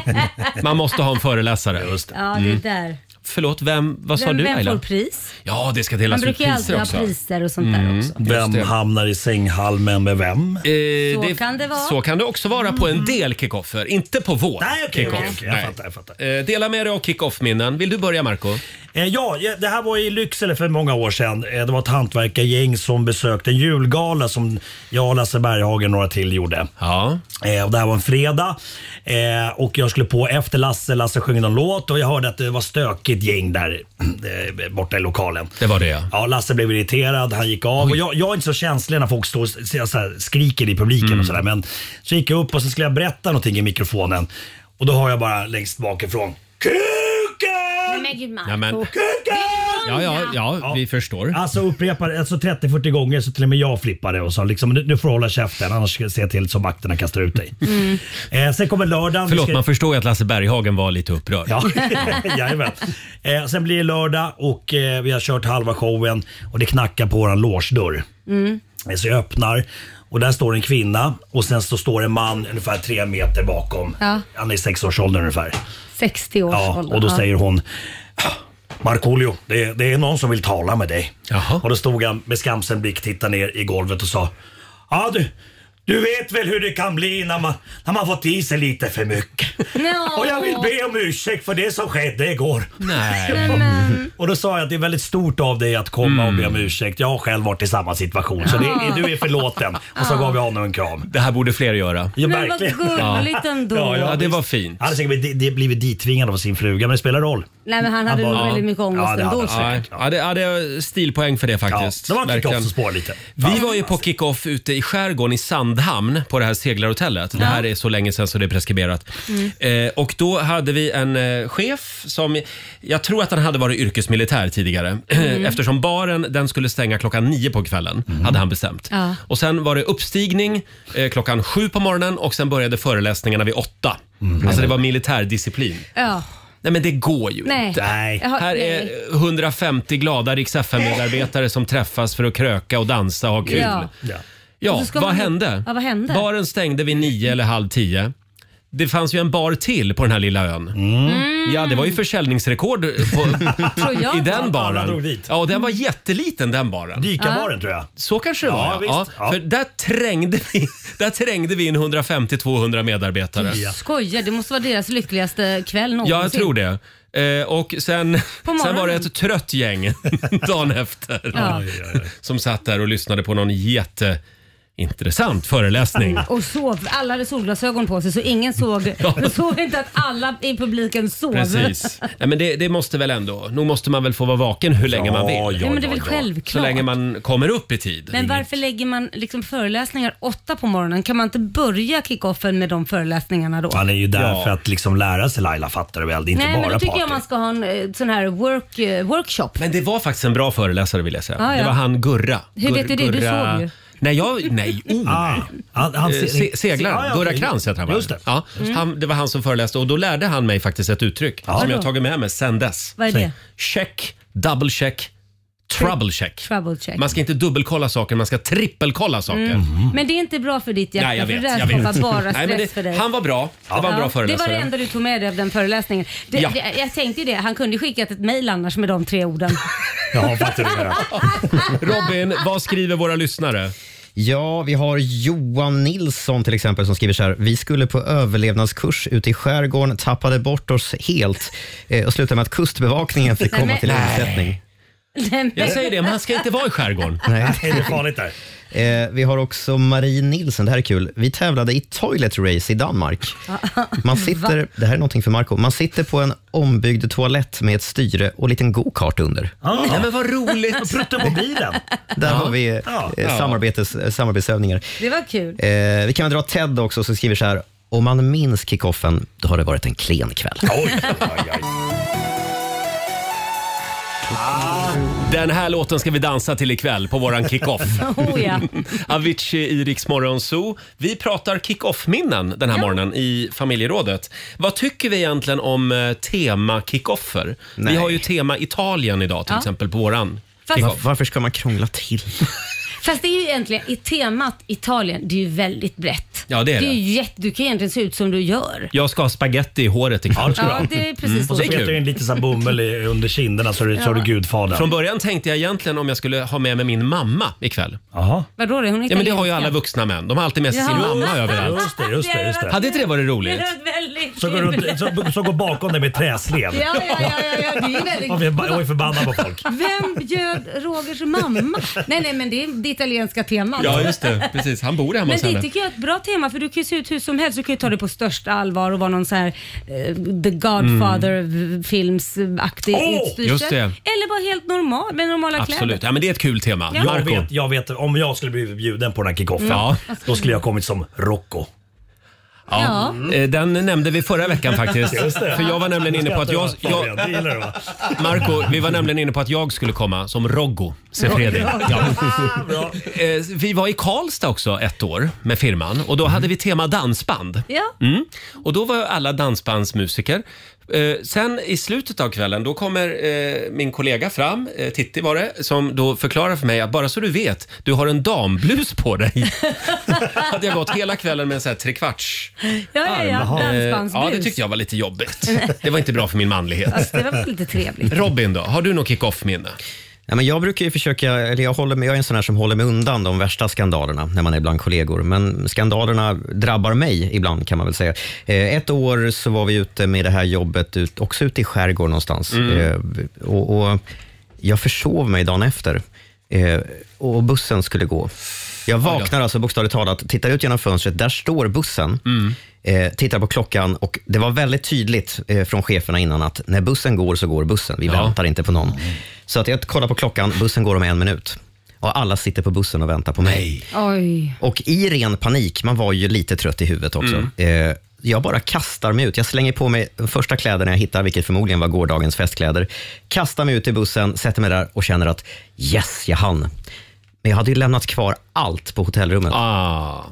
[SPEAKER 2] (laughs)
[SPEAKER 1] Man måste ha en föreläsare. Just
[SPEAKER 2] Ja, det är där.
[SPEAKER 1] Förlåt, vem, Mm. vad sa
[SPEAKER 2] vem,
[SPEAKER 1] du
[SPEAKER 2] vem
[SPEAKER 1] Laila?
[SPEAKER 2] får pris?
[SPEAKER 1] Ja, det ska eh,
[SPEAKER 2] Man
[SPEAKER 1] delas ut
[SPEAKER 2] brukar ju alltid
[SPEAKER 1] priser
[SPEAKER 2] ha
[SPEAKER 1] också. Mm.
[SPEAKER 2] priser och sånt där också.
[SPEAKER 10] Vem hamnar i sänghalmen med vem?
[SPEAKER 1] Eh,
[SPEAKER 2] Så kan det vara. Mm.
[SPEAKER 1] Så kan det också vara på en del kickoffer, inte på vår
[SPEAKER 10] Nej, okej,
[SPEAKER 1] kickoff.
[SPEAKER 10] okej, okej. Jag
[SPEAKER 1] Nej.
[SPEAKER 10] fattar, jag
[SPEAKER 1] Eh, dela med dig av kickoff-minnen. Vill du börja Marco?
[SPEAKER 10] Eh, Ja, ja, det här var i Lycksele för många år sedan. Eh, Det var ett hantverkargäng som besökte en julgala som jag, Lasse Berghagen och några till gjorde.
[SPEAKER 1] Ja.
[SPEAKER 10] Och det här var en fredag Eh, och jag skulle på efter Lasse. Lasse sjöng någon låt och jag hörde att det var stökigt gäng där eh, borta i lokalen.
[SPEAKER 1] Det var det ja.
[SPEAKER 10] Ja, Lasse blev irriterad, han gick av. Och jag, jag är inte så känslig när folk står och s- så här, skriker i publiken och sådär. Men så gick jag upp och så skulle jag berätta någonting i mikrofonen. Och då hör jag bara längst bakifrån.
[SPEAKER 2] Nej, men gud Marco.
[SPEAKER 1] men-
[SPEAKER 10] Ja,
[SPEAKER 1] ja, ja, vi förstår.
[SPEAKER 10] Alltså upprepade, alltså 30-40 gånger så till och med jag flippade och sa liksom nu nu får du hålla käften annars ska jag se till så makterna kastar ut
[SPEAKER 1] (laughs)
[SPEAKER 10] dig.
[SPEAKER 2] Mm.
[SPEAKER 10] Eh, sen kommer lördagen. vi
[SPEAKER 1] Förlåt,
[SPEAKER 10] ska-
[SPEAKER 1] man förstår ju att Lasse Berghagen var lite upprörd. (laughs)
[SPEAKER 10] Ja, (laughs) jajamän. Eh, sen blir det lördag och eh, vi har kört halva showen och det knackar på våran logedörr.
[SPEAKER 16] Mm.
[SPEAKER 10] Eh, Så jag öppnar och där står en kvinna och sen så står en man ungefär tre meter bakom.
[SPEAKER 2] Ja.
[SPEAKER 10] Han är i sexårsåldern ungefär.
[SPEAKER 2] 60 års
[SPEAKER 10] Ja,
[SPEAKER 2] ålder.
[SPEAKER 10] och då
[SPEAKER 2] Ja.
[SPEAKER 10] säger hon Markoolio, det, det är någon som vill tala med dig. Och då stod han med skamsen blick, tittade ner i golvet och sa Ja du, du vet väl hur det kan bli när man, när man fått i sig lite för mycket. Och jag vill be om ursäkt för det som skedde igår.
[SPEAKER 1] Nej.
[SPEAKER 10] och då sa jag att det är väldigt stort av dig att komma och be
[SPEAKER 1] Mm.
[SPEAKER 10] om ursäkt. Jag har själv varit i samma situation så
[SPEAKER 2] Ja.
[SPEAKER 10] det, du är förlåten. Och så
[SPEAKER 2] Ja.
[SPEAKER 10] gav jag honom en kram.
[SPEAKER 1] Det här borde fler göra.
[SPEAKER 10] Ja,
[SPEAKER 2] Men vad
[SPEAKER 10] verkligen.
[SPEAKER 2] gulligt ändå. Ja, det
[SPEAKER 1] var fint.
[SPEAKER 10] Han hade säkert blivit, det blivit dittvingad av sin fruga men det spelar roll.
[SPEAKER 2] Nej, men han hade nog väldigt mycket ångest ändå.
[SPEAKER 1] Ja,
[SPEAKER 2] säkert.
[SPEAKER 1] ja, det, ja, det är stilpoäng för det faktiskt.
[SPEAKER 10] Ja, det var kick-off
[SPEAKER 1] Verkligen.
[SPEAKER 10] som spår lite.
[SPEAKER 1] Vi var ju på kick-off ute i skärgården i Sandhamn på det här seglarhotellet. Det
[SPEAKER 2] Ja. Mm.
[SPEAKER 1] här är så länge sedan så det är preskriberat. Eh, och då hade vi en eh, chef som, jag tror att han hade varit yrkesmilitär tidigare. (clears throat)
[SPEAKER 5] Mm.
[SPEAKER 1] Eftersom baren den skulle stänga klockan nio på kvällen,
[SPEAKER 10] Mm.
[SPEAKER 1] hade han bestämt.
[SPEAKER 5] Ja.
[SPEAKER 1] Och sen var det uppstigning eh, klockan sju på morgonen och sen började föreläsningarna vid åtta.
[SPEAKER 10] Mm.
[SPEAKER 1] Alltså det var militärdisciplin.
[SPEAKER 2] Ja.
[SPEAKER 1] Nej men det går ju
[SPEAKER 2] Nej.
[SPEAKER 1] inte.
[SPEAKER 2] Nej. Jag har-
[SPEAKER 1] Här
[SPEAKER 2] nej.
[SPEAKER 1] är 150 glada Rix FM-medarbetare som träffas för att kröka och dansa och ha kul.
[SPEAKER 2] Ja.
[SPEAKER 10] Ja,
[SPEAKER 2] Och så ska
[SPEAKER 1] vad,
[SPEAKER 2] man-
[SPEAKER 1] hände?
[SPEAKER 2] Ja, vad hände?
[SPEAKER 1] Baren stängde vid nio eller halv tio. Det fanns ju en bar till på den här lilla ön. Ja, det var ju försäljningsrekord på,
[SPEAKER 2] Mm. (laughs) Tror jag.
[SPEAKER 1] (laughs) i den
[SPEAKER 10] Alla drog
[SPEAKER 1] baren.
[SPEAKER 10] dit.
[SPEAKER 1] Ja, och den var jätteliten den baren.
[SPEAKER 10] Dykarbaren tror jag.
[SPEAKER 1] Så kanske det
[SPEAKER 10] Ja,
[SPEAKER 1] var ja.
[SPEAKER 10] visst.
[SPEAKER 1] ja. För där trängde vi, (laughs) där trängde vi in 150-200 medarbetare.
[SPEAKER 2] Skojar, det måste vara deras lyckligaste kväll någonsin.
[SPEAKER 1] Ja, jag tror det. Eh, och sen,
[SPEAKER 2] (laughs) På morgonen.
[SPEAKER 1] sen var det ett trött gäng (laughs) dagen efter
[SPEAKER 2] Ja.
[SPEAKER 1] som satt där och lyssnade på någon jätteintressant föreläsning.
[SPEAKER 2] Mm, Och sov. Alla hade solglasögon på sig så ingen såg.
[SPEAKER 1] (laughs) Ja.
[SPEAKER 2] Jag såg inte att alla i publiken sov.
[SPEAKER 1] (laughs) Precis. Nej, men det, det måste väl ändå, nog måste man väl få vara vaken hur länge
[SPEAKER 2] Ja,
[SPEAKER 1] man vill.
[SPEAKER 2] ja, Ja, men det är väl ja, ja. självklart.
[SPEAKER 1] Så länge man kommer upp i tid.
[SPEAKER 2] Men varför lägger man liksom föreläsningar åtta på morgonen? Kan man inte börja kickoffen med de föreläsningarna då?
[SPEAKER 10] Han är ju där
[SPEAKER 2] Ja.
[SPEAKER 10] för att liksom lära sig Laila, fattar du väl? Det är inte
[SPEAKER 2] Nej,
[SPEAKER 10] bara
[SPEAKER 2] men då tycker
[SPEAKER 10] party.
[SPEAKER 2] jag man ska ha en eh, sån här work, eh, workshop.
[SPEAKER 1] Men det var faktiskt en bra föreläsare vill jag säga.
[SPEAKER 2] Ah, Ja, ja.
[SPEAKER 1] Det var han Gurra.
[SPEAKER 2] Hur vet du det? Du
[SPEAKER 1] Gurra-
[SPEAKER 2] sov ju.
[SPEAKER 1] Nej,
[SPEAKER 2] (laughs)
[SPEAKER 1] jag, nej, oh, nej.
[SPEAKER 10] Ah, han- han
[SPEAKER 1] Eh,
[SPEAKER 10] se-
[SPEAKER 1] se, seglaren,
[SPEAKER 10] Ja, ja,
[SPEAKER 1] Gurra
[SPEAKER 10] okej.
[SPEAKER 1] Krantz heter han va?
[SPEAKER 10] Just det.
[SPEAKER 1] Ja,
[SPEAKER 10] Mm.
[SPEAKER 1] han, det var han som föreläste och då lärde han mig faktiskt ett uttryck som jag har tagit med mig sen dess.
[SPEAKER 2] Vad är det?
[SPEAKER 1] Check, double check, trouble check.
[SPEAKER 2] Trouble check.
[SPEAKER 1] Man ska inte dubbelkolla saker, man ska trippelkolla saker.
[SPEAKER 2] Mm. Men det är inte bra för ditt hjärta
[SPEAKER 1] Nej, jag
[SPEAKER 2] för
[SPEAKER 1] vet.
[SPEAKER 2] det där
[SPEAKER 1] Jag vet.
[SPEAKER 2] skapar bara stress
[SPEAKER 1] (laughs) Nej, men det,
[SPEAKER 2] för dig.
[SPEAKER 1] Han var bra. Det var en bra
[SPEAKER 2] Ja, det
[SPEAKER 1] föreläsare.
[SPEAKER 2] var det enda du tog med dig av den föreläsningen. Det,
[SPEAKER 1] Ja.
[SPEAKER 2] det, jag tänkte ju det, han kunde ju skickat ett mejl annars med de tre
[SPEAKER 1] (laughs)
[SPEAKER 2] orden.
[SPEAKER 10] Ja, fattar
[SPEAKER 1] (laughs) Robin, vad skriver våra lyssnare?
[SPEAKER 4] Ja, vi har Johan Nilsson till exempel som skriver så här. Vi skulle på överlevnadskurs ute i skärgården, tappade bort oss helt eh, och slutade med att Kustbevakningen fick
[SPEAKER 2] Nej,
[SPEAKER 4] komma
[SPEAKER 2] men-
[SPEAKER 4] till
[SPEAKER 2] Nej.
[SPEAKER 4] undsättning.
[SPEAKER 1] Jag säger det,
[SPEAKER 2] (laughs)
[SPEAKER 1] man ska inte vara i skärgården.
[SPEAKER 10] Det är farligt där.
[SPEAKER 4] Eh, vi har också Marie Nilsen, det här är kul. Vi tävlade i toilet race i Danmark. Man sitter, det här är någonting för Marco. Man sitter på en ombyggd toalett med ett styre och en liten go-kart under.
[SPEAKER 1] Nej, men
[SPEAKER 2] (laughs)
[SPEAKER 1] vad roligt!
[SPEAKER 10] Bruttomobilen.
[SPEAKER 4] Där har vi eh,
[SPEAKER 1] Ja.
[SPEAKER 4] eh, samarbets, eh, samarbetsövningar.
[SPEAKER 2] Det var kul.
[SPEAKER 4] Eh, vi kan väl dra Ted också som skriver så här. Om man minns kickoffen, då har det varit en klen kväll.
[SPEAKER 1] Den här låten ska vi dansa till ikväll på våran kickoff.
[SPEAKER 2] (laughs) Oh, ja.
[SPEAKER 1] (laughs) Avicii i Rix Morgon Zoo. Vi pratar kick-off-minnen den här morgonen i familjerådet. Vad tycker vi egentligen om eh, tema kick-offer? Vi
[SPEAKER 4] Nej.
[SPEAKER 1] har ju tema Italien idag till
[SPEAKER 2] Ja.
[SPEAKER 1] exempel på våran
[SPEAKER 2] Fast-
[SPEAKER 1] kick-off.
[SPEAKER 4] Varför ska man krångla till?
[SPEAKER 2] Fast det är ju egentligen i temat Italien, det är ju väldigt brett.
[SPEAKER 1] Ja, det är
[SPEAKER 2] ju
[SPEAKER 1] det.
[SPEAKER 2] jätte, du kan egentligen se ut som du gör.
[SPEAKER 1] Jag ska ha spaghetti i håret ikväll. Mm.
[SPEAKER 2] Ja, det är precis så.
[SPEAKER 10] Och så
[SPEAKER 1] Det är
[SPEAKER 10] petar du in
[SPEAKER 1] kul.
[SPEAKER 10] lite så här bomull i- under kinderna så du, så du gudfadern.
[SPEAKER 1] Från början tänkte jag egentligen om jag skulle ha med mig min mamma ikväll.
[SPEAKER 10] Jaha.
[SPEAKER 2] Vadå är hon
[SPEAKER 1] Ja, men det har ju
[SPEAKER 2] italienska?
[SPEAKER 1] alla vuxna män. De har alltid med sig sin
[SPEAKER 2] Ja.
[SPEAKER 1] mamma överallt.
[SPEAKER 10] Just det, just det, just det.
[SPEAKER 1] Hade inte det varit
[SPEAKER 2] Det
[SPEAKER 1] roligt?
[SPEAKER 2] är (laughs) väldigt
[SPEAKER 10] Så går,
[SPEAKER 2] kul.
[SPEAKER 10] runt, så, så går bakom dig med träslev.
[SPEAKER 2] Ja, ja, ja, ja, ja, det är ju väldigt-
[SPEAKER 10] Och vi är ba- och är förbannade på folk.
[SPEAKER 2] Vem bjöd Rogers mamma? Nej, nej, men det är det italienska temat.
[SPEAKER 1] Ja, just det. Precis. Han bor hemma
[SPEAKER 2] Men
[SPEAKER 1] hos
[SPEAKER 2] det
[SPEAKER 1] henne.
[SPEAKER 2] tycker jag är ett bra tema för du kan ju se ut hur som helst. Du kan ju ta det på största allvar och vara någon så här eh, The Godfather-filmsaktig
[SPEAKER 10] Åh,
[SPEAKER 2] utstyrsel.
[SPEAKER 1] Mm. just det.
[SPEAKER 2] Eller bara helt normal med normala kläder.
[SPEAKER 1] Absolut. Ja, men det är ett kul tema.
[SPEAKER 2] Ja.
[SPEAKER 10] Jag
[SPEAKER 1] Marco. Mm.
[SPEAKER 10] vet, jag vet, om jag skulle bli bjuden på den här kickoffen,
[SPEAKER 1] Ja.
[SPEAKER 10] då skulle jag kommit som Rocco.
[SPEAKER 1] Ja. Eh, Den nämnde vi förra
[SPEAKER 10] (laughs)
[SPEAKER 1] veckan faktiskt.
[SPEAKER 10] Just det.
[SPEAKER 1] För jag var nämligen inne på att jag...
[SPEAKER 10] Skrattar du åt
[SPEAKER 1] jag
[SPEAKER 10] Fabian? Det gillar du, va?
[SPEAKER 1] Marco, vi var nämligen inne på att jag skulle komma som Roggo Sefredi.
[SPEAKER 10] Roggo.
[SPEAKER 1] Ja.
[SPEAKER 2] (laughs)
[SPEAKER 1] Eh, Vi var i Karlstad också ett år med firman och då hade vi tema dansband.
[SPEAKER 2] Ja.
[SPEAKER 1] Mm. Och då var alla dansbandsmusiker. Eh, sen i slutet av kvällen, då kommer eh, min kollega fram, eh, Titti var det, som då förklarar för mig att bara så du vet, du har en damblus
[SPEAKER 2] (laughs)
[SPEAKER 1] på dig. hade jag gått hela kvällen med en sån här trekvarts Eh,
[SPEAKER 2] Ja, ja, ja.
[SPEAKER 1] ja,
[SPEAKER 2] Dansbandsbus.
[SPEAKER 1] det tyckte jag var lite jobbigt. Det var inte bra för min manlighet.
[SPEAKER 2] Fast det var väl lite
[SPEAKER 10] (laughs)
[SPEAKER 2] trevligt.
[SPEAKER 1] Robin då, har du något kick-off-minne?
[SPEAKER 4] Ja, men jag brukar ju försöka, eller jag, håller, mig- jag är en sån här som håller mig undan de värsta skandalerna när man är bland kollegor. Men skandalerna drabbar mig ibland kan man väl säga. Eh, ett år så var vi ute med det här jobbet, ut, också ute i skärgården någonstans.
[SPEAKER 17] Mm.
[SPEAKER 4] Eh, och, och jag försov mig dagen efter eh, och bussen skulle gå. Jag vaknar alltså bokstavligt talat, tittar ut genom fönstret, där står bussen.
[SPEAKER 8] Mm.
[SPEAKER 4] Eh, tittar på klockan och det var väldigt tydligt eh, från cheferna innan att när bussen går så går bussen. Vi väntar inte på någon. Så att jag kollar på klockan, bussen går om en minut. Och alla sitter på bussen och väntar på mig.
[SPEAKER 2] Oj.
[SPEAKER 4] Och i ren panik, man var ju lite trött i huvudet också. Eh, jag bara kastar mig ut. Jag slänger på mig de första kläderna jag hittar, vilket förmodligen var gårdagens festkläder. Kastar mig ut i bussen, sätter mig där och känner att yes, jag hann. Men jag hade ju lämnat kvar allt på hotellrummet.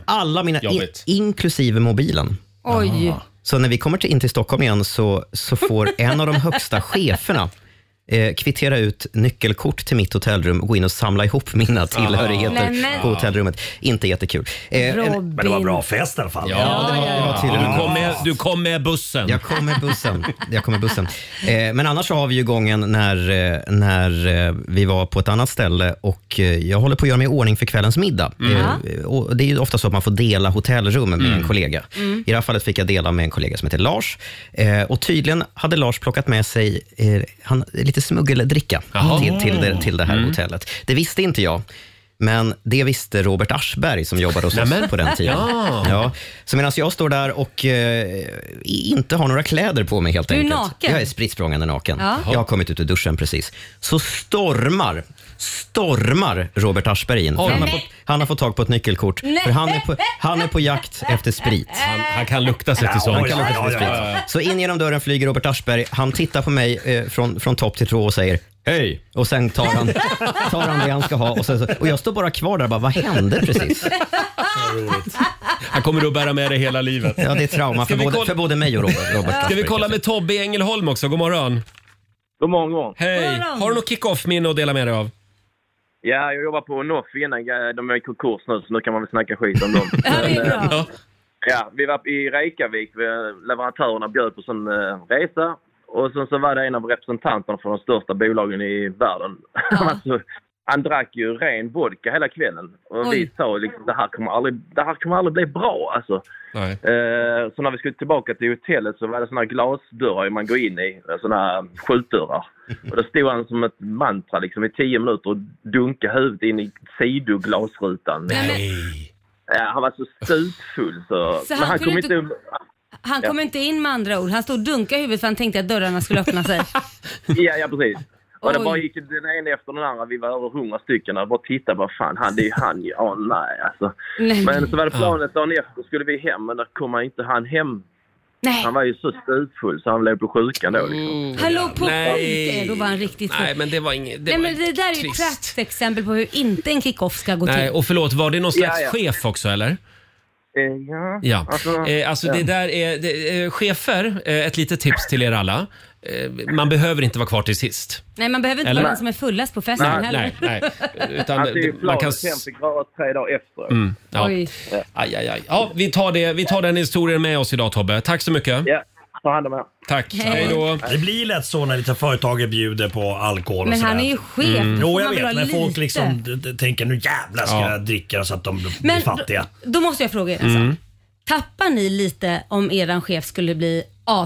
[SPEAKER 4] Alla mina, in,
[SPEAKER 1] Jobbigt.
[SPEAKER 4] inklusive mobilen.
[SPEAKER 2] Oj.
[SPEAKER 4] Så när vi kommer till, in till Stockholm igen så,
[SPEAKER 2] (laughs)
[SPEAKER 4] så får en av de högsta cheferna eh, kvittera ut nyckelkort till mitt hotellrum och gå in och samla ihop mina tillhörigheter
[SPEAKER 2] Nej, men-
[SPEAKER 4] på hotellrummet. Inte jättekul. Eh, en-
[SPEAKER 2] Robin. Men det var bra
[SPEAKER 10] fest i alla fall.
[SPEAKER 4] Ja, det var, det var tydligen.
[SPEAKER 1] Du kom med- du kom med bussen.
[SPEAKER 4] Jag kom med bussen. Jag kom med bussen. Eh, men annars så har vi ju gången när, eh, när eh, vi var på ett annat ställe och eh, jag håller på att göra mig i ordning för kvällens middag.
[SPEAKER 17] Mm.
[SPEAKER 4] Eh, och det är ju ofta så att man får dela hotellrum med en kollega.
[SPEAKER 17] Mm.
[SPEAKER 4] I det här fallet fick jag dela med en kollega som heter Lars. Eh, och tydligen hade Lars plockat med sig eh, han, lite smuggeldricka
[SPEAKER 17] Jaha.
[SPEAKER 4] till, till, det, till det här
[SPEAKER 17] Mm.
[SPEAKER 4] hotellet. Det visste inte jag. Men det visste Robert Aschberg som jobbade hos oss
[SPEAKER 17] Nämen.
[SPEAKER 4] på den tiden.
[SPEAKER 17] Ja.
[SPEAKER 4] Ja, (laughs) så medan jag står där och eh, inte har några kläder på mig helt
[SPEAKER 17] Du är
[SPEAKER 4] enkelt.
[SPEAKER 17] naken.
[SPEAKER 4] Jag är spritt språngande naken.
[SPEAKER 17] Ja.
[SPEAKER 4] Jag har kommit ut ur duschen precis. Så stormar, stormar Robert Aschberg in.
[SPEAKER 17] Oj.
[SPEAKER 4] Han har,
[SPEAKER 17] Nej.
[SPEAKER 4] fått, han har fått tag på ett nyckelkort.
[SPEAKER 17] Nej.
[SPEAKER 4] För han är, på, han är på jakt efter sprit.
[SPEAKER 1] (laughs) Han, kan lukta sig till sånt.
[SPEAKER 4] Han kan lukta sig
[SPEAKER 1] Ja,
[SPEAKER 4] till
[SPEAKER 1] ja,
[SPEAKER 4] sprit.
[SPEAKER 1] ja, ja.
[SPEAKER 4] Så in genom dörren flyger Robert Aschberg. Han tittar på mig eh, från, från topp till tå och säger Hej! Och sen tar han, tar han det han ska ha. Och, sen, så- och jag står bara kvar där och bara, vad hände precis?
[SPEAKER 1] Han kommer att bära med det hela livet.
[SPEAKER 4] Ja, det är trauma
[SPEAKER 1] Ska
[SPEAKER 4] för
[SPEAKER 1] vi
[SPEAKER 4] både,
[SPEAKER 1] kolla-
[SPEAKER 4] för både mig och Robert. Robert
[SPEAKER 1] Ska vi
[SPEAKER 4] Aschberg.
[SPEAKER 1] kolla med Tobbe i Ängelholm också? God morgon.
[SPEAKER 18] God morgon, god morgon.
[SPEAKER 1] Hej!
[SPEAKER 18] God morgon.
[SPEAKER 1] Har du något kick-off-minne att dela med dig av?
[SPEAKER 18] Ja, jag jobbar på Noff innan. Ja, De är i konkurs nu, så nu kan man väl snacka skit om dem. Men, eh,
[SPEAKER 1] Ja.
[SPEAKER 18] ja, vi var i Reykjavik. Vi- Leverantörerna bjöd på en eh, resa. (laughs) Och sen så var det en av representanterna från de största bolagen i världen. Han var så- Alltså, han drack ju ren vodka hela kvällen. Och vi
[SPEAKER 17] Oj.
[SPEAKER 18] sa liksom, det här kommer aldrig, det här kommer aldrig bli bra alltså.
[SPEAKER 1] Nej.
[SPEAKER 18] Eh, så när vi skulle tillbaka till hotellet så var det såna här glasdörrar man går in i, eh, såna här skjutdörrar. Och då stod han som ett mantra liksom i tio minuter och dunkade huvudet in i sidoglasrutan. Nej! han var så stutfull så...
[SPEAKER 2] Så han kunde inte- Han kom
[SPEAKER 18] Ja.
[SPEAKER 2] inte in med andra ord. Han stod och dunkade i huvudet för han tänkte att dörrarna skulle öppna
[SPEAKER 1] (laughs)
[SPEAKER 2] sig.
[SPEAKER 18] Ja, ja precis. Och det
[SPEAKER 2] Oj.
[SPEAKER 18] bara gick den ena efter den andra. Vi var över hundra stycken och bara tittade. Vad fan, han, det är ju han. Ja, Åh, nej alltså.
[SPEAKER 2] Nej.
[SPEAKER 18] Men så var det planet dagen efter skulle vi hem, men då kom han inte han hem.
[SPEAKER 2] Nej.
[SPEAKER 18] Han var ju så stutfull så han låg på sjukan då liksom.
[SPEAKER 2] Han låg på
[SPEAKER 1] Mm. Nej.
[SPEAKER 2] Nej. då var han riktigt full.
[SPEAKER 1] Nej, men det var inget... Det
[SPEAKER 2] Nej,
[SPEAKER 1] var
[SPEAKER 2] men det där är ju ett
[SPEAKER 1] trist.
[SPEAKER 2] praktexempel på hur inte en kick-off ska gå
[SPEAKER 1] Nej,
[SPEAKER 2] till.
[SPEAKER 1] och förlåt, var det någon slags
[SPEAKER 2] Ja, ja.
[SPEAKER 1] chef också eller?
[SPEAKER 18] ja.
[SPEAKER 1] Eh, Ja,
[SPEAKER 18] Alltså,
[SPEAKER 1] eh, alltså
[SPEAKER 18] ja.
[SPEAKER 1] det där är, det, eh, chefer, eh, ett litet tips till er alla. Eh, man behöver inte vara kvar till sist.
[SPEAKER 2] Nej, man behöver inte
[SPEAKER 1] Eller?
[SPEAKER 2] vara den som är fullast på festen
[SPEAKER 1] Nej,
[SPEAKER 2] heller.
[SPEAKER 1] nej,
[SPEAKER 2] (laughs)
[SPEAKER 1] nej. Utan-
[SPEAKER 18] Han tog Alltså, ju
[SPEAKER 1] man
[SPEAKER 18] planet
[SPEAKER 1] kan
[SPEAKER 18] hem,
[SPEAKER 1] s-
[SPEAKER 18] fick röra tre dagar efter.
[SPEAKER 1] Mm, ja.
[SPEAKER 2] Oj.
[SPEAKER 1] Aj, aj, aj. Ja, vi, tar det, vi tar den historien med oss idag Tobbe. Tack så mycket.
[SPEAKER 18] Ja, ta hand om er.
[SPEAKER 1] Tack.
[SPEAKER 2] Hej.
[SPEAKER 1] Hej då.
[SPEAKER 10] Det blir lätt så när lite företaget bjuder på alkohol och
[SPEAKER 2] Men han
[SPEAKER 10] sådär.
[SPEAKER 2] är ju chef. Då
[SPEAKER 10] Jo,
[SPEAKER 2] får
[SPEAKER 10] jag
[SPEAKER 2] man
[SPEAKER 10] vet.
[SPEAKER 2] väl ha
[SPEAKER 10] Men folk
[SPEAKER 2] lite.
[SPEAKER 10] liksom d- d- tänker nu jävlar ska
[SPEAKER 1] Mm. Ja.
[SPEAKER 10] jag dricka så att de blir
[SPEAKER 2] Men
[SPEAKER 10] fattiga.
[SPEAKER 2] då, då måste jag fråga er. Alltså.
[SPEAKER 10] Mm.
[SPEAKER 2] Tappar ni lite om eran chef skulle bli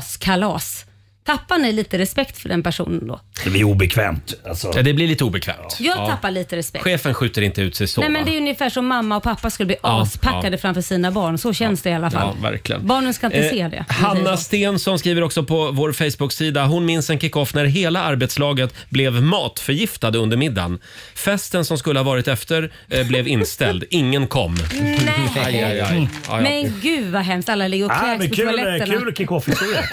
[SPEAKER 2] askalas? Tappar ni lite respekt för den personen då?
[SPEAKER 10] Det blir obekvämt. Alltså.
[SPEAKER 1] Ja, det blir lite obekvämt.
[SPEAKER 2] Jag
[SPEAKER 1] Ja.
[SPEAKER 2] tappar lite respekt.
[SPEAKER 1] Chefen skjuter inte ut sig så.
[SPEAKER 2] Nej men
[SPEAKER 1] va?
[SPEAKER 2] det är ungefär som mamma och pappa skulle bli
[SPEAKER 1] Ja,
[SPEAKER 2] aspackade
[SPEAKER 1] ja.
[SPEAKER 2] framför sina barn. Så känns det i alla
[SPEAKER 1] Ja,
[SPEAKER 2] fall.
[SPEAKER 1] verkligen.
[SPEAKER 2] Barnen ska inte
[SPEAKER 1] Eh,
[SPEAKER 2] se det.
[SPEAKER 1] Hanna Stensson skriver också på vår Facebook-sida. Hon minns en kickoff när hela arbetslaget blev matförgiftade under middagen. Festen som skulle ha varit efter eh, blev inställd. Ingen kom.
[SPEAKER 2] Nej.
[SPEAKER 1] (laughs) Aj, aj, aj. Ja, ja.
[SPEAKER 2] Men gud vad hemskt. Alla ligger och
[SPEAKER 1] Ah,
[SPEAKER 2] kräks
[SPEAKER 1] men
[SPEAKER 2] på
[SPEAKER 1] kul,
[SPEAKER 2] toaletterna.
[SPEAKER 1] kul
[SPEAKER 10] kick-off-historia.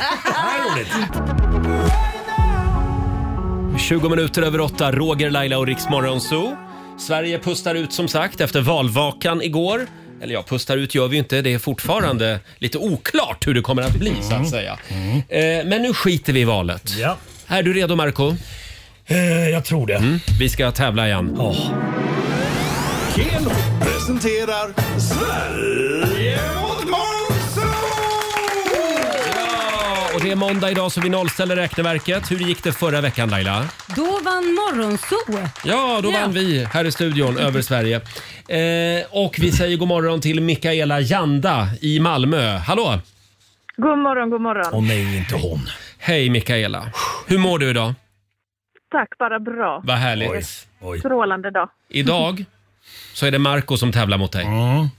[SPEAKER 1] 20 minuter över åtta, Roger, Laila och Riks Zoo. Sverige pustar ut som sagt efter valvakan igår. Eller ja, pustar ut gör vi ju inte. Det är fortfarande lite oklart hur det kommer att bli
[SPEAKER 10] Mm.
[SPEAKER 1] så att säga. Eh, Men nu skiter vi i valet. Är du redo Marco?
[SPEAKER 10] Eh,
[SPEAKER 1] Mm.
[SPEAKER 10] Jag tror det.
[SPEAKER 1] Vi ska tävla igen.
[SPEAKER 7] Keno presenterar Sverige mot
[SPEAKER 1] Ja, Och det är måndag idag så vi nollställer räkneverket. Hur gick det förra veckan Laila?
[SPEAKER 2] Då vann Morgonzoo.
[SPEAKER 1] Ja, då
[SPEAKER 2] Ja.
[SPEAKER 1] vann vi här i studion över Sverige. Eh, och vi säger god morgon till Mikaela Janda i Malmö. Hallå!
[SPEAKER 8] God morgon, god morgon.
[SPEAKER 1] Och nej, inte hon. Hej Mikaela. Hur mår du idag?
[SPEAKER 8] Tack, bara bra.
[SPEAKER 1] Vad härligt.
[SPEAKER 8] Strålande dag.
[SPEAKER 1] Idag så är det Marco som tävlar mot dig. Mm.
[SPEAKER 8] (laughs)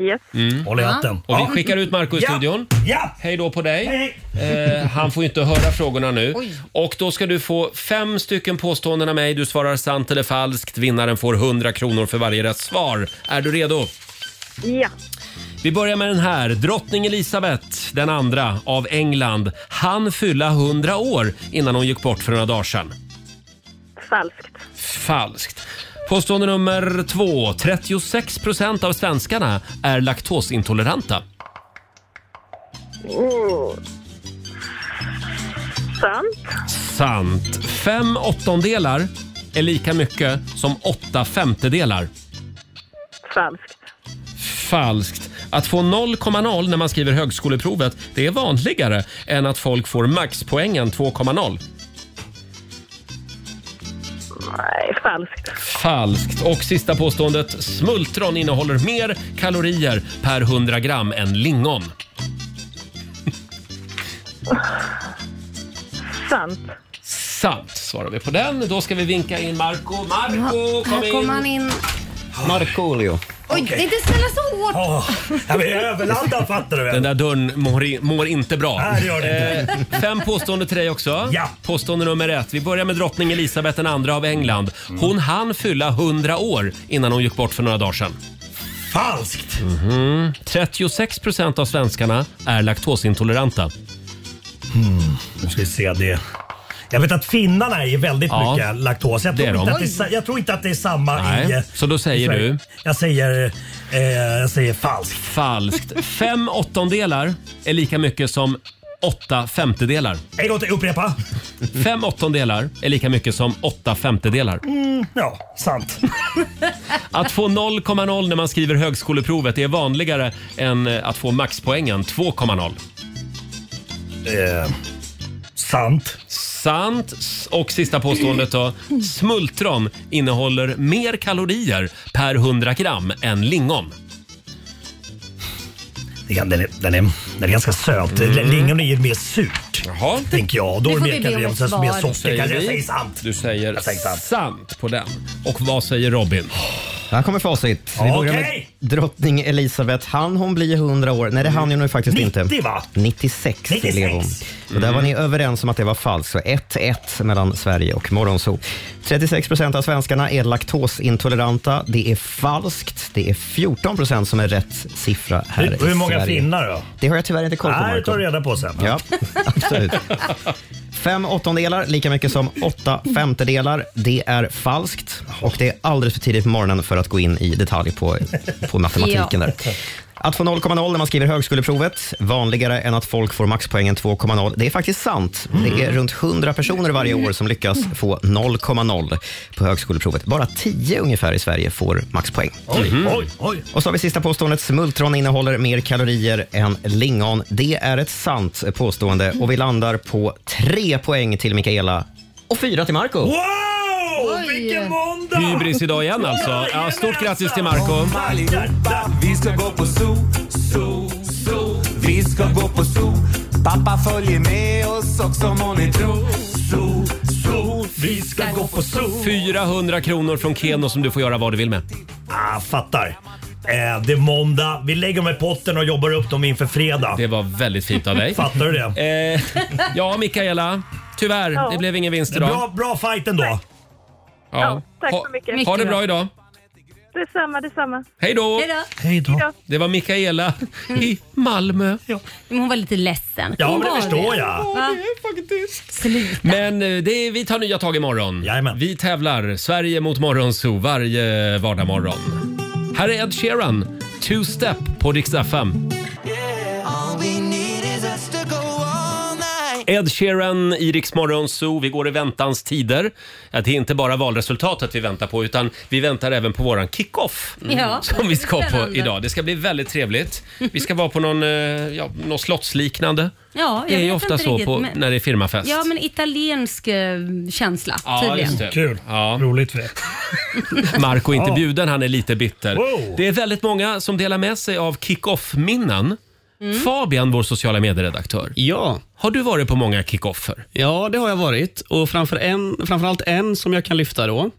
[SPEAKER 8] Yes.
[SPEAKER 1] Håll
[SPEAKER 8] i hatten.
[SPEAKER 1] Och vi
[SPEAKER 8] Ja.
[SPEAKER 1] skickar ut Marco i
[SPEAKER 8] Ja.
[SPEAKER 1] studion.
[SPEAKER 10] Ja.
[SPEAKER 1] Hej då på dig. Eh, han får ju inte höra frågorna nu.
[SPEAKER 8] Oj.
[SPEAKER 1] Och då ska du få fem stycken påståenden av mig. Du svarar sant eller falskt. Vinnaren får 100 kronor för varje rätt svar. Är du redo?
[SPEAKER 8] Ja.
[SPEAKER 1] Vi börjar med den här. Drottning Elisabeth den andra av England. Han fylla 100 år innan hon gick bort för några dagar sedan.
[SPEAKER 8] Falskt.
[SPEAKER 1] Falskt. Påstående nummer två. 36 procent av svenskarna är laktosintoleranta.
[SPEAKER 8] Oh. Sant.
[SPEAKER 1] Sant. Fem åttondelar är lika mycket som åtta femtedelar.
[SPEAKER 8] Falskt.
[SPEAKER 1] Falskt. Att få 0,0 när man skriver högskoleprovet, det är vanligare än att folk får maxpoängen 2,0.
[SPEAKER 8] Nej, falskt.
[SPEAKER 1] Falskt. Och sista påståendet. Smultron innehåller mer kalorier per 100 gram än lingon.
[SPEAKER 8] Sant.
[SPEAKER 1] Sant svarar vi på den. Då ska vi vinka in Marco. Marco, kom
[SPEAKER 2] Här kommer
[SPEAKER 1] in!
[SPEAKER 2] han in.
[SPEAKER 4] Markoolio.
[SPEAKER 2] Oj,
[SPEAKER 10] Okej.
[SPEAKER 2] inte ställa så hårt.
[SPEAKER 10] Jag är överladdad fattar du väl?
[SPEAKER 1] Den där dörren mår, i- mår inte bra.
[SPEAKER 10] Nej, det gör den
[SPEAKER 1] Eh, fem påståenden till dig också. Ja. Påstående nummer ett. Vi börjar med drottning Elisabeth II av England.
[SPEAKER 10] Mm.
[SPEAKER 1] Hon hann fylla 100 år innan hon gick bort för några dagar sedan.
[SPEAKER 10] Falskt!
[SPEAKER 1] Mhm. 36 procent av svenskarna är laktosintoleranta.
[SPEAKER 10] Hmm. Nu ska vi se det. Jag vet att finnarna är väldigt
[SPEAKER 1] Ja.
[SPEAKER 10] mycket laktos. Jag
[SPEAKER 1] Det
[SPEAKER 10] tror,
[SPEAKER 1] är de.
[SPEAKER 10] inte att det är, sa- jag tror inte att det är samma i... eh,
[SPEAKER 1] Nej. Så då säger
[SPEAKER 10] i Sverige.
[SPEAKER 1] du?
[SPEAKER 10] Jag säger, eh, jag säger falskt.
[SPEAKER 1] Falskt. Fem åttondelar är lika mycket som åtta femtedelar.
[SPEAKER 10] Hej då, upprepa.
[SPEAKER 1] Fem åttondelar är lika mycket som åtta femtedelar.
[SPEAKER 10] Mm, ja, sant.
[SPEAKER 1] Att få 0,0 när man skriver högskoleprovet är vanligare än eh, att få maxpoängen 2,0.
[SPEAKER 10] Eh, Sant.
[SPEAKER 1] Sant. S- Och sista påståendet då. Smultron innehåller mer kalorier per 100 gram än lingon.
[SPEAKER 10] Den är, den är, den är ganska söt.
[SPEAKER 1] Mm.
[SPEAKER 10] Lingon är ju mer surt.
[SPEAKER 1] Jaha.
[SPEAKER 10] Tänker jag. Då är det
[SPEAKER 1] Nu får
[SPEAKER 10] mer
[SPEAKER 1] vi
[SPEAKER 10] kalorier
[SPEAKER 1] be om
[SPEAKER 10] och
[SPEAKER 1] ett
[SPEAKER 10] sen så mer
[SPEAKER 1] svar.
[SPEAKER 10] socker.
[SPEAKER 1] Säger
[SPEAKER 10] Jag
[SPEAKER 1] vi?
[SPEAKER 10] säger sant.
[SPEAKER 1] Du säger
[SPEAKER 10] Jag säger sant.
[SPEAKER 1] på den. Och vad säger Robin?
[SPEAKER 4] Här kommer facit. Vi börjar med
[SPEAKER 1] Okej.
[SPEAKER 4] drottning Elisabeth. Han hon blir 100 år? Nej, det hann ju nu faktiskt inte.
[SPEAKER 1] 90, va? Mm.
[SPEAKER 4] 96,
[SPEAKER 1] 96.
[SPEAKER 4] blev hon. Och där var ni överens om att det var falskt. Så 1-1 mellan Sverige och Morgonzoo. 36 procent av svenskarna är laktosintoleranta. Det är falskt. Det är 14 procent som är rätt siffra här
[SPEAKER 10] Hur, hur många
[SPEAKER 4] i Sverige.
[SPEAKER 10] finnar då?
[SPEAKER 4] Det har jag tyvärr inte koll på,
[SPEAKER 10] Nej, det
[SPEAKER 4] Marco.
[SPEAKER 10] tar du reda på sen.
[SPEAKER 4] Ja, absolut. Fem åttondelar, lika mycket som åtta femtedelar. Det är falskt och det är alldeles för tidigt på morgonen för att gå in i detalj på, på matematiken.
[SPEAKER 7] Ja.
[SPEAKER 4] där. Att få 0,0 när man skriver högskoleprovet, vanligare än att folk får maxpoängen 2,0. Det är faktiskt sant. Det är runt 100 personer varje år som lyckas få 0,0 på högskoleprovet. Bara 10 ungefär i Sverige får maxpoäng. Mm.
[SPEAKER 10] Oj, oj, oj.
[SPEAKER 4] Och så har vi sista påståendet. Smultron innehåller mer kalorier än lingon. Det är ett sant påstående och vi landar på tre poäng till Mikaela och fyra till Marco.
[SPEAKER 10] Wow! Vilken måndag!
[SPEAKER 1] Hybris idag igen alltså. Ja, stort grattis
[SPEAKER 10] alltså.
[SPEAKER 1] till Marco
[SPEAKER 10] Oh,
[SPEAKER 7] Allihopa, vi ska gå på zoo, zoo, zoo. Vi ska gå på zoo. Pappa följer med oss också må ni tro. Zoo, zoo. Vi ska gå på zoo.
[SPEAKER 1] 400 kronor från Keno som du får göra vad du vill med.
[SPEAKER 10] Ah, fattar. Eh, det är måndag. Vi lägger dem i potten och jobbar upp dem inför fredag.
[SPEAKER 1] Det var väldigt fint av
[SPEAKER 10] (laughs)
[SPEAKER 1] dig.
[SPEAKER 10] Fattar du det?
[SPEAKER 1] Eh, ja, Mikaela. Tyvärr, det blev ingen vinst idag.
[SPEAKER 10] Bra, bra fight ändå.
[SPEAKER 1] Ja.
[SPEAKER 8] Tack
[SPEAKER 1] Ha,
[SPEAKER 8] så mycket.
[SPEAKER 1] ha det bra idag.
[SPEAKER 8] Detsamma, detsamma.
[SPEAKER 1] Hej då!
[SPEAKER 10] Hej då.
[SPEAKER 1] Det var Mikaela i Malmö.
[SPEAKER 2] Men Hon var lite ledsen.
[SPEAKER 1] Ja,
[SPEAKER 2] Hon
[SPEAKER 1] men det
[SPEAKER 2] var
[SPEAKER 1] förstår jag.
[SPEAKER 2] Va?
[SPEAKER 1] Men eh, det är, vi tar nya tag imorgon. Jajamän. Vi tävlar Sverige mot Morgonzoo varje vardagsmorgon. Här är Ed Sheeran, Two Step på Dix FM.
[SPEAKER 7] All we need is us to go all night.
[SPEAKER 1] Ed Sheeran i Rix Morgonzoo. Vi går i väntans tider. Ja, det är inte bara valresultatet vi väntar på utan vi väntar även på våran kickoff. mm,
[SPEAKER 2] Ja,
[SPEAKER 1] (laughs) Som vi ska på
[SPEAKER 2] spännande.
[SPEAKER 1] idag. Det ska bli väldigt trevligt. Vi ska vara på någon, eh, ja, något slottsliknande.
[SPEAKER 2] Ja, jag
[SPEAKER 1] det är ju
[SPEAKER 2] vet
[SPEAKER 1] ofta
[SPEAKER 2] inte
[SPEAKER 1] så
[SPEAKER 2] riktigt,
[SPEAKER 1] på,
[SPEAKER 2] men-
[SPEAKER 1] när det är firmafest.
[SPEAKER 2] Ja, men italiensk eh, känsla
[SPEAKER 1] Ja,
[SPEAKER 2] tydligen.
[SPEAKER 1] just det. Ja. Roligt för Marco är inte
[SPEAKER 2] Ja.
[SPEAKER 1] bjuden, han är lite bitter.
[SPEAKER 2] Wow.
[SPEAKER 1] Det är väldigt många som delar med sig av kick-off-minnen. Fabian, vår sociala medieredaktör.
[SPEAKER 5] Ja.
[SPEAKER 1] Har du varit på många kick-offer?
[SPEAKER 5] Ja, det har jag varit. Och framför en, framförallt en som jag kan lyfta då.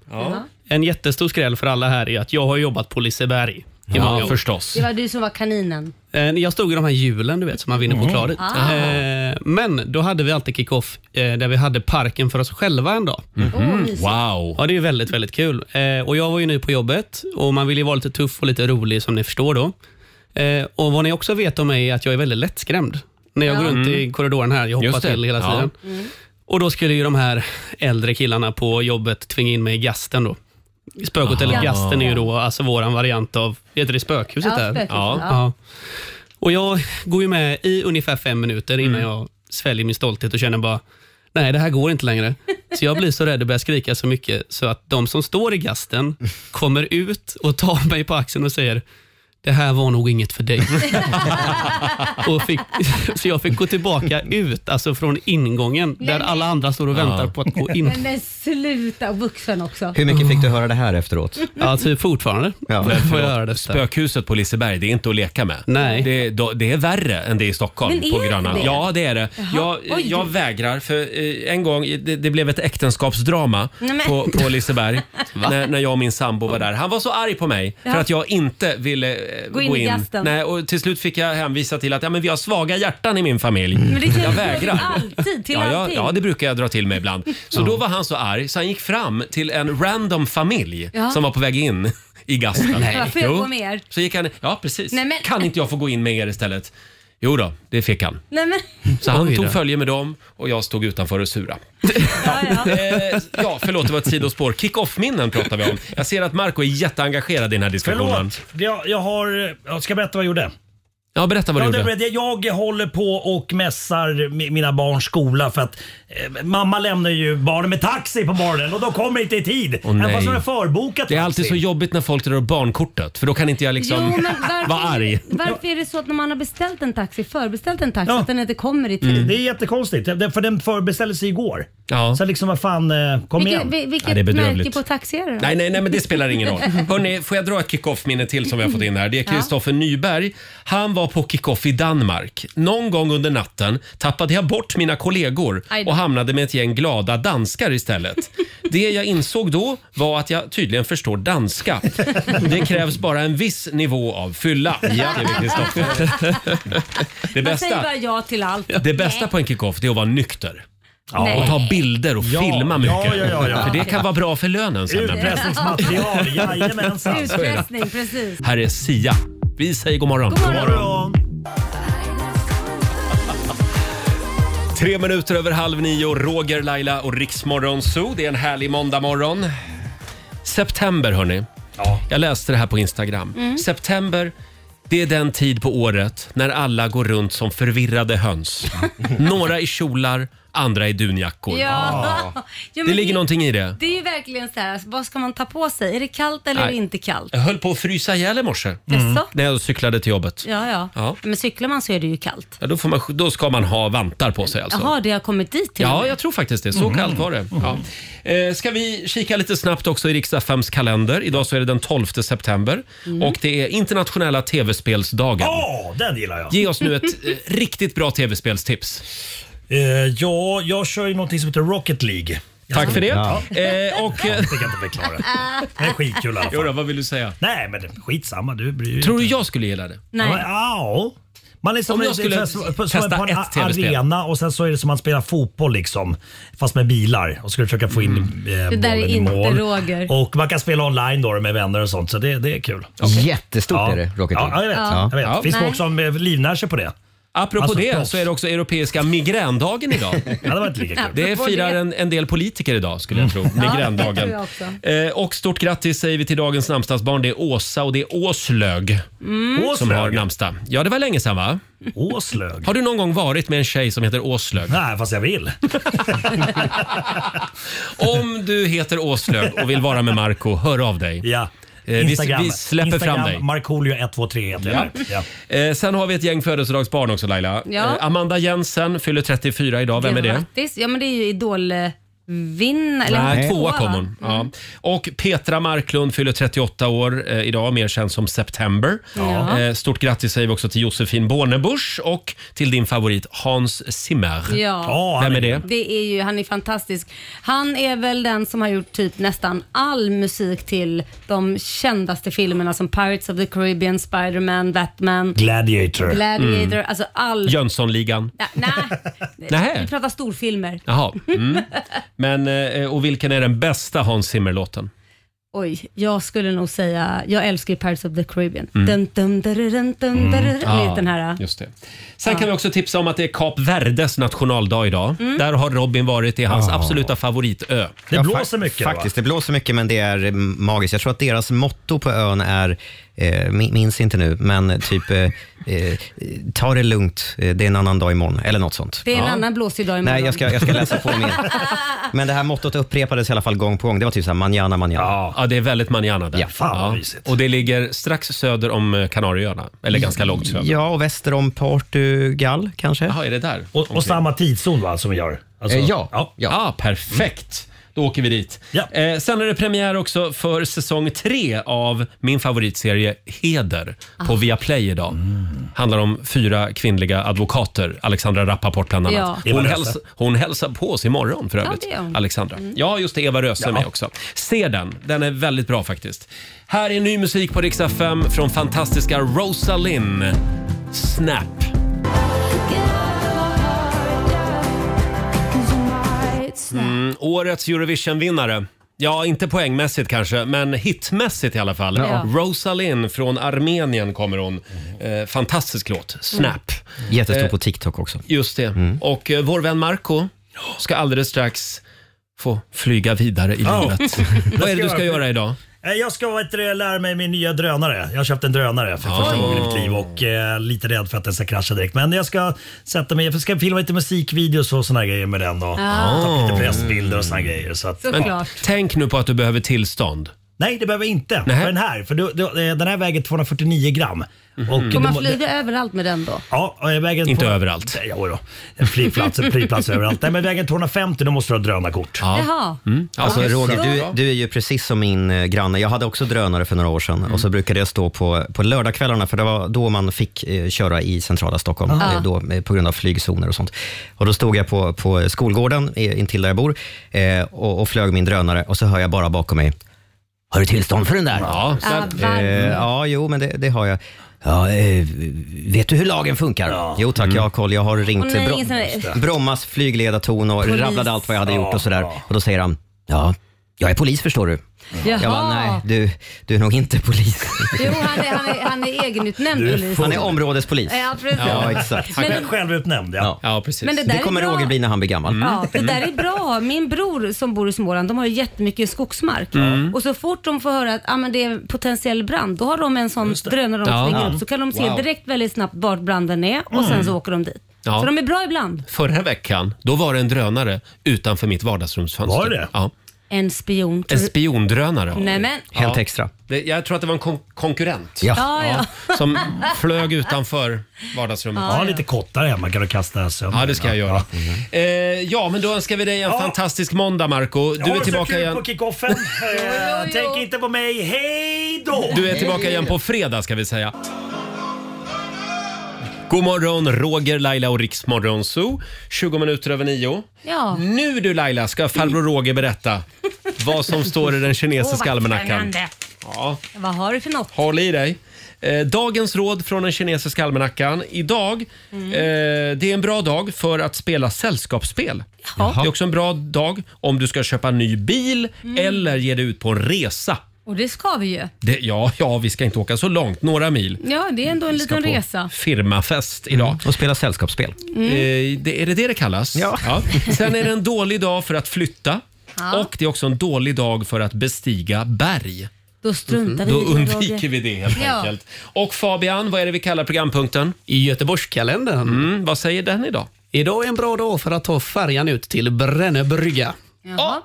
[SPEAKER 5] En jättestor skräll för alla här är att jag har jobbat på Liseberg. i
[SPEAKER 1] Ja,
[SPEAKER 5] många år.
[SPEAKER 1] förstås.
[SPEAKER 2] Det var du som var kaninen.
[SPEAKER 5] Eh, Jag stod i de här hjulen du vet, som man vinner
[SPEAKER 2] Mm.
[SPEAKER 5] choklad i.
[SPEAKER 2] Ah.
[SPEAKER 5] Eh, Men då hade vi alltid kick-off eh, där vi hade parken för oss själva en dag.
[SPEAKER 1] Åh, mysigt. Mhm. Wow!
[SPEAKER 5] Ja, det är ju väldigt, väldigt kul. Eh, Och jag var ju ny på jobbet och man vill ju vara lite tuff och lite rolig som ni förstår då. Eh, Och vad ni också vet om mig är att jag är väldigt lättskrämd. När jag
[SPEAKER 1] Ja.
[SPEAKER 5] går runt
[SPEAKER 1] Mm.
[SPEAKER 5] i korridoren här, jag hoppar
[SPEAKER 1] Just det.
[SPEAKER 5] till hela
[SPEAKER 1] Ja.
[SPEAKER 5] tiden.
[SPEAKER 2] Mm.
[SPEAKER 1] Mm.
[SPEAKER 5] Och då skulle ju de här äldre killarna på jobbet tvinga in mig i gasten då. Spökhotellet
[SPEAKER 1] Aha.
[SPEAKER 5] Gasten är ju då alltså våran variant av, heter det spökhuset
[SPEAKER 1] Ja,
[SPEAKER 5] där?
[SPEAKER 1] spökhuset, Ja. ja.
[SPEAKER 5] Och jag går ju med i ungefär fem minuter innan
[SPEAKER 1] Mm.
[SPEAKER 5] jag sväljer min stolthet och känner bara, nej det här går inte längre. Så jag blir så rädd och börjar skrika så mycket så att de som står i gasten kommer ut och tar mig på axeln och säger, det här var nog inget för dig.
[SPEAKER 1] (laughs)
[SPEAKER 5] och fick, så jag fick gå tillbaka ut, alltså från ingången, där alla andra står och väntar på att gå in.
[SPEAKER 2] Men, men sluta, och vuxen också.
[SPEAKER 5] Hur
[SPEAKER 4] mycket fick du höra det här efteråt?
[SPEAKER 5] Ja, typ fortfarande. Ja.
[SPEAKER 1] Men
[SPEAKER 5] Får jag
[SPEAKER 1] förlåt,
[SPEAKER 5] göra detta?
[SPEAKER 1] Spökhuset på Liseberg, det är inte att leka med.
[SPEAKER 5] Nej.
[SPEAKER 1] Det, då- det är värre än det i Stockholm.
[SPEAKER 5] Men är
[SPEAKER 1] på
[SPEAKER 5] det
[SPEAKER 1] Grönan.
[SPEAKER 5] det?
[SPEAKER 1] Ja, det är det.
[SPEAKER 5] Jaha,
[SPEAKER 1] Jag,
[SPEAKER 5] oj.
[SPEAKER 1] jag vägrar, för eh, en gång det, det blev ett äktenskapsdrama
[SPEAKER 5] Nej, men-
[SPEAKER 1] på,
[SPEAKER 5] (laughs)
[SPEAKER 1] på Liseberg när, när jag och min sambo var där. Han var så arg på mig
[SPEAKER 5] Ja.
[SPEAKER 1] för att jag inte ville eh,
[SPEAKER 2] Gå in i gasten.
[SPEAKER 1] Nej, och till slut fick jag hänvisa till att ja, men vi har svaga hjärtan i min familj.
[SPEAKER 2] Men det
[SPEAKER 1] jag
[SPEAKER 2] kan
[SPEAKER 1] vägrar.
[SPEAKER 2] Alltid, till
[SPEAKER 1] Ja, ja,
[SPEAKER 2] allting.
[SPEAKER 1] ja, det brukar jag dra till mig ibland. Så då var han så arg så han gick fram till en random familj
[SPEAKER 2] Ja.
[SPEAKER 1] som var på väg in
[SPEAKER 2] (laughs)
[SPEAKER 1] i gasten.
[SPEAKER 2] Nej. Får jag
[SPEAKER 1] Jo.
[SPEAKER 2] gå med er?
[SPEAKER 1] Så gick han, ja precis.
[SPEAKER 2] Nej, men-
[SPEAKER 1] Kan inte jag få gå in med er istället? Jo då, det fick han.
[SPEAKER 2] Nej, men,
[SPEAKER 1] Så han
[SPEAKER 5] Oj då.
[SPEAKER 1] tog följe med dem och jag stod utanför och sura.
[SPEAKER 2] (laughs) ja, ja.
[SPEAKER 1] Eh, ja, förlåt det var ett sidospår. Kick-off-minnen pratar vi om. Jag ser att Marco är jätteengagerad i den här diskussionen.
[SPEAKER 10] Förlåt. Jag, jag har... Jag ska berätta vad jag gjorde.
[SPEAKER 1] Ja, berätta vad du
[SPEAKER 10] Ja,
[SPEAKER 1] gjorde.
[SPEAKER 10] det är det. jag håller på och mässar mi- mina barns skola för att eh, mamma lämnar ju barnen med taxi på morgonen och de kommer inte i tid.
[SPEAKER 1] Åh, nej.
[SPEAKER 10] Även fast de är förbokat
[SPEAKER 1] Det är alltid så jobbigt när folk drar upp barnkortet för då kan inte jag liksom (laughs)
[SPEAKER 2] Jo, men varför-
[SPEAKER 1] vara arg.
[SPEAKER 2] Varför är det så att när man har beställt en taxi, förbeställt en taxi, att den inte kommer i tid?
[SPEAKER 10] Mm. Det är jättekonstigt det- för den förbeställdes igår. Så liksom vad fan, eh, kom
[SPEAKER 2] Vilket,
[SPEAKER 10] igen.
[SPEAKER 2] vil- vilket märke på taxi är det då?
[SPEAKER 1] Nej, nej, nej, men det spelar ingen
[SPEAKER 2] (laughs)
[SPEAKER 1] roll. Hörrni, får jag dra ett kick-off-minne till som vi har fått in här? Det är
[SPEAKER 2] Ja.
[SPEAKER 1] Kristoffer Nyberg. Han var på kick-off i Danmark. Någon gång under natten tappade jag bort mina kollegor
[SPEAKER 2] Aj då.
[SPEAKER 1] och hamnade med ett gäng glada danskar istället. Det jag insåg då var att jag tydligen förstår danska. Det krävs bara en viss nivå av fylla,
[SPEAKER 2] (laughs)
[SPEAKER 1] skriver Kristoffer. Det
[SPEAKER 2] Man säger
[SPEAKER 1] bästa,
[SPEAKER 2] bara ja till allt.
[SPEAKER 1] det bästa på en kick-off det är att vara nykter.
[SPEAKER 2] Nej.
[SPEAKER 1] Och ta bilder och
[SPEAKER 10] Ja,
[SPEAKER 1] filma
[SPEAKER 10] ja,
[SPEAKER 1] mycket.
[SPEAKER 10] ja, ja, ja.
[SPEAKER 1] För det kan vara bra för lönen sen.
[SPEAKER 10] Utpressningsmaterial, jajamensan.
[SPEAKER 1] Så är det.
[SPEAKER 2] Utpressning, precis.
[SPEAKER 1] Här är Sia. Vi säger god morgon.
[SPEAKER 2] God morgon. God
[SPEAKER 1] Tre minuter över halv nio, Roger, Laila och Riksmorgon Zoo. Det är en härlig måndagmorgon. September, hörni. Ja. Jag läste det här på Instagram.
[SPEAKER 7] Mm.
[SPEAKER 1] September, det är den tid på året när alla går runt som
[SPEAKER 2] (laughs)
[SPEAKER 1] förvirrade höns. Några i kjolar, andra i dunjackor. Ah.
[SPEAKER 2] (laughs) Ja. Ja, men
[SPEAKER 1] Det ligger någonting i det.
[SPEAKER 2] Det är ju verkligen så här, alltså, vad ska man ta på sig? Är det kallt eller är det
[SPEAKER 1] Nej.
[SPEAKER 2] inte kallt?
[SPEAKER 1] Jag höll på att frysa ihjäl i morse
[SPEAKER 2] Mm. Jaså?
[SPEAKER 1] när jag cyklade till jobbet.
[SPEAKER 2] Ja, ja,
[SPEAKER 1] Ja.
[SPEAKER 2] Men cyklar man så är det ju kallt.
[SPEAKER 1] Ja, då, får man, då ska man ha vantar på sig alltså.
[SPEAKER 2] Jaha, det har kommit dit till och
[SPEAKER 1] Ja,
[SPEAKER 2] med.
[SPEAKER 1] jag tror faktiskt det. Så kallt var det. Ja. Eh, ska vi kika lite snabbt också i riksdagsfems kalender. Idag så är det den 12 september
[SPEAKER 10] Mm.
[SPEAKER 1] och det är internationella tv-spelsdagen.
[SPEAKER 10] Åh, den gillar jag.
[SPEAKER 1] Ge oss
[SPEAKER 10] (laughs)
[SPEAKER 1] nu ett eh, riktigt bra tv-spelstips.
[SPEAKER 10] Eh, ja, jag kör ju någonting som heter Rocket League.
[SPEAKER 1] Tack för det.
[SPEAKER 10] Ja.
[SPEAKER 1] Eh, och,
[SPEAKER 10] Jag kan inte förklara.
[SPEAKER 2] Ah.
[SPEAKER 10] Det är skitkul i
[SPEAKER 4] (laughs)
[SPEAKER 10] alla fall.
[SPEAKER 1] Jodå, vad vill du säga?
[SPEAKER 10] Nej, men det- skitsamma. Du bryr dig
[SPEAKER 1] Tror du
[SPEAKER 10] inte.
[SPEAKER 1] jag skulle gilla det?
[SPEAKER 2] Nej.
[SPEAKER 10] Ja, men, au. Man är som
[SPEAKER 1] Om jag skulle
[SPEAKER 10] det är så här- så- så-
[SPEAKER 1] testa
[SPEAKER 10] på en
[SPEAKER 1] ett TV-spel.
[SPEAKER 10] arena och sen så är det som att spela fotboll liksom. Fast med bilar och skulle försöka få in
[SPEAKER 1] Mm.
[SPEAKER 10] eh,
[SPEAKER 2] Det
[SPEAKER 10] bollen
[SPEAKER 2] där är
[SPEAKER 10] i
[SPEAKER 2] inte
[SPEAKER 10] mål.
[SPEAKER 2] Roger.
[SPEAKER 10] Och man kan spela online då med vänner och sånt så det, det är kul.
[SPEAKER 4] Jättestort
[SPEAKER 10] ja.
[SPEAKER 4] är det, Rocket
[SPEAKER 10] Ja,
[SPEAKER 4] League.
[SPEAKER 10] ja, jag vet.
[SPEAKER 4] Ja.
[SPEAKER 10] Jag vet.
[SPEAKER 4] Ja.
[SPEAKER 10] Finns
[SPEAKER 4] Nej.
[SPEAKER 10] folk som eh, livnär sig på det.
[SPEAKER 1] Apropå
[SPEAKER 10] Alltså,
[SPEAKER 1] det
[SPEAKER 10] proffs.
[SPEAKER 1] så är det också europeiska migrändagen idag.
[SPEAKER 10] det var inte lika kul.
[SPEAKER 1] Det
[SPEAKER 10] Apropå
[SPEAKER 1] firar
[SPEAKER 10] det.
[SPEAKER 1] en, en del politiker idag skulle jag
[SPEAKER 5] Mm.
[SPEAKER 1] tro.
[SPEAKER 7] Ja, det
[SPEAKER 1] Migrändagen.
[SPEAKER 7] tror jag också.
[SPEAKER 1] Eh, och stort grattis säger vi till dagens namnsdagsbarn. Det är Åsa och det är Åslög
[SPEAKER 7] Mm.
[SPEAKER 1] som
[SPEAKER 7] Åslög?
[SPEAKER 1] har namnsdag. Ja, det var länge sedan va?
[SPEAKER 10] Åslög?
[SPEAKER 1] Har du någon gång varit med en tjej som heter Åslög?
[SPEAKER 10] Nej, fast jag vill.
[SPEAKER 1] (laughs) Om du heter Åslög och vill vara med Marco, hör av dig.
[SPEAKER 10] Ja.
[SPEAKER 1] Eh, vi, vi släpper
[SPEAKER 10] Instagram,
[SPEAKER 1] fram dig.
[SPEAKER 10] Markoolio 123 heter jag.
[SPEAKER 1] Ja.
[SPEAKER 10] Ja.
[SPEAKER 1] Eh, sen har vi ett gäng födelsedagsbarn också Laila.
[SPEAKER 2] Ja.
[SPEAKER 1] Eh, Amanda Jensen fyller 34 idag. Vem är det?
[SPEAKER 2] Grattis. Ja, men det är ju idolvinnare. eller
[SPEAKER 1] Nej,
[SPEAKER 2] hon
[SPEAKER 1] tvåa
[SPEAKER 2] va? Mm.
[SPEAKER 1] kom hon. Ja. Och Petra Marklund fyller 38 år eh, idag, mer känd som September.
[SPEAKER 2] Ja.
[SPEAKER 1] Eh, stort grattis säger vi också till Josefin Bornebusch och till din favorit Hans Zimmer.
[SPEAKER 2] Ja.
[SPEAKER 1] Vem är det?
[SPEAKER 2] Det är ju, han är fantastisk. Han är väl den som har gjort typ nästan all musik till de kändaste filmerna som Pirates of the Caribbean, Spider-Man, Batman,
[SPEAKER 10] Gladiator.
[SPEAKER 2] Gladiator,
[SPEAKER 1] Mm.
[SPEAKER 2] alltså all...
[SPEAKER 1] Jönssonligan.
[SPEAKER 2] Ja, nej,
[SPEAKER 1] Nähä.
[SPEAKER 2] vi pratar storfilmer.
[SPEAKER 1] Jaha. Mm. Men, eh, och vilken är den bästa Hans Zimmer-låten?
[SPEAKER 2] Oj, jag skulle nog säga, jag älskar ju Pirates of the Caribbean.
[SPEAKER 1] Mm.
[SPEAKER 2] Dun, dun, dun, dun,
[SPEAKER 4] Mm.
[SPEAKER 2] dun, dun,
[SPEAKER 1] Ja,
[SPEAKER 2] Mm. Den här.
[SPEAKER 1] Just det. Sen kan vi också tipsa om att det är Kap Verdes nationaldag idag.
[SPEAKER 2] Mm.
[SPEAKER 1] Där har Robin varit, det är hans absoluta favoritö.
[SPEAKER 4] Ja, fa- Faktiskt, det blåser mycket men det är eh, magiskt. Jag tror att deras motto på ön är, eh, min- minns inte nu, men typ eh, eh, ta det lugnt, eh, det är en annan dag imorgon eller något sånt.
[SPEAKER 2] Det är en
[SPEAKER 4] Ja.
[SPEAKER 2] annan blåsig dag imorgon.
[SPEAKER 4] Nej, jag ska, jag ska läsa
[SPEAKER 2] (laughs)
[SPEAKER 4] på mer. Men det här mottot upprepades i alla fall gång på gång. Det var typ såhär, manjana, manjana.
[SPEAKER 10] Ja.
[SPEAKER 1] det är väldigt manjana där.
[SPEAKER 4] Ja.
[SPEAKER 1] Ja. Och det ligger strax söder om eh, Kanarieöarna. Eller ganska långt söder.
[SPEAKER 4] Mm. Ja, och väster om Portugal kanske.
[SPEAKER 1] Jaha, är det där?
[SPEAKER 10] Och, och samma tidszon va, som vi gör? Alltså-
[SPEAKER 4] Eh, ja.
[SPEAKER 1] Ja, Ah, perfekt. Då åker vi dit. Eh, sen är det premiär också för säsong tre av min favoritserie Heder
[SPEAKER 7] Ah.
[SPEAKER 1] på Viaplay idag.
[SPEAKER 10] Mm.
[SPEAKER 1] Handlar om fyra kvinnliga advokater, Alexandra Rappaport bland annat.
[SPEAKER 7] Ja.
[SPEAKER 1] Hon,
[SPEAKER 7] Eva
[SPEAKER 1] häls
[SPEAKER 7] Röse.
[SPEAKER 1] hon hälsar på oss imorgon för
[SPEAKER 7] Ja,
[SPEAKER 1] övrigt,
[SPEAKER 7] det gör hon. Mm.
[SPEAKER 1] Alexandra. Ja, just det. Eva Röse är
[SPEAKER 7] Ja.
[SPEAKER 1] med också. Se den, den är väldigt bra faktiskt. Här är ny musik på riksdag 5 från fantastiska Rosalind. Snap. Mm, årets Eurovision-vinnare. Ja, inte poängmässigt kanske, men hitmässigt i alla fall.
[SPEAKER 4] Ja.
[SPEAKER 1] Rosalind från Armenien kommer hon. Eh, fantastisk låt, Snap.
[SPEAKER 2] Mm.
[SPEAKER 4] Jättestor
[SPEAKER 1] Eh,
[SPEAKER 4] på TikTok också.
[SPEAKER 1] Just det. Och eh, vår vän Marco ska alldeles strax få flyga vidare i
[SPEAKER 10] Ja. (laughs)
[SPEAKER 1] livet. Vad är det du ska göra idag?
[SPEAKER 10] Eh, Jag ska vet du, lära mig min nya drönare. Jag har köpt en drönare för första
[SPEAKER 7] Oj.
[SPEAKER 10] gången i mitt liv och eh, lite rädd för att den ska krascha direkt. Men jag ska sätta mig, jag ska filma lite musikvideos och såna här grejer med den och
[SPEAKER 7] Ah.
[SPEAKER 10] ta lite pressbilder och såna här grejer. Så att,
[SPEAKER 1] Men tänk nu på att du behöver tillstånd.
[SPEAKER 10] Nej, det behöver jag inte.
[SPEAKER 1] Nej.
[SPEAKER 10] För den här, för du, du, eh, den här väger 249 gram. Och
[SPEAKER 4] Mm.
[SPEAKER 2] Får man
[SPEAKER 10] du må-
[SPEAKER 2] flyga överallt med den då?
[SPEAKER 10] Ja, och jag väger
[SPEAKER 1] Mhm. Inte
[SPEAKER 10] två-
[SPEAKER 1] överallt.
[SPEAKER 10] Nej, Jodå, En flygplats, en flygplats överallt. Nej, men vägen 250 då måste du ha drönarkort.
[SPEAKER 2] Jaha.
[SPEAKER 1] Mm.
[SPEAKER 4] Alltså,
[SPEAKER 10] Ja,
[SPEAKER 4] Roger,
[SPEAKER 10] så
[SPEAKER 4] du,
[SPEAKER 10] bra.
[SPEAKER 4] du är ju precis som min eh, granne. Jag hade också drönare för några år sedan och så brukade jag stå på, på lördagskvällarna för det var då man fick eh, köra i centrala Stockholm
[SPEAKER 7] Ja.
[SPEAKER 4] eh, då, eh, på grund av flygzoner och sånt. Och Då stod jag på, på skolgården eh, intill där jag bor eh, och, och flög min drönare och så hör jag bara bakom mig har du tillstånd för den där? Ja,
[SPEAKER 7] så- Ah, varför?
[SPEAKER 4] eh, ja jo, men det, det har jag. Ja, eh, vet du hur lagen funkar? Mm. Jo tack, jag har koll. Jag har ringt
[SPEAKER 2] Åh, nej,
[SPEAKER 4] Bro-
[SPEAKER 2] ingen sån där-
[SPEAKER 4] Brommas flygledarton och
[SPEAKER 2] Polis.
[SPEAKER 4] rabblade allt vad jag hade gjort och sådär. Och då säger han, ja, jag är polis förstår du.
[SPEAKER 2] Jaha.
[SPEAKER 4] Jag bara, nej, du, du är nog inte polis.
[SPEAKER 2] Jo, han är, han är, han är egenutnämnd polis.
[SPEAKER 4] han är områdespolis.
[SPEAKER 2] Ja, precis.
[SPEAKER 4] Ja, exakt.
[SPEAKER 2] Men- Men-
[SPEAKER 10] Självutnämnd,
[SPEAKER 4] ja.
[SPEAKER 1] ja precis.
[SPEAKER 2] Men det där är
[SPEAKER 4] kommer
[SPEAKER 2] bra. Mm.
[SPEAKER 4] Roger bli när han blir gammal. Mm.
[SPEAKER 2] Ja, det där är bra. Min bror som bor i Småland, de har ju jättemycket skogsmark.
[SPEAKER 4] Mm.
[SPEAKER 2] Och så fort de får höra att ah, men det är potentiell brand, då har de en sån drönare de
[SPEAKER 1] Ja.
[SPEAKER 2] slänger
[SPEAKER 1] Ja.
[SPEAKER 2] upp. Så kan de se
[SPEAKER 1] Wow.
[SPEAKER 2] direkt väldigt snabbt vart branden är och
[SPEAKER 1] Mm.
[SPEAKER 2] sen så åker de dit.
[SPEAKER 1] Ja.
[SPEAKER 2] Så de är bra ibland.
[SPEAKER 1] Förra veckan, då var det en drönare utanför mitt vardagsrumsfönster.
[SPEAKER 2] Var det?
[SPEAKER 1] Ja.
[SPEAKER 2] En spion.
[SPEAKER 1] En spiondrönare.
[SPEAKER 2] Nej, men.
[SPEAKER 4] Helt extra.
[SPEAKER 1] Det, jag tror att det var en kon- konkurrent.
[SPEAKER 2] Ja. Ja, ja.
[SPEAKER 1] Som
[SPEAKER 2] (laughs)
[SPEAKER 1] flög utanför vardagsrummet.
[SPEAKER 10] Ja, lite kottar hemma kan du kasta sönder.
[SPEAKER 1] Ja, det ska Alltså, jag göra. Eh, ja, men då önskar vi dig en fantastisk måndag, Marco. Du är tillbaka igen.
[SPEAKER 10] på kickoffen. Eh, Tänk inte på mig. Hej då!
[SPEAKER 1] Du är tillbaka igen på fredag ska vi säga. God morgon, Roger, Laila och Riksmorgon Zoo. 20 minuter över nio.
[SPEAKER 2] Ja.
[SPEAKER 1] Nu du Laila ska farbror Roger berätta vad som står i den kinesiska
[SPEAKER 2] Åh, vad
[SPEAKER 1] almanackan.
[SPEAKER 2] spännande.
[SPEAKER 1] Ja,
[SPEAKER 2] Vad har du för något?
[SPEAKER 1] håll i dig. Eh, dagens råd från den kinesiska almanackan. Idag,
[SPEAKER 2] Mm.
[SPEAKER 1] eh, det är en bra dag för att spela sällskapsspel. Det är också en bra dag om du ska köpa ny bil
[SPEAKER 2] Mm.
[SPEAKER 1] eller ge dig ut på en resa.
[SPEAKER 2] Och det ska vi ju.
[SPEAKER 1] Det, ja, ja, vi ska inte åka så långt, några mil.
[SPEAKER 2] Ja, det är ändå en
[SPEAKER 1] Vi ska
[SPEAKER 2] liten
[SPEAKER 1] på
[SPEAKER 2] resa.
[SPEAKER 1] Firmafest idag.
[SPEAKER 4] Mm. Och spela sällskapsspel.
[SPEAKER 2] Mm.
[SPEAKER 1] Eh, det, är det det det kallas? Ja. Sen är det en dålig dag för att flytta.
[SPEAKER 2] Ja.
[SPEAKER 1] Och det är också en dålig dag för att bestiga berg.
[SPEAKER 2] Då struntar
[SPEAKER 1] Då
[SPEAKER 2] vi i det, Roger.
[SPEAKER 1] undviker vi det helt
[SPEAKER 2] Ja.
[SPEAKER 1] enkelt. Och Fabian, vad är det vi kallar programpunkten?
[SPEAKER 5] I Göteborgskalendern.
[SPEAKER 1] Mm, vad säger den idag?
[SPEAKER 5] Idag är en bra dag för att ta färjan ut till Brännö brygga.
[SPEAKER 2] Jaha.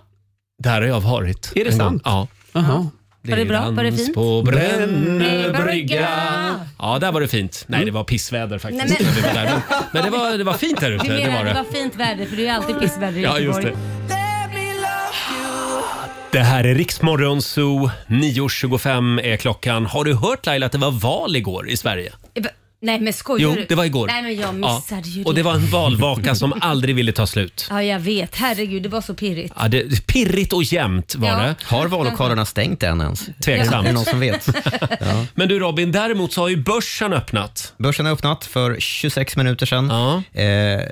[SPEAKER 1] Där har jag varit.
[SPEAKER 5] Är det
[SPEAKER 1] en gång.
[SPEAKER 5] sant?
[SPEAKER 1] Ja.
[SPEAKER 5] Jaha.
[SPEAKER 2] Var det bra? Var det
[SPEAKER 1] dans
[SPEAKER 2] fint?
[SPEAKER 1] på Brännö
[SPEAKER 2] Brännö
[SPEAKER 1] brygga.
[SPEAKER 2] brygga.
[SPEAKER 1] Ja, där var det fint. Nej, det var pissväder faktiskt.
[SPEAKER 2] Nej, men-
[SPEAKER 1] när vi var där. men men det, var, det var
[SPEAKER 2] (laughs)
[SPEAKER 1] fint där ute.
[SPEAKER 2] Du
[SPEAKER 1] Det
[SPEAKER 2] menar
[SPEAKER 1] var
[SPEAKER 2] att det
[SPEAKER 1] det.
[SPEAKER 2] var fint väder för det är ju alltid pissväder i
[SPEAKER 1] Ja, just
[SPEAKER 2] Göteborg.
[SPEAKER 1] det. Det här är Riksmorgon Zoo. 9.25 är klockan. Har du hört Laila att det var val igår i Sverige?
[SPEAKER 2] Eh, Nej men skojar
[SPEAKER 1] Jo,
[SPEAKER 2] du?
[SPEAKER 1] det var igår.
[SPEAKER 2] Nej men jag missade ju det.
[SPEAKER 1] Och det var en valvaka som aldrig ville ta slut.
[SPEAKER 2] Ja jag vet, herregud det var så pirrigt.
[SPEAKER 1] Ja, det, pirrigt och jämnt var
[SPEAKER 2] Ja.
[SPEAKER 1] det.
[SPEAKER 2] Har vallokalerna
[SPEAKER 4] stängt än ens?
[SPEAKER 1] Tveksamt.
[SPEAKER 4] Är det någon som
[SPEAKER 1] (laughs)
[SPEAKER 4] vet?
[SPEAKER 2] (laughs)
[SPEAKER 4] Ja.
[SPEAKER 1] Men du Robin, däremot så har ju börsen öppnat.
[SPEAKER 4] Börsen har öppnat för 26 minuter sedan. Eh,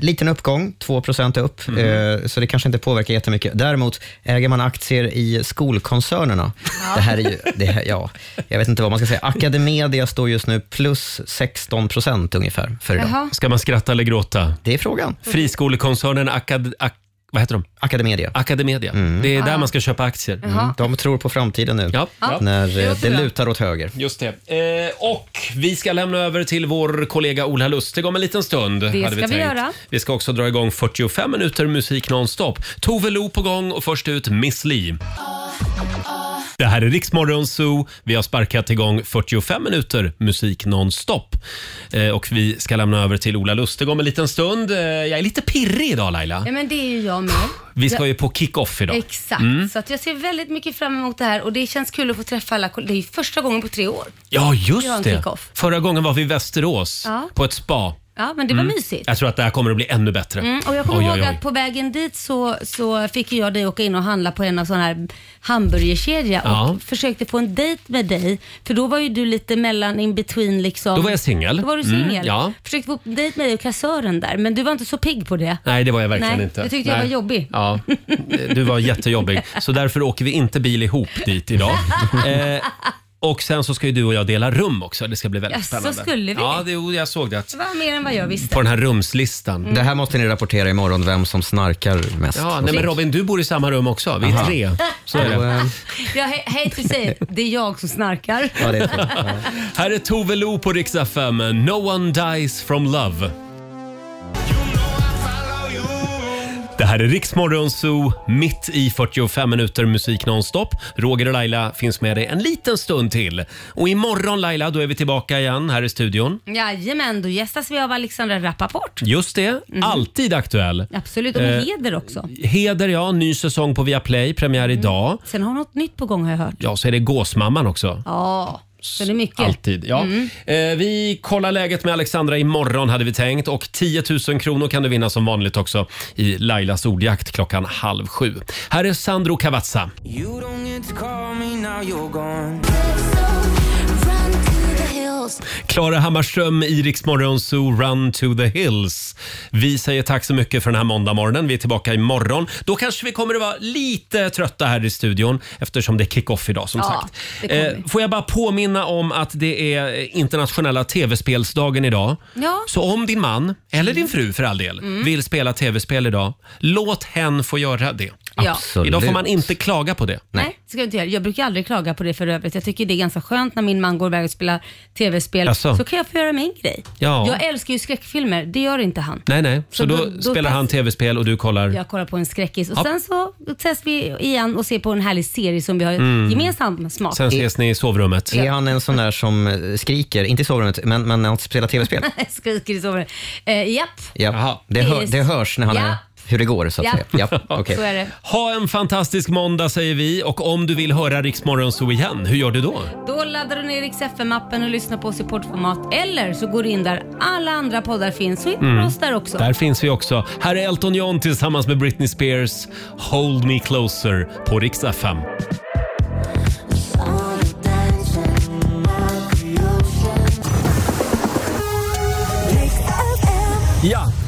[SPEAKER 4] liten uppgång, 2 är upp,
[SPEAKER 1] Mm.
[SPEAKER 4] eh, så det kanske inte påverkar jättemycket. Däremot, äger man aktier i skolkoncernerna, det här är ju, det här, ja, jag vet inte vad man ska säga. Academedia står just nu plus 16 ungefär för idag.
[SPEAKER 2] Jaha.
[SPEAKER 1] Ska man skratta eller gråta?
[SPEAKER 4] Det är frågan.
[SPEAKER 1] Friskolekoncernen Acad... Ac- vad heter de?
[SPEAKER 4] Academedia.
[SPEAKER 1] Academedia. Det är där
[SPEAKER 4] Ah.
[SPEAKER 1] man ska köpa aktier.
[SPEAKER 4] Mm. De tror på framtiden nu,
[SPEAKER 1] Ja.
[SPEAKER 4] när
[SPEAKER 1] Det
[SPEAKER 4] eh,
[SPEAKER 1] låter
[SPEAKER 4] det
[SPEAKER 1] bra.
[SPEAKER 4] lutar åt höger.
[SPEAKER 1] Just det. Eh, och vi ska lämna över till vår kollega Ola Lustig om en liten stund. Det
[SPEAKER 2] ska vi göra.
[SPEAKER 1] Vi ska också dra igång 45 minuter musik nonstop. Tove Lo på gång och först ut Miss Li. Det här är Riksmorgon Zoo. Vi har sparkat igång 45 minuter musik nonstop. Eh, och vi ska lämna över till Ola Lustig om en liten stund. Eh, jag är lite pirrig idag Laila.
[SPEAKER 2] Ja men det är ju jag med.
[SPEAKER 1] Vi ska
[SPEAKER 2] Jag-
[SPEAKER 1] ju på kick-off idag.
[SPEAKER 2] Exakt,
[SPEAKER 1] Mm.
[SPEAKER 2] så att jag ser väldigt mycket fram emot det här och det känns kul att få träffa alla koll- Det är ju första gången på tre år.
[SPEAKER 1] Ja,
[SPEAKER 2] Vi har en
[SPEAKER 1] just det.
[SPEAKER 2] kick-off.
[SPEAKER 1] Förra gången var vi i Västerås
[SPEAKER 2] Ja.
[SPEAKER 1] på ett spa.
[SPEAKER 2] Ja men det var
[SPEAKER 1] Mm.
[SPEAKER 2] mysigt.
[SPEAKER 1] Jag tror att det här kommer att bli ännu bättre.
[SPEAKER 2] Mm, och jag kommer
[SPEAKER 1] Oj,
[SPEAKER 2] ihåg
[SPEAKER 1] oj, oj.
[SPEAKER 2] att på vägen dit så, så fick ju jag dig åka in och handla på en av sådana här hamburgerkedja
[SPEAKER 1] Ja.
[SPEAKER 2] och försökte få en dejt med dig. För då var ju du lite mellan in between liksom.
[SPEAKER 1] Då var jag singel.
[SPEAKER 2] Då var du
[SPEAKER 1] Mm,
[SPEAKER 2] singel.
[SPEAKER 1] ja.
[SPEAKER 2] Försökte få en dejt med dig och kassören där men du var inte så pigg på det.
[SPEAKER 1] Nej, det var jag verkligen
[SPEAKER 2] Nej,
[SPEAKER 1] inte.
[SPEAKER 2] det tyckte jag
[SPEAKER 1] Nej.
[SPEAKER 2] var jobbig.
[SPEAKER 1] Ja,
[SPEAKER 2] (laughs)
[SPEAKER 1] du var jättejobbig. Så därför åker vi inte bil ihop dit idag. Eh, Och sen så ska ju du och jag dela rum också. Det ska bli väldigt
[SPEAKER 2] Jaså,
[SPEAKER 1] spännande.
[SPEAKER 2] skulle vi?
[SPEAKER 1] Ja, det, jo, jag såg det. att-
[SPEAKER 2] Det var mer än vad jag visste.
[SPEAKER 1] På den här rumslistan.
[SPEAKER 4] Det här måste ni rapportera imorgon, vem som snarkar mest.
[SPEAKER 1] Ja, nej, men Robin, du bor i samma rum också. Vi är
[SPEAKER 4] Aha.
[SPEAKER 1] tre. Så är
[SPEAKER 4] Så,
[SPEAKER 1] det.
[SPEAKER 4] eh,
[SPEAKER 2] Ja, he hej till sig. Det är jag som snarkar.
[SPEAKER 1] Ja, det är så. (laughs) Här är Tove Lo på Rix FM. No one dies from love. Det här är Riksmorgon Zoo, mitt i 45 minuter musik nonstop. Roger och Laila finns med dig en liten stund till. Och imorgon Laila, då är vi tillbaka igen här i studion.
[SPEAKER 2] Jajamän, då gästas vi av Alexandra Rappaport.
[SPEAKER 1] Just det, alltid aktuell.
[SPEAKER 2] Absolut, och med
[SPEAKER 1] Eh,
[SPEAKER 2] heder också.
[SPEAKER 1] Heder ja, ny säsong på Viaplay, premiär idag.
[SPEAKER 2] Sen har hon något nytt på gång har jag hört.
[SPEAKER 1] Ja, så är det Gåsmamman också.
[SPEAKER 2] Ja, så det är mycket.
[SPEAKER 1] Alltid. Ja.
[SPEAKER 2] Mm.
[SPEAKER 1] Eh, vi kollar läget med Alexandra imorgon hade vi tänkt och 10 000 kronor kan du vinna som vanligt också i Lailas ordjakt klockan halv sju. Här är Sandro Cavazza.
[SPEAKER 7] You don't get to call me now you're gone
[SPEAKER 1] Klara Hammarström i Rix Morgon Zoo, Run to the Hills. Vi säger tack så mycket för den här måndagmorgonen. Vi är tillbaka imorgon. Då kanske vi kommer att vara lite trötta här i studion eftersom det är kick-off idag som
[SPEAKER 7] Ja,
[SPEAKER 1] sagt.
[SPEAKER 7] det kommer
[SPEAKER 1] Eh, får jag bara påminna om att det är internationella tv-spelsdagen idag.
[SPEAKER 2] Ja.
[SPEAKER 1] Så om din man, eller din fru för all del,
[SPEAKER 2] Mm.
[SPEAKER 1] vill spela tv-spel idag, låt hen få göra det.
[SPEAKER 2] Ja. Absolut.
[SPEAKER 1] Idag får man inte klaga på det.
[SPEAKER 2] Nej, det ska jag inte göra. Jag brukar aldrig klaga på det för övrigt. Jag tycker det är ganska skönt när min man går iväg och spelar tv-spel.
[SPEAKER 1] Jaså?
[SPEAKER 2] Så kan jag få göra min grej.
[SPEAKER 1] Ja.
[SPEAKER 2] Jag älskar ju skräckfilmer, det gör inte han.
[SPEAKER 1] Nej, nej. Så,
[SPEAKER 2] Så
[SPEAKER 1] då,
[SPEAKER 2] då- då
[SPEAKER 1] spelar han tv-spel och du kollar
[SPEAKER 2] Jag kollar på en skräckis och
[SPEAKER 1] Ja.
[SPEAKER 2] sen så testar vi igen och ser på en härlig serie som vi har
[SPEAKER 4] Mm.
[SPEAKER 2] gemensam smak.
[SPEAKER 4] Sen ses
[SPEAKER 1] ni i sovrummet.
[SPEAKER 4] Är han en sån där som eh, skriker, inte i sovrummet, men, men när han
[SPEAKER 2] (laughs)
[SPEAKER 4] spelar tv-spel?
[SPEAKER 2] Skriker i sovrummet. Eh, japp.
[SPEAKER 4] Ja. Det, hör, det hörs när han
[SPEAKER 2] Ja.
[SPEAKER 4] är, hur det går, så att
[SPEAKER 2] Ja.
[SPEAKER 1] (laughs)
[SPEAKER 4] säga. Ja. okej.
[SPEAKER 2] Så är det.
[SPEAKER 1] Ha en fantastisk måndag säger vi och om du vill höra Riksmorgon så igen, hur gör du då?
[SPEAKER 2] Då laddar du ner XFM-appen och lyssnar på oss i poddformat eller så går du in där alla andra poddar finns och hittar
[SPEAKER 1] Mm.
[SPEAKER 2] oss där också.
[SPEAKER 1] Där finns vi också. Här är Elton John tillsammans med Britney Spears. Hold me closer på Rix FM. Ja,